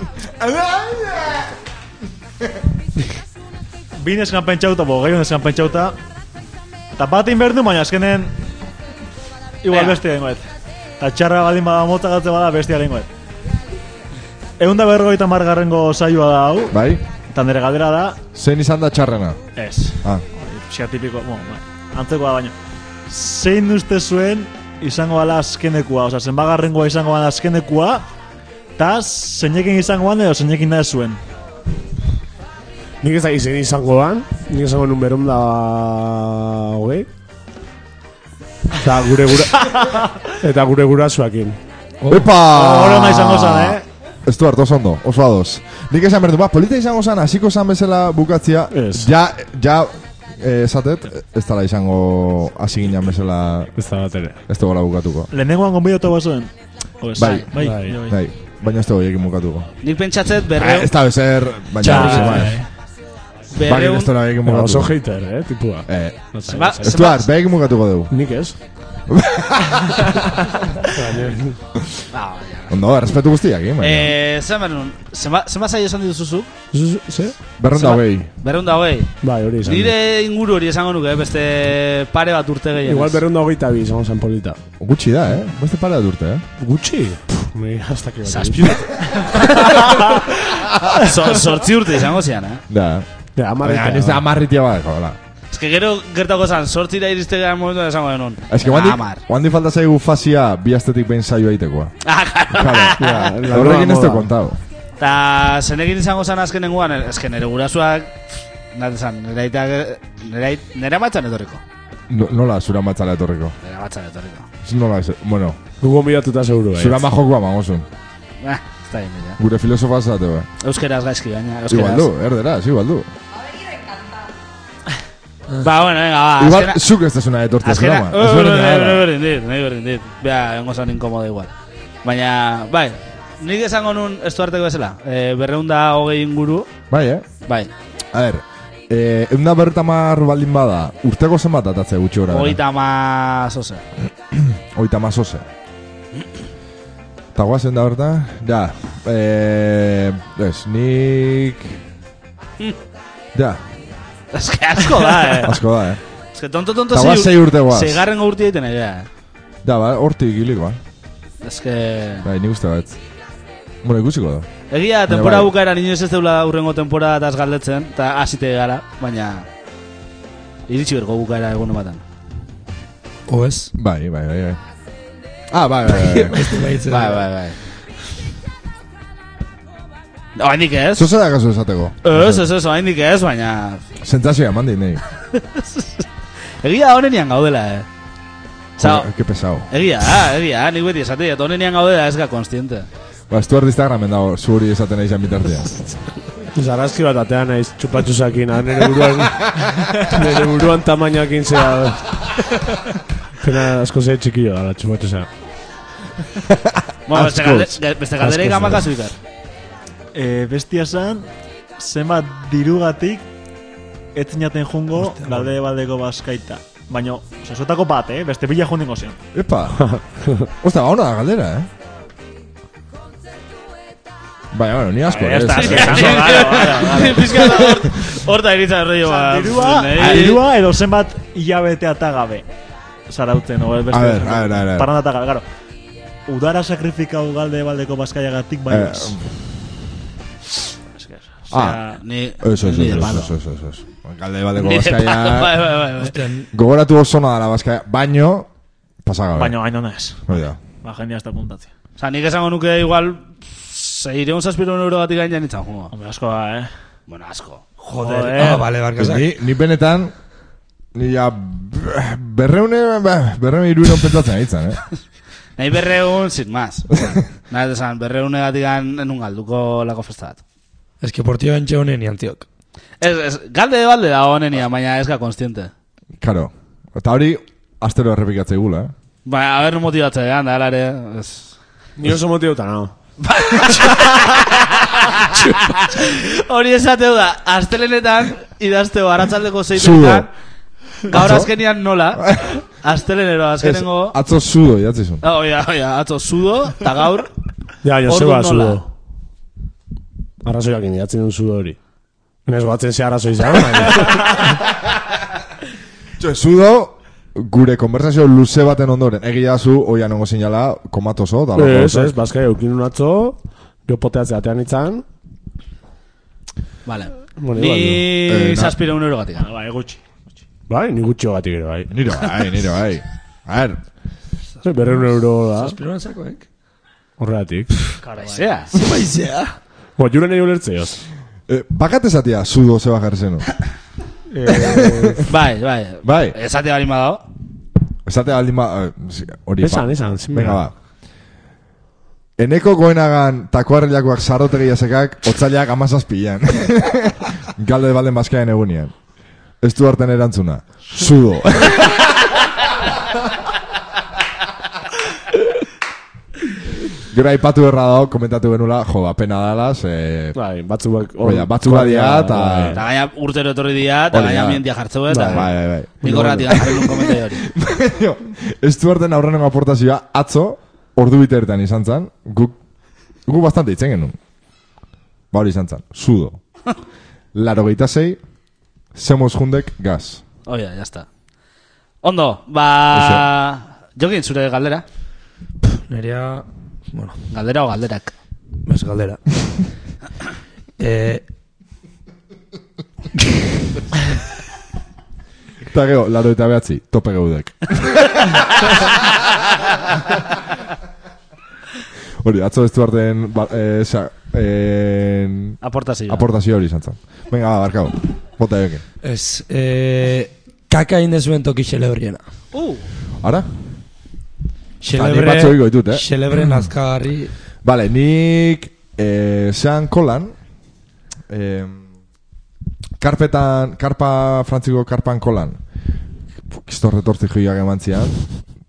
[SPEAKER 6] Bi neskan pentsauta, bo, gehiago neskan pentsauta. Ta bat inberdu, baina azkenen... Igual
[SPEAKER 2] Venga.
[SPEAKER 6] bestia dengoet. Ta txarra baldin bada motza gatze bada bestia dengoet. Eunda berrogeita margarrengo saioa da hau.
[SPEAKER 4] Bai.
[SPEAKER 6] Eta nire galdera da,
[SPEAKER 4] Zein izan da txarrena.
[SPEAKER 6] ez.
[SPEAKER 4] Ah.
[SPEAKER 6] Psia tipiko, bueno, bai, antzekoa baino. Zein uste zuen izango ala azkenekua, oza, zenbagarrengoa izango ala azkenekua, eta zeinekin izango ala edo zeinekin nahi zuen.
[SPEAKER 5] Nik ez da izen izango dan, nik izango nun beron da... Ogei? Eta gure gura... Eta gure gurasoekin.
[SPEAKER 4] Epa!
[SPEAKER 6] Hora ona izango zan, eh?
[SPEAKER 4] Ez du hartu oso ondo, oso ados. Nik esan berdu, ba, polita izango zan, hasiko zan bezala bukatzia,
[SPEAKER 5] Ez.
[SPEAKER 4] ja, ja, eh, esatet, ez dala izango hasi ginen bezala,
[SPEAKER 5] Ez da bat ere.
[SPEAKER 4] ez dugu bukatuko.
[SPEAKER 6] Lehenengoan gonbidatu bazuen? Pues,
[SPEAKER 4] Bai.
[SPEAKER 6] bai,
[SPEAKER 5] Bai.
[SPEAKER 6] bai.
[SPEAKER 4] Bai, baina ez dugu ekin bukatuko.
[SPEAKER 2] Nik pentsatzen
[SPEAKER 4] Ah,
[SPEAKER 2] berreu,
[SPEAKER 4] Ez da bezer, baina
[SPEAKER 2] Txarra,
[SPEAKER 4] ez da Baina ez
[SPEAKER 2] berreun,
[SPEAKER 4] dugu ekin
[SPEAKER 5] Baina oso
[SPEAKER 4] bukatuko.
[SPEAKER 5] hater, eh, tipua.
[SPEAKER 4] Eh,
[SPEAKER 5] No sé,
[SPEAKER 2] Ba-
[SPEAKER 5] no sé.
[SPEAKER 4] ez du har, behekin bukatuko dugu.
[SPEAKER 5] Nik ez. Baina-
[SPEAKER 4] Ondo, errespetu guztiak, eh, baina.
[SPEAKER 2] eh, zen berrun, zenba zenba zaio esan dituzuzuk?
[SPEAKER 5] Zu- Ze?
[SPEAKER 4] Berron da
[SPEAKER 2] zenba-
[SPEAKER 4] hogei.
[SPEAKER 2] Berrehun da hogei.
[SPEAKER 5] Bai, hori izan.
[SPEAKER 2] Nire inguru hori esango nuke, eh, beste pare bat urte gehiago.
[SPEAKER 5] Igual berron da hogeita bi izango zen polita.
[SPEAKER 4] Gutxi da, eh? Beste pare bat urte, eh?
[SPEAKER 5] Gutxi? Pff, ni hasta que...
[SPEAKER 2] Zazpi urte. So- Zortzi urte izango zian, eh?
[SPEAKER 4] Da.
[SPEAKER 5] Ja,
[SPEAKER 4] Baina,
[SPEAKER 5] amarrita.
[SPEAKER 4] ez da amarritia bat, jola.
[SPEAKER 2] Ez que gero gertako zan, sortzira iristegean momentuan esango denun.
[SPEAKER 4] Ez que
[SPEAKER 2] Hamar.
[SPEAKER 4] guandik, guandik falta zaigu fazia bi astetik behin saioa itekoa.
[SPEAKER 2] Ah, claro.
[SPEAKER 5] Ja,
[SPEAKER 4] Claro,
[SPEAKER 5] la
[SPEAKER 4] horrekin
[SPEAKER 5] nueva
[SPEAKER 4] ez te
[SPEAKER 5] moda.
[SPEAKER 4] kontau.
[SPEAKER 2] Ta zenekin izango zan azkenengoan, ez que nere gurasoak, nate zan, nere, aita, nere, ait- nere amatzan etorriko.
[SPEAKER 4] No, nola, zura matzala etorriko.
[SPEAKER 2] Nere amatzan etorriko.
[SPEAKER 4] Nola, ez- bueno,
[SPEAKER 5] Gugo miratuta seguru, eh.
[SPEAKER 4] zura majokua mangozun.
[SPEAKER 2] Ah, ez da bien, ja.
[SPEAKER 4] Gure filosofa zate, be.
[SPEAKER 2] Euskeraz gaizki, baina
[SPEAKER 4] Igual
[SPEAKER 2] euskeraz.
[SPEAKER 4] du, erderaz, igual du.
[SPEAKER 2] Ba, bueno, venga, ba,
[SPEAKER 4] Igual,
[SPEAKER 2] azkena-
[SPEAKER 4] zuk ez desuna etortez,
[SPEAKER 2] Azkena,
[SPEAKER 4] broma.
[SPEAKER 2] oh,
[SPEAKER 4] Ezberdina
[SPEAKER 2] nahi
[SPEAKER 4] da.
[SPEAKER 2] berdin dit, nahi berdin dit. Bea, hengo zan inkomoda igual. Baina, bai, nik esango nun ez du harteko bezala. E, berreunda hogei inguru,
[SPEAKER 4] Bai, eh?
[SPEAKER 2] bai,
[SPEAKER 4] A ver, eh, eunda bertamar baldin bada, urteko zenbat atatze gutxi gora. bera?
[SPEAKER 2] hogeita ama zoze.
[SPEAKER 4] Oita mazoze. Eta guazen da berta? Ja. Eh, ez, nik... Ja,
[SPEAKER 2] Ez que asko da, eh.
[SPEAKER 4] asko da, eh.
[SPEAKER 2] Ez que tonto tonto
[SPEAKER 4] Eta guaz zei urte guaz.
[SPEAKER 2] Segarren urti egiten ari da, eh.
[SPEAKER 4] Da, ba, hortik hilik, ba.
[SPEAKER 2] Ez que...
[SPEAKER 4] Bai, nik uste bat. Bueno, ikusiko da.
[SPEAKER 2] Egia,
[SPEAKER 4] Baina
[SPEAKER 2] tempora
[SPEAKER 4] bai.
[SPEAKER 2] bukaeran inoiz ez deula hurrengo tempora eta galdetzen, eta hasite gara, baina... Iritsi berko bukaera egun batan.
[SPEAKER 7] O ez?
[SPEAKER 4] Bai, bai, bai, bai. Ah, bai, bai, bai.
[SPEAKER 7] Beste baitzen.
[SPEAKER 2] Bai, bai, bai. Oaindik ez?
[SPEAKER 4] Zuzera gazu esateko.
[SPEAKER 2] Ez, ez, ez, oaindik ez, baina...
[SPEAKER 4] Sentzazioa eman dei,
[SPEAKER 2] Egia honenian gaudela, eh. Zao,
[SPEAKER 4] Joder, Qué pesado.
[SPEAKER 2] egia, ah, egia, ah, nik beti esatea, eta honenian gaudela ez ga konstiente.
[SPEAKER 4] Ba, estuar Instagramen dago, zuri esaten aizan bitartea.
[SPEAKER 5] Zarazki bat atean naiz txupatxusakin, ah, nire buruan, nire buruan tamainakin zea. Pena asko zei txikio, ala, txupatxusa.
[SPEAKER 2] Bueno, beste
[SPEAKER 5] Askoz.
[SPEAKER 2] galde- ga- beste galdera
[SPEAKER 5] Askoz,
[SPEAKER 2] gamaka
[SPEAKER 5] eh.
[SPEAKER 2] zuikar.
[SPEAKER 6] Eh, bestia san, zenbat dirugatik ez zinaten jungo galde baldeko baskaita. Baina, sosuetako bat, eh? Beste bila jundingo zen.
[SPEAKER 4] Epa! Osta, ba, ona da galdera, eh? Bai, bueno, ni asko.
[SPEAKER 2] Ya
[SPEAKER 4] ez,
[SPEAKER 2] está,
[SPEAKER 4] ez,
[SPEAKER 2] sí,
[SPEAKER 4] ez.
[SPEAKER 2] sí, gara, gara, gara. Pizka da hor- horta eritza rollo ba.
[SPEAKER 6] Dirua,
[SPEAKER 4] Ah,
[SPEAKER 2] nei-
[SPEAKER 6] dirua edo zenbat hilabete atagabe. Zarautzen, o beste.
[SPEAKER 4] A ver, a ver, a ver.
[SPEAKER 6] Parranda atagabe, garo. Udara sakrifikau galde baldeko baskaiagatik bai
[SPEAKER 4] Eh,
[SPEAKER 6] ez.
[SPEAKER 4] Ah,
[SPEAKER 2] ni-
[SPEAKER 4] eso, eso,
[SPEAKER 2] ni de
[SPEAKER 4] eso,
[SPEAKER 2] palo.
[SPEAKER 4] eso, eso, eso, eso. Galde baleko
[SPEAKER 2] Ni de
[SPEAKER 4] Baskaia.
[SPEAKER 2] palo, bai, bai, bai, bai.
[SPEAKER 4] Gogoratu oso nada la Baskaia. Baino, pasagabe.
[SPEAKER 6] Baina, hain ona ez.
[SPEAKER 4] Hori da.
[SPEAKER 6] Ba, jendia ez da puntatzea.
[SPEAKER 2] Osa, nik esango nuke igual... Seireun zazpiron euro batik gain janitzen jungo.
[SPEAKER 6] Hombre, asko da, eh?
[SPEAKER 2] Bueno, asko.
[SPEAKER 6] Joder.
[SPEAKER 4] Ah,
[SPEAKER 2] bai.
[SPEAKER 4] vale, Ni, ni benetan, ni ja berreune, berreune iruiron pentsatzen aitzan, eh?
[SPEAKER 2] Nahi berreun, sin más. O sea, Nahi esan, berreun egatik gain enun galduko lako festa bat.
[SPEAKER 7] Es que por tío entxe honen iantiok.
[SPEAKER 2] Ez, ez, galde de balde da honenia, baina ez ga konstiente.
[SPEAKER 4] Karo. Eta hori, astero errepikatzei gula, eh?
[SPEAKER 2] Ba, a ber, no motibatze, handa, alare...
[SPEAKER 5] Ni oso motivauta, no.
[SPEAKER 2] Hori esateu da, astelenetan, idazteo, aratzaldeko zeitenetan, gaur
[SPEAKER 4] Atzo?
[SPEAKER 2] azkenian nola, astelenero, azkenengo...
[SPEAKER 4] Ez, Atzo sudo, idatzizun.
[SPEAKER 2] Ah, Oia, oia, atzo sudo, eta gaur...
[SPEAKER 5] Ja, jo,
[SPEAKER 2] ordu
[SPEAKER 5] zeba
[SPEAKER 2] nola.
[SPEAKER 5] zudo. Arrazoiak indiatzen duen zudo hori. Nes batzen ze arrazoi izan, baina.
[SPEAKER 4] Jo, sudo, gure konversazio luze baten ondoren. Egia zu, oian ongo sinala, komatoso, da lako.
[SPEAKER 5] Ez, ba- ez, bazkai eukin unatzo, jo poteatze atean itzan.
[SPEAKER 2] Vale.
[SPEAKER 5] Bueno, igual, no.
[SPEAKER 2] Ni
[SPEAKER 5] Eh, na-
[SPEAKER 2] zazpira un euro gatik.
[SPEAKER 6] Bai, gutxi.
[SPEAKER 5] Bai, ni gutxio gatik ere, bai.
[SPEAKER 4] Niro, bai, niro, bai. A ver.
[SPEAKER 5] Berreun euro da,
[SPEAKER 7] Zazpiroan zakoek.
[SPEAKER 5] horregatik.
[SPEAKER 2] Karaizea.
[SPEAKER 7] Zemaizea.
[SPEAKER 5] Bo, jure nahi ulertzeoz.
[SPEAKER 4] Eh, bakat esatia, sudo zeba jarri zenu.
[SPEAKER 2] Bai, bai.
[SPEAKER 4] Bai.
[SPEAKER 2] Esate bari madao.
[SPEAKER 4] Esate baldin ba... eh, zi- Hori
[SPEAKER 5] Esan,
[SPEAKER 4] ba.
[SPEAKER 5] esan, zin
[SPEAKER 4] Venga,
[SPEAKER 5] behar.
[SPEAKER 4] ba. Eneko goenagan takoarrilakoak sarrotegi jasekak otzailak amazazpilan. Galde balden bazkaen egunean. Ez du hartan erantzuna. Sudo. Gero aipatu erra dago, komentatu genula, jo, ba, pena dala, ze...
[SPEAKER 5] Bai, batzuak...
[SPEAKER 4] Oia, batzu badia, eta-
[SPEAKER 2] Eta gaina urtero etorri dira, eta
[SPEAKER 5] Ba,
[SPEAKER 4] Bai. Hori da.
[SPEAKER 2] gaina mientia jartzeu eta...
[SPEAKER 4] Bai, bai, bai.
[SPEAKER 2] Nik horregatik jartzen un komentario hori.
[SPEAKER 4] Jo, Stuarten aurrenengo aportazioa atzo, ordu bitertan izan zen, guk, guk bastante itzen genuen. Ba hori izan zen, sudo. Laro geita zei, semoz jundek gaz.
[SPEAKER 2] Oia, ya está. Ondo, ba... Jokin, zure galdera.
[SPEAKER 7] Nerea, bueno,
[SPEAKER 2] Galdera o galderak.
[SPEAKER 7] bez galdera. eh,
[SPEAKER 4] Eta gero, laro eta behatzi, tope geudek. hori, atzo Stuarten ba, eh, sa, eh,
[SPEAKER 2] Aportazioa.
[SPEAKER 4] aportazio hori izan zen. Venga, ba, barkau, bota jokin.
[SPEAKER 7] ez, eh, kaka indezuen toki xelebriena.
[SPEAKER 2] Uh!
[SPEAKER 4] Ara?
[SPEAKER 7] Xelebre,
[SPEAKER 4] Ani batzu egingo ditut, eh?
[SPEAKER 7] Xelebre nazkagarri,
[SPEAKER 4] Vale, nik eh, sean kolan eh, karpetan, karpa frantziko karpan kolan kisto retorti joiak eman zian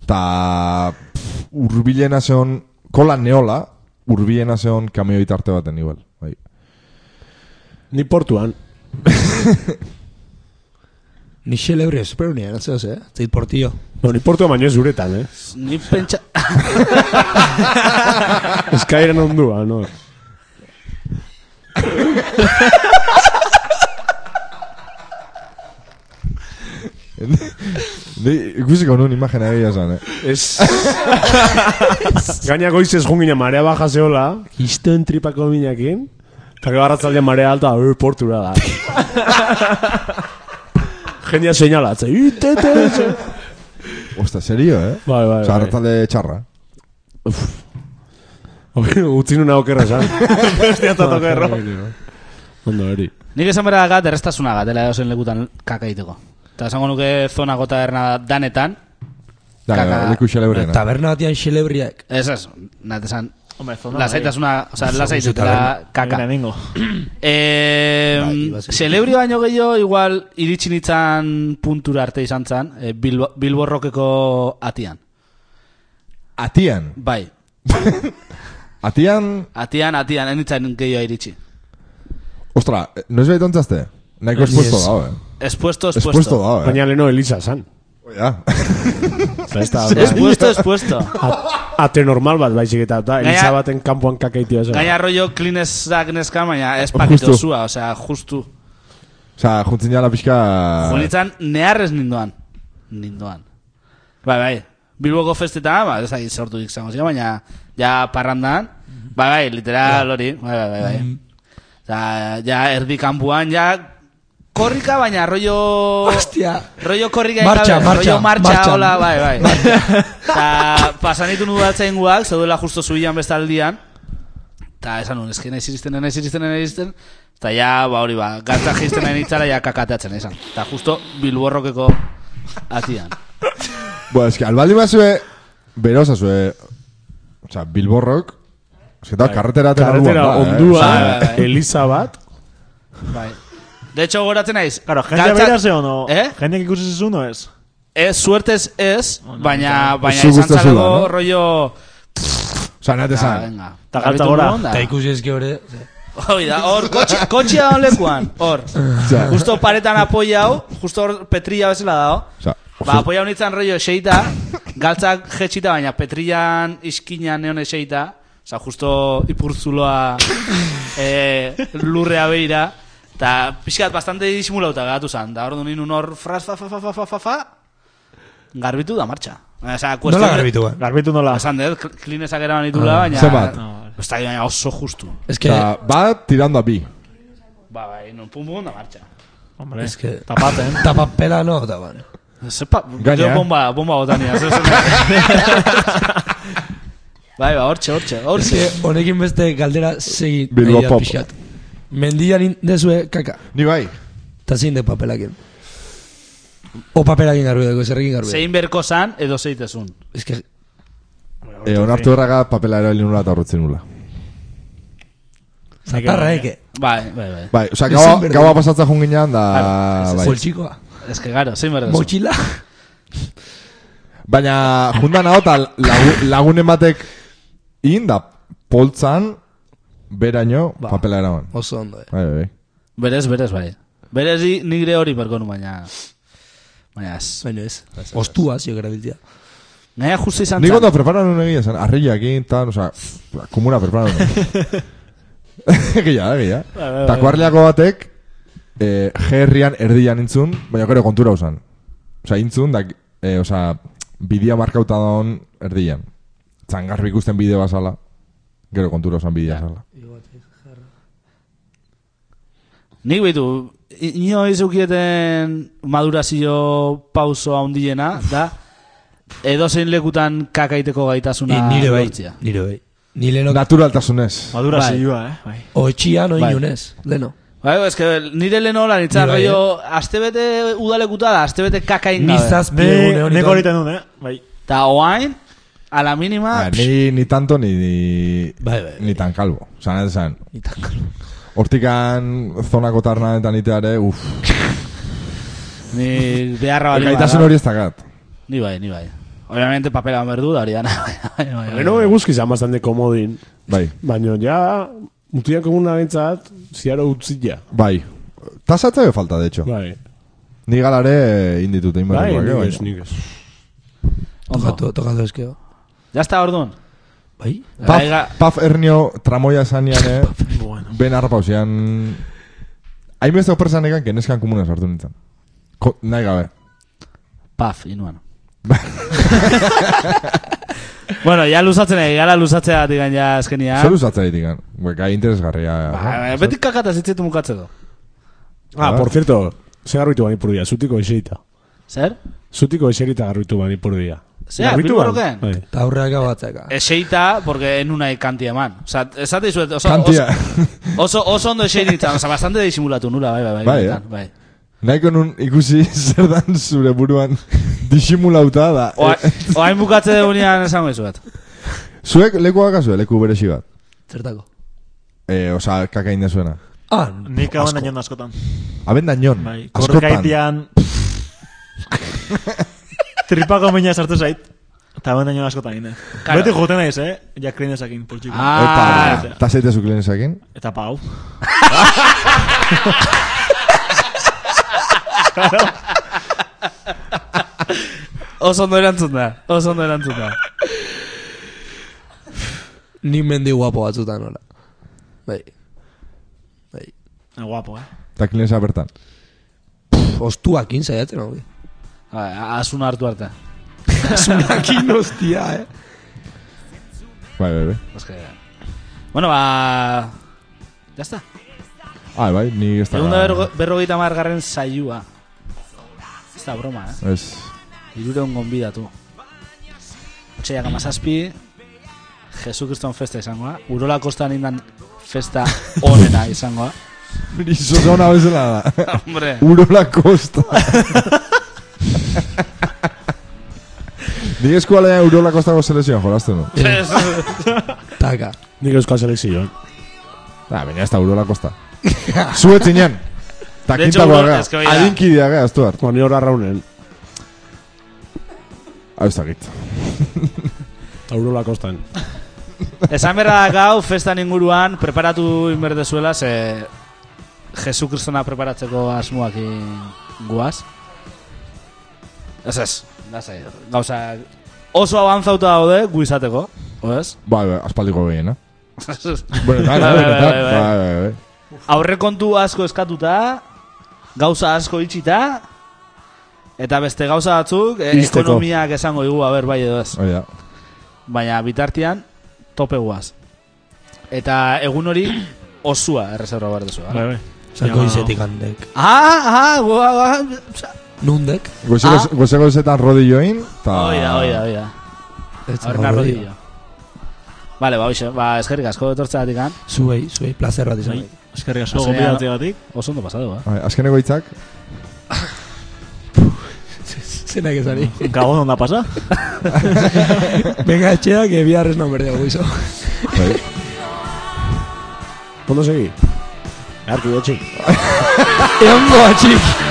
[SPEAKER 4] ta pff, urbilena zeon kolan neola urbilena zeon kamioi tarte baten igual bai.
[SPEAKER 5] Ni portuan.
[SPEAKER 7] ni xelebre ez, pero nien, ez ez, eh? Zait portio.
[SPEAKER 5] No, ni portuan baino ez uretan, eh?
[SPEAKER 2] Ni pentsa...
[SPEAKER 5] Eskairen ondua, no?
[SPEAKER 4] Ni ikusiko nuen imagina egia esan, eh?
[SPEAKER 5] Ez... Gaina goiz ez jungina marea baja zeola, istoen tripako minakin, eta gero arratzaldean marea alta, hori portura da. Jendia seinalatze, itete,
[SPEAKER 4] Osta, serio, eh?
[SPEAKER 5] Bai, bai, bai.
[SPEAKER 4] Osa, arratzalde txarra.
[SPEAKER 5] Utzi nuna okerra esan.
[SPEAKER 2] Bestia
[SPEAKER 6] tato okerro.
[SPEAKER 5] Ondo hori.
[SPEAKER 2] Nik esan bera dakat erreztasuna gat, dela edozen lekutan kaka egiteko. Eta esango nuke zona gota erna danetan.
[SPEAKER 4] Da, leku xelebrena.
[SPEAKER 7] Taberna batian xelebriak.
[SPEAKER 2] Ez ez, nahi esan.
[SPEAKER 6] Hombre, zona
[SPEAKER 2] Lasaitasuna,
[SPEAKER 6] bai.
[SPEAKER 2] o sea,
[SPEAKER 6] Oso
[SPEAKER 2] lasaitasuna
[SPEAKER 6] taberna.
[SPEAKER 2] kaka.
[SPEAKER 6] Venga, mingo.
[SPEAKER 4] Bai,
[SPEAKER 2] Eh, Celebrio baino gehiago igual iritsi nitzan puntura arte izan zan, eh, Bilbo, Bilbo Rockeko atian.
[SPEAKER 4] Atian.
[SPEAKER 2] Bai,
[SPEAKER 4] Atian,
[SPEAKER 2] atian, atian, ez nintzen gehiago iritsi.
[SPEAKER 4] ostra, eh, noiz baita ontzazte? Naiko espuesto
[SPEAKER 5] Ez.
[SPEAKER 4] da, eh?
[SPEAKER 2] Espuesto, espuesto.
[SPEAKER 4] Espuesto da, eh?
[SPEAKER 5] Baina leno Elisa san.
[SPEAKER 4] Oia.
[SPEAKER 5] Esta,
[SPEAKER 2] Espuesto, espuesto.
[SPEAKER 5] A- Ate normal bat baizik eta da, Elisa
[SPEAKER 2] Gaina-
[SPEAKER 5] baten kanpoan kakaitia esan.
[SPEAKER 2] Gaina rollo cleanez da neska, baina ez pakito
[SPEAKER 4] Justu.
[SPEAKER 2] zua, osea, justu.
[SPEAKER 4] Osa, juntzin jala pixka...
[SPEAKER 2] Junitzan neharrez nindoan. Nindoan. Bai, bai. Bilboko festetan, ba, ez dakit sortu izango ziren, baina ja parrandan, bai, bai, literal hori, bai, bai, bai. bai. Osa, ja erdi kanpuan, ja korrika, baina rollo...
[SPEAKER 7] Oh. Hostia!
[SPEAKER 2] Rollo korrika
[SPEAKER 7] Martxa,
[SPEAKER 2] eta-
[SPEAKER 7] martxa,
[SPEAKER 2] rollo martxa,
[SPEAKER 7] martxan.
[SPEAKER 2] hola, bai, bai. Eta pasanitu nu batzain guak, zeudela justo zuian bestaldian, eta esan nun, eski nahi ziristen, nahi ziristen, nahi ziristen, eta ja, ba hori ba, gartza jisten nahi nintzala, ja kakateatzen esan. Eta justo bilborrokeko atian.
[SPEAKER 4] Bo, eske, albaldi mazue, bero zazue, osa, bilborrok, eske da, karretera aten
[SPEAKER 5] Karretera
[SPEAKER 4] orduan da, eh?
[SPEAKER 5] ondua,
[SPEAKER 4] Osea,
[SPEAKER 2] Bai, bai.
[SPEAKER 5] Elisa bat.
[SPEAKER 2] Bai. De hecho, goratzen naiz. Claro,
[SPEAKER 6] Jende bera ze ono?
[SPEAKER 2] Eh?
[SPEAKER 6] Jende ikusi zizun o ez?
[SPEAKER 2] Ez, suertez ez, baina, baina
[SPEAKER 4] Zu
[SPEAKER 2] izan
[SPEAKER 4] gustazula,
[SPEAKER 2] zalego
[SPEAKER 4] no?
[SPEAKER 2] rollo...
[SPEAKER 4] Osa, nahi
[SPEAKER 2] Ah,
[SPEAKER 4] esan.
[SPEAKER 2] venga.
[SPEAKER 6] Ta galtza gora.
[SPEAKER 2] Onda.
[SPEAKER 7] Eta ikusi ezki hori.
[SPEAKER 2] Hoi da, hor, kotxia kotxi da lekuan, hor.
[SPEAKER 4] Ja.
[SPEAKER 2] justo paretan apoiau, justo hor petrilla bezala dao.
[SPEAKER 4] Osa,
[SPEAKER 2] Ba, apoiau nintzen rollo eseita, galtzak jetxita, baina petrillan iskina neon eseita, oza, justo ipurtzuloa eh, lurrea beira, eta pixkat bastante disimulauta gatu zan, da hor du ninun hor fras, fa, fa, fa, fa, fa, fa, fa, garbitu da martxa. Osa,
[SPEAKER 7] Nola garbitu, eh?
[SPEAKER 6] Garbitu nola.
[SPEAKER 2] Esan dut, klinezak eraman ditula,
[SPEAKER 4] Ah,
[SPEAKER 2] baina...
[SPEAKER 4] zenbat?
[SPEAKER 2] Ez da, baina oso justu.
[SPEAKER 7] Ez que,
[SPEAKER 4] Osa, bat tirando a bi.
[SPEAKER 2] Ba, bai, non pum pum da martxa.
[SPEAKER 6] Hombre,
[SPEAKER 7] ez que...
[SPEAKER 6] tapaten.
[SPEAKER 7] Tapapela no, da ban.
[SPEAKER 2] Zepa,
[SPEAKER 4] Gaina,
[SPEAKER 2] gero
[SPEAKER 4] eh?
[SPEAKER 2] bomba, bomba botania. zer zen. bai, ba, hortxe, hortxe,
[SPEAKER 7] Ez que,
[SPEAKER 2] hortxe.
[SPEAKER 7] honekin beste galdera segi
[SPEAKER 4] Bilbo
[SPEAKER 7] nahi dat
[SPEAKER 4] Pop.
[SPEAKER 7] pixkat. Mendian in- dezue kaka.
[SPEAKER 4] Ni bai.
[SPEAKER 7] Eta zein de papelakin. O papelakin garbi dago, zerrekin garbi.
[SPEAKER 2] Zein berko zan, edo zeitezun.
[SPEAKER 7] Ez que,
[SPEAKER 4] E, onartu erraga papela erabili nula eta horretzen nula.
[SPEAKER 7] zatarra eh, eke.
[SPEAKER 2] Bai, bai, bai.
[SPEAKER 4] Bai, osa,
[SPEAKER 7] Ezin
[SPEAKER 4] gaua,
[SPEAKER 7] berdin.
[SPEAKER 4] gaua pasatza junginan da...
[SPEAKER 2] Claro,
[SPEAKER 4] bai.
[SPEAKER 7] Poltsikoa.
[SPEAKER 2] Ez que garo, zein berko zun.
[SPEAKER 7] Motxila.
[SPEAKER 4] Baina, jundan hau, eta lagu, lagunen batek inda poltzan, beraino,
[SPEAKER 7] Ba.
[SPEAKER 4] papela eraman.
[SPEAKER 7] Oso ondo, eh.
[SPEAKER 4] Bai, bai, bai.
[SPEAKER 2] Berez, berez, bai. Berez, ni- nire hori berko nu, baina... Baina ez.
[SPEAKER 7] Baina ez. Ostua, zio grabiltia.
[SPEAKER 2] Naia justu izan
[SPEAKER 4] Nik
[SPEAKER 2] zan.
[SPEAKER 4] ondo preparan un egia zen, arreiakin, tan, oza, komuna preparan un. Egia, da, egia. Eta kuarleako batek, eh, herrian erdian intzun, baina gero kontura usan. Osa, intzun, da, eh, osa, bidea markauta daun erdian. Txangarbi ikusten bideo basala, gero kontura usan bidea basala.
[SPEAKER 2] Nik behitu, i- inoiz eukieten madurazio pauso handiena, da... Edo zein lekutan kakaiteko gaitasuna
[SPEAKER 7] Ni- Nire bai,
[SPEAKER 2] lortzea.
[SPEAKER 7] nire bai. Ni leno
[SPEAKER 4] Naturaltasunez.
[SPEAKER 6] Madura
[SPEAKER 2] Bai.
[SPEAKER 6] zilua, eh? Bai.
[SPEAKER 7] Oetxia no
[SPEAKER 2] Bai.
[SPEAKER 7] inunez, leno.
[SPEAKER 2] Bai, ez que nire lehen hola nintzen,
[SPEAKER 7] Ni bai,
[SPEAKER 2] rollo, astebete udalekuta da, astebete kakain
[SPEAKER 7] Ni
[SPEAKER 2] gabe.
[SPEAKER 7] zazpi egune
[SPEAKER 6] Ne,
[SPEAKER 7] honetan.
[SPEAKER 6] neko hori tenun, eh? Bai.
[SPEAKER 2] Ta oain, a la mínima,
[SPEAKER 4] Ah, ni, ni tanto, ni, ni,
[SPEAKER 7] Bai, bai, bai.
[SPEAKER 4] ni tan calvo. Osa, nahi esan,
[SPEAKER 7] Ni tankalo.
[SPEAKER 4] hortikan zonako tarnanetan iteare, uff.
[SPEAKER 2] ni beharra bali
[SPEAKER 4] Gaitasun hori ez dakat.
[SPEAKER 2] Ni bai, ni bai. Obviamente papela berdu da hori dana. bai, Baina, baina,
[SPEAKER 5] Leno
[SPEAKER 2] baina.
[SPEAKER 5] eguzki zan bastante komodin.
[SPEAKER 4] Bai.
[SPEAKER 5] Baina ja, mutiak eguna bintzat, ziaro utzila.
[SPEAKER 4] Bai. Tasatza be falta, de hecho.
[SPEAKER 5] Bai.
[SPEAKER 4] Ni galare inditut egin
[SPEAKER 5] Bai,
[SPEAKER 4] barrekoak,
[SPEAKER 5] nik
[SPEAKER 4] eh,
[SPEAKER 5] ez,
[SPEAKER 4] baina.
[SPEAKER 5] nik ez.
[SPEAKER 2] Ondo.
[SPEAKER 7] Tokatu, tokatu eskeo.
[SPEAKER 2] Ya está, ordun.
[SPEAKER 7] Bai?
[SPEAKER 4] Paf,
[SPEAKER 2] Gaiga-
[SPEAKER 4] paf ernio tramoia esanean, eh? ben arpausian... Hainbeste opresan egan, que neskan komunas hartu nintzen. Ko, nahi gabe.
[SPEAKER 2] Paf, inuan. bueno, ya luzatzen ari gara luzatzea gatik ja eskenia.
[SPEAKER 4] Zer usatza ditik gan? Gai interesgarria.
[SPEAKER 2] Ah. Ba, Beti kakata zitzitu mukatzeko.
[SPEAKER 5] Ah,
[SPEAKER 4] Ah.
[SPEAKER 5] por cierto, ze garbitu bani purdia, zutiko eserita.
[SPEAKER 2] Zer?
[SPEAKER 5] Zutiko eserita garbitu bani Bai. purdia.
[SPEAKER 2] Zea, Bilboroken?
[SPEAKER 7] Eta aurreak batzeka.
[SPEAKER 2] Eseita, porque en una kantia eman. Osa, esate dizuet, oso, oso,
[SPEAKER 4] Kantia.
[SPEAKER 2] oso, oso ondo esein ditzen, osa, bastante disimulatu nula, bai, bai, bai.
[SPEAKER 4] Bai, eh?
[SPEAKER 2] benetan, bai.
[SPEAKER 4] Nahiko nun ikusi zer dan zure buruan disimulauta da.
[SPEAKER 2] Oa-
[SPEAKER 4] Eh,
[SPEAKER 2] Oain bukatze degunean esango dizuet.
[SPEAKER 4] zuek leku bakazue, leku beresi bat.
[SPEAKER 2] Zertako?
[SPEAKER 4] Eh, osa, kakain da zuena.
[SPEAKER 7] Ah,
[SPEAKER 6] Nik hau nahian askotan.
[SPEAKER 4] Haben dainon,
[SPEAKER 6] Bai,
[SPEAKER 4] askotan.
[SPEAKER 6] korkaitian... Tripako mina sartu zait. Eta ben daño askotan gine.
[SPEAKER 2] Claro.
[SPEAKER 6] Beti juten naiz, eh? Ja krinesakin, poltsiko.
[SPEAKER 4] Ah,
[SPEAKER 6] Eta-
[SPEAKER 4] eta zeite zuklenesakin?
[SPEAKER 6] Eta pau.
[SPEAKER 2] Oso ondo erantzun da, oso ondo erantzun da.
[SPEAKER 7] Ni mendi guapo batzutan hola. Bai.
[SPEAKER 6] Eh, Guapo, eh?
[SPEAKER 4] Eta klinesa bertan.
[SPEAKER 7] Ostuakin saiatzen hau.
[SPEAKER 2] Bai, Asun hartu arte.
[SPEAKER 7] Azunakin hostia, eh.
[SPEAKER 4] Bai, bai, bai.
[SPEAKER 2] Eske, Bueno, ba... Ya está.
[SPEAKER 4] Ah, bai, ni ez da...
[SPEAKER 2] Egun da berro, berrogeita margarren zaiua. Ez da broma, eh?
[SPEAKER 4] Ez.
[SPEAKER 2] Irureun gonbidatu. Otxaiak amazazpi, Jesu Kriston festa izangoa. Urola kostan indan festa onena izangoa.
[SPEAKER 4] Brizo zauna bezala da.
[SPEAKER 2] Hombre.
[SPEAKER 4] Urola kosta. Nik eskualea Urola kostako selezioan jolasten du.
[SPEAKER 7] Taka.
[SPEAKER 5] Nik euskal selekzioan.
[SPEAKER 4] Da, Ah, baina ez da Urola kosta. Zuetzinan. Ta
[SPEAKER 5] De hecho,
[SPEAKER 4] kintakoa
[SPEAKER 5] Urola-
[SPEAKER 4] gara.
[SPEAKER 5] es que, oida.
[SPEAKER 4] Adinkidea gara, ez du hart.
[SPEAKER 5] Ba, Ni horra raunen.
[SPEAKER 4] Hau Ah, ez dakit.
[SPEAKER 5] Aurola kostan.
[SPEAKER 2] Esan berra da gau, festan inguruan, preparatu inberdezuela, ze Jesu Kristona preparatzeko asmoak guaz. Ez ez, lasai, gauza oso avanzauta daude gu izateko, o ez?
[SPEAKER 4] Bai, bai, aspaldiko gehiena.
[SPEAKER 2] Bai,
[SPEAKER 4] Benetan,
[SPEAKER 2] bai,
[SPEAKER 4] eh, benetan.
[SPEAKER 2] bai, bai.
[SPEAKER 4] Bai, bai, bai.
[SPEAKER 2] Aurrekontu asko eskatuta, gauza asko itxita, eta beste gauza batzuk, eh,
[SPEAKER 4] Ixteko.
[SPEAKER 2] ekonomiak esango digu, a ber, bai edo ez.
[SPEAKER 4] Hori da.
[SPEAKER 2] Baina bitartean, tope guaz. Eta egun hori, osua erreserba behar duzu.
[SPEAKER 6] Bai, bai.
[SPEAKER 7] Osea, goizetik handek.
[SPEAKER 2] Ah, ah, goa, goa,
[SPEAKER 7] Nundek?
[SPEAKER 4] Goizeko goizeko zetan rodilloin, ta...
[SPEAKER 2] Oida, oida, oida.
[SPEAKER 7] Ez
[SPEAKER 2] Horna
[SPEAKER 7] dago
[SPEAKER 2] rodillo. Vale, ba, hoxe, ba, eskerrik asko etortzeatik an.
[SPEAKER 7] Zuei, zuei, placer bat izan.
[SPEAKER 2] Bai.
[SPEAKER 6] Eskerrik
[SPEAKER 2] asko
[SPEAKER 6] gonbidatzeagatik.
[SPEAKER 2] Oso ondo pasatu, eh?
[SPEAKER 4] Bai, Azkeneko hitzak,
[SPEAKER 7] Zenak ezari.
[SPEAKER 6] Gabon onda pasa?
[SPEAKER 7] Venga, etxea, que bihar ez non berdeo guizo.
[SPEAKER 4] Bai.
[SPEAKER 5] Pondo segi. Arki gotxik.
[SPEAKER 7] Eongo atxik.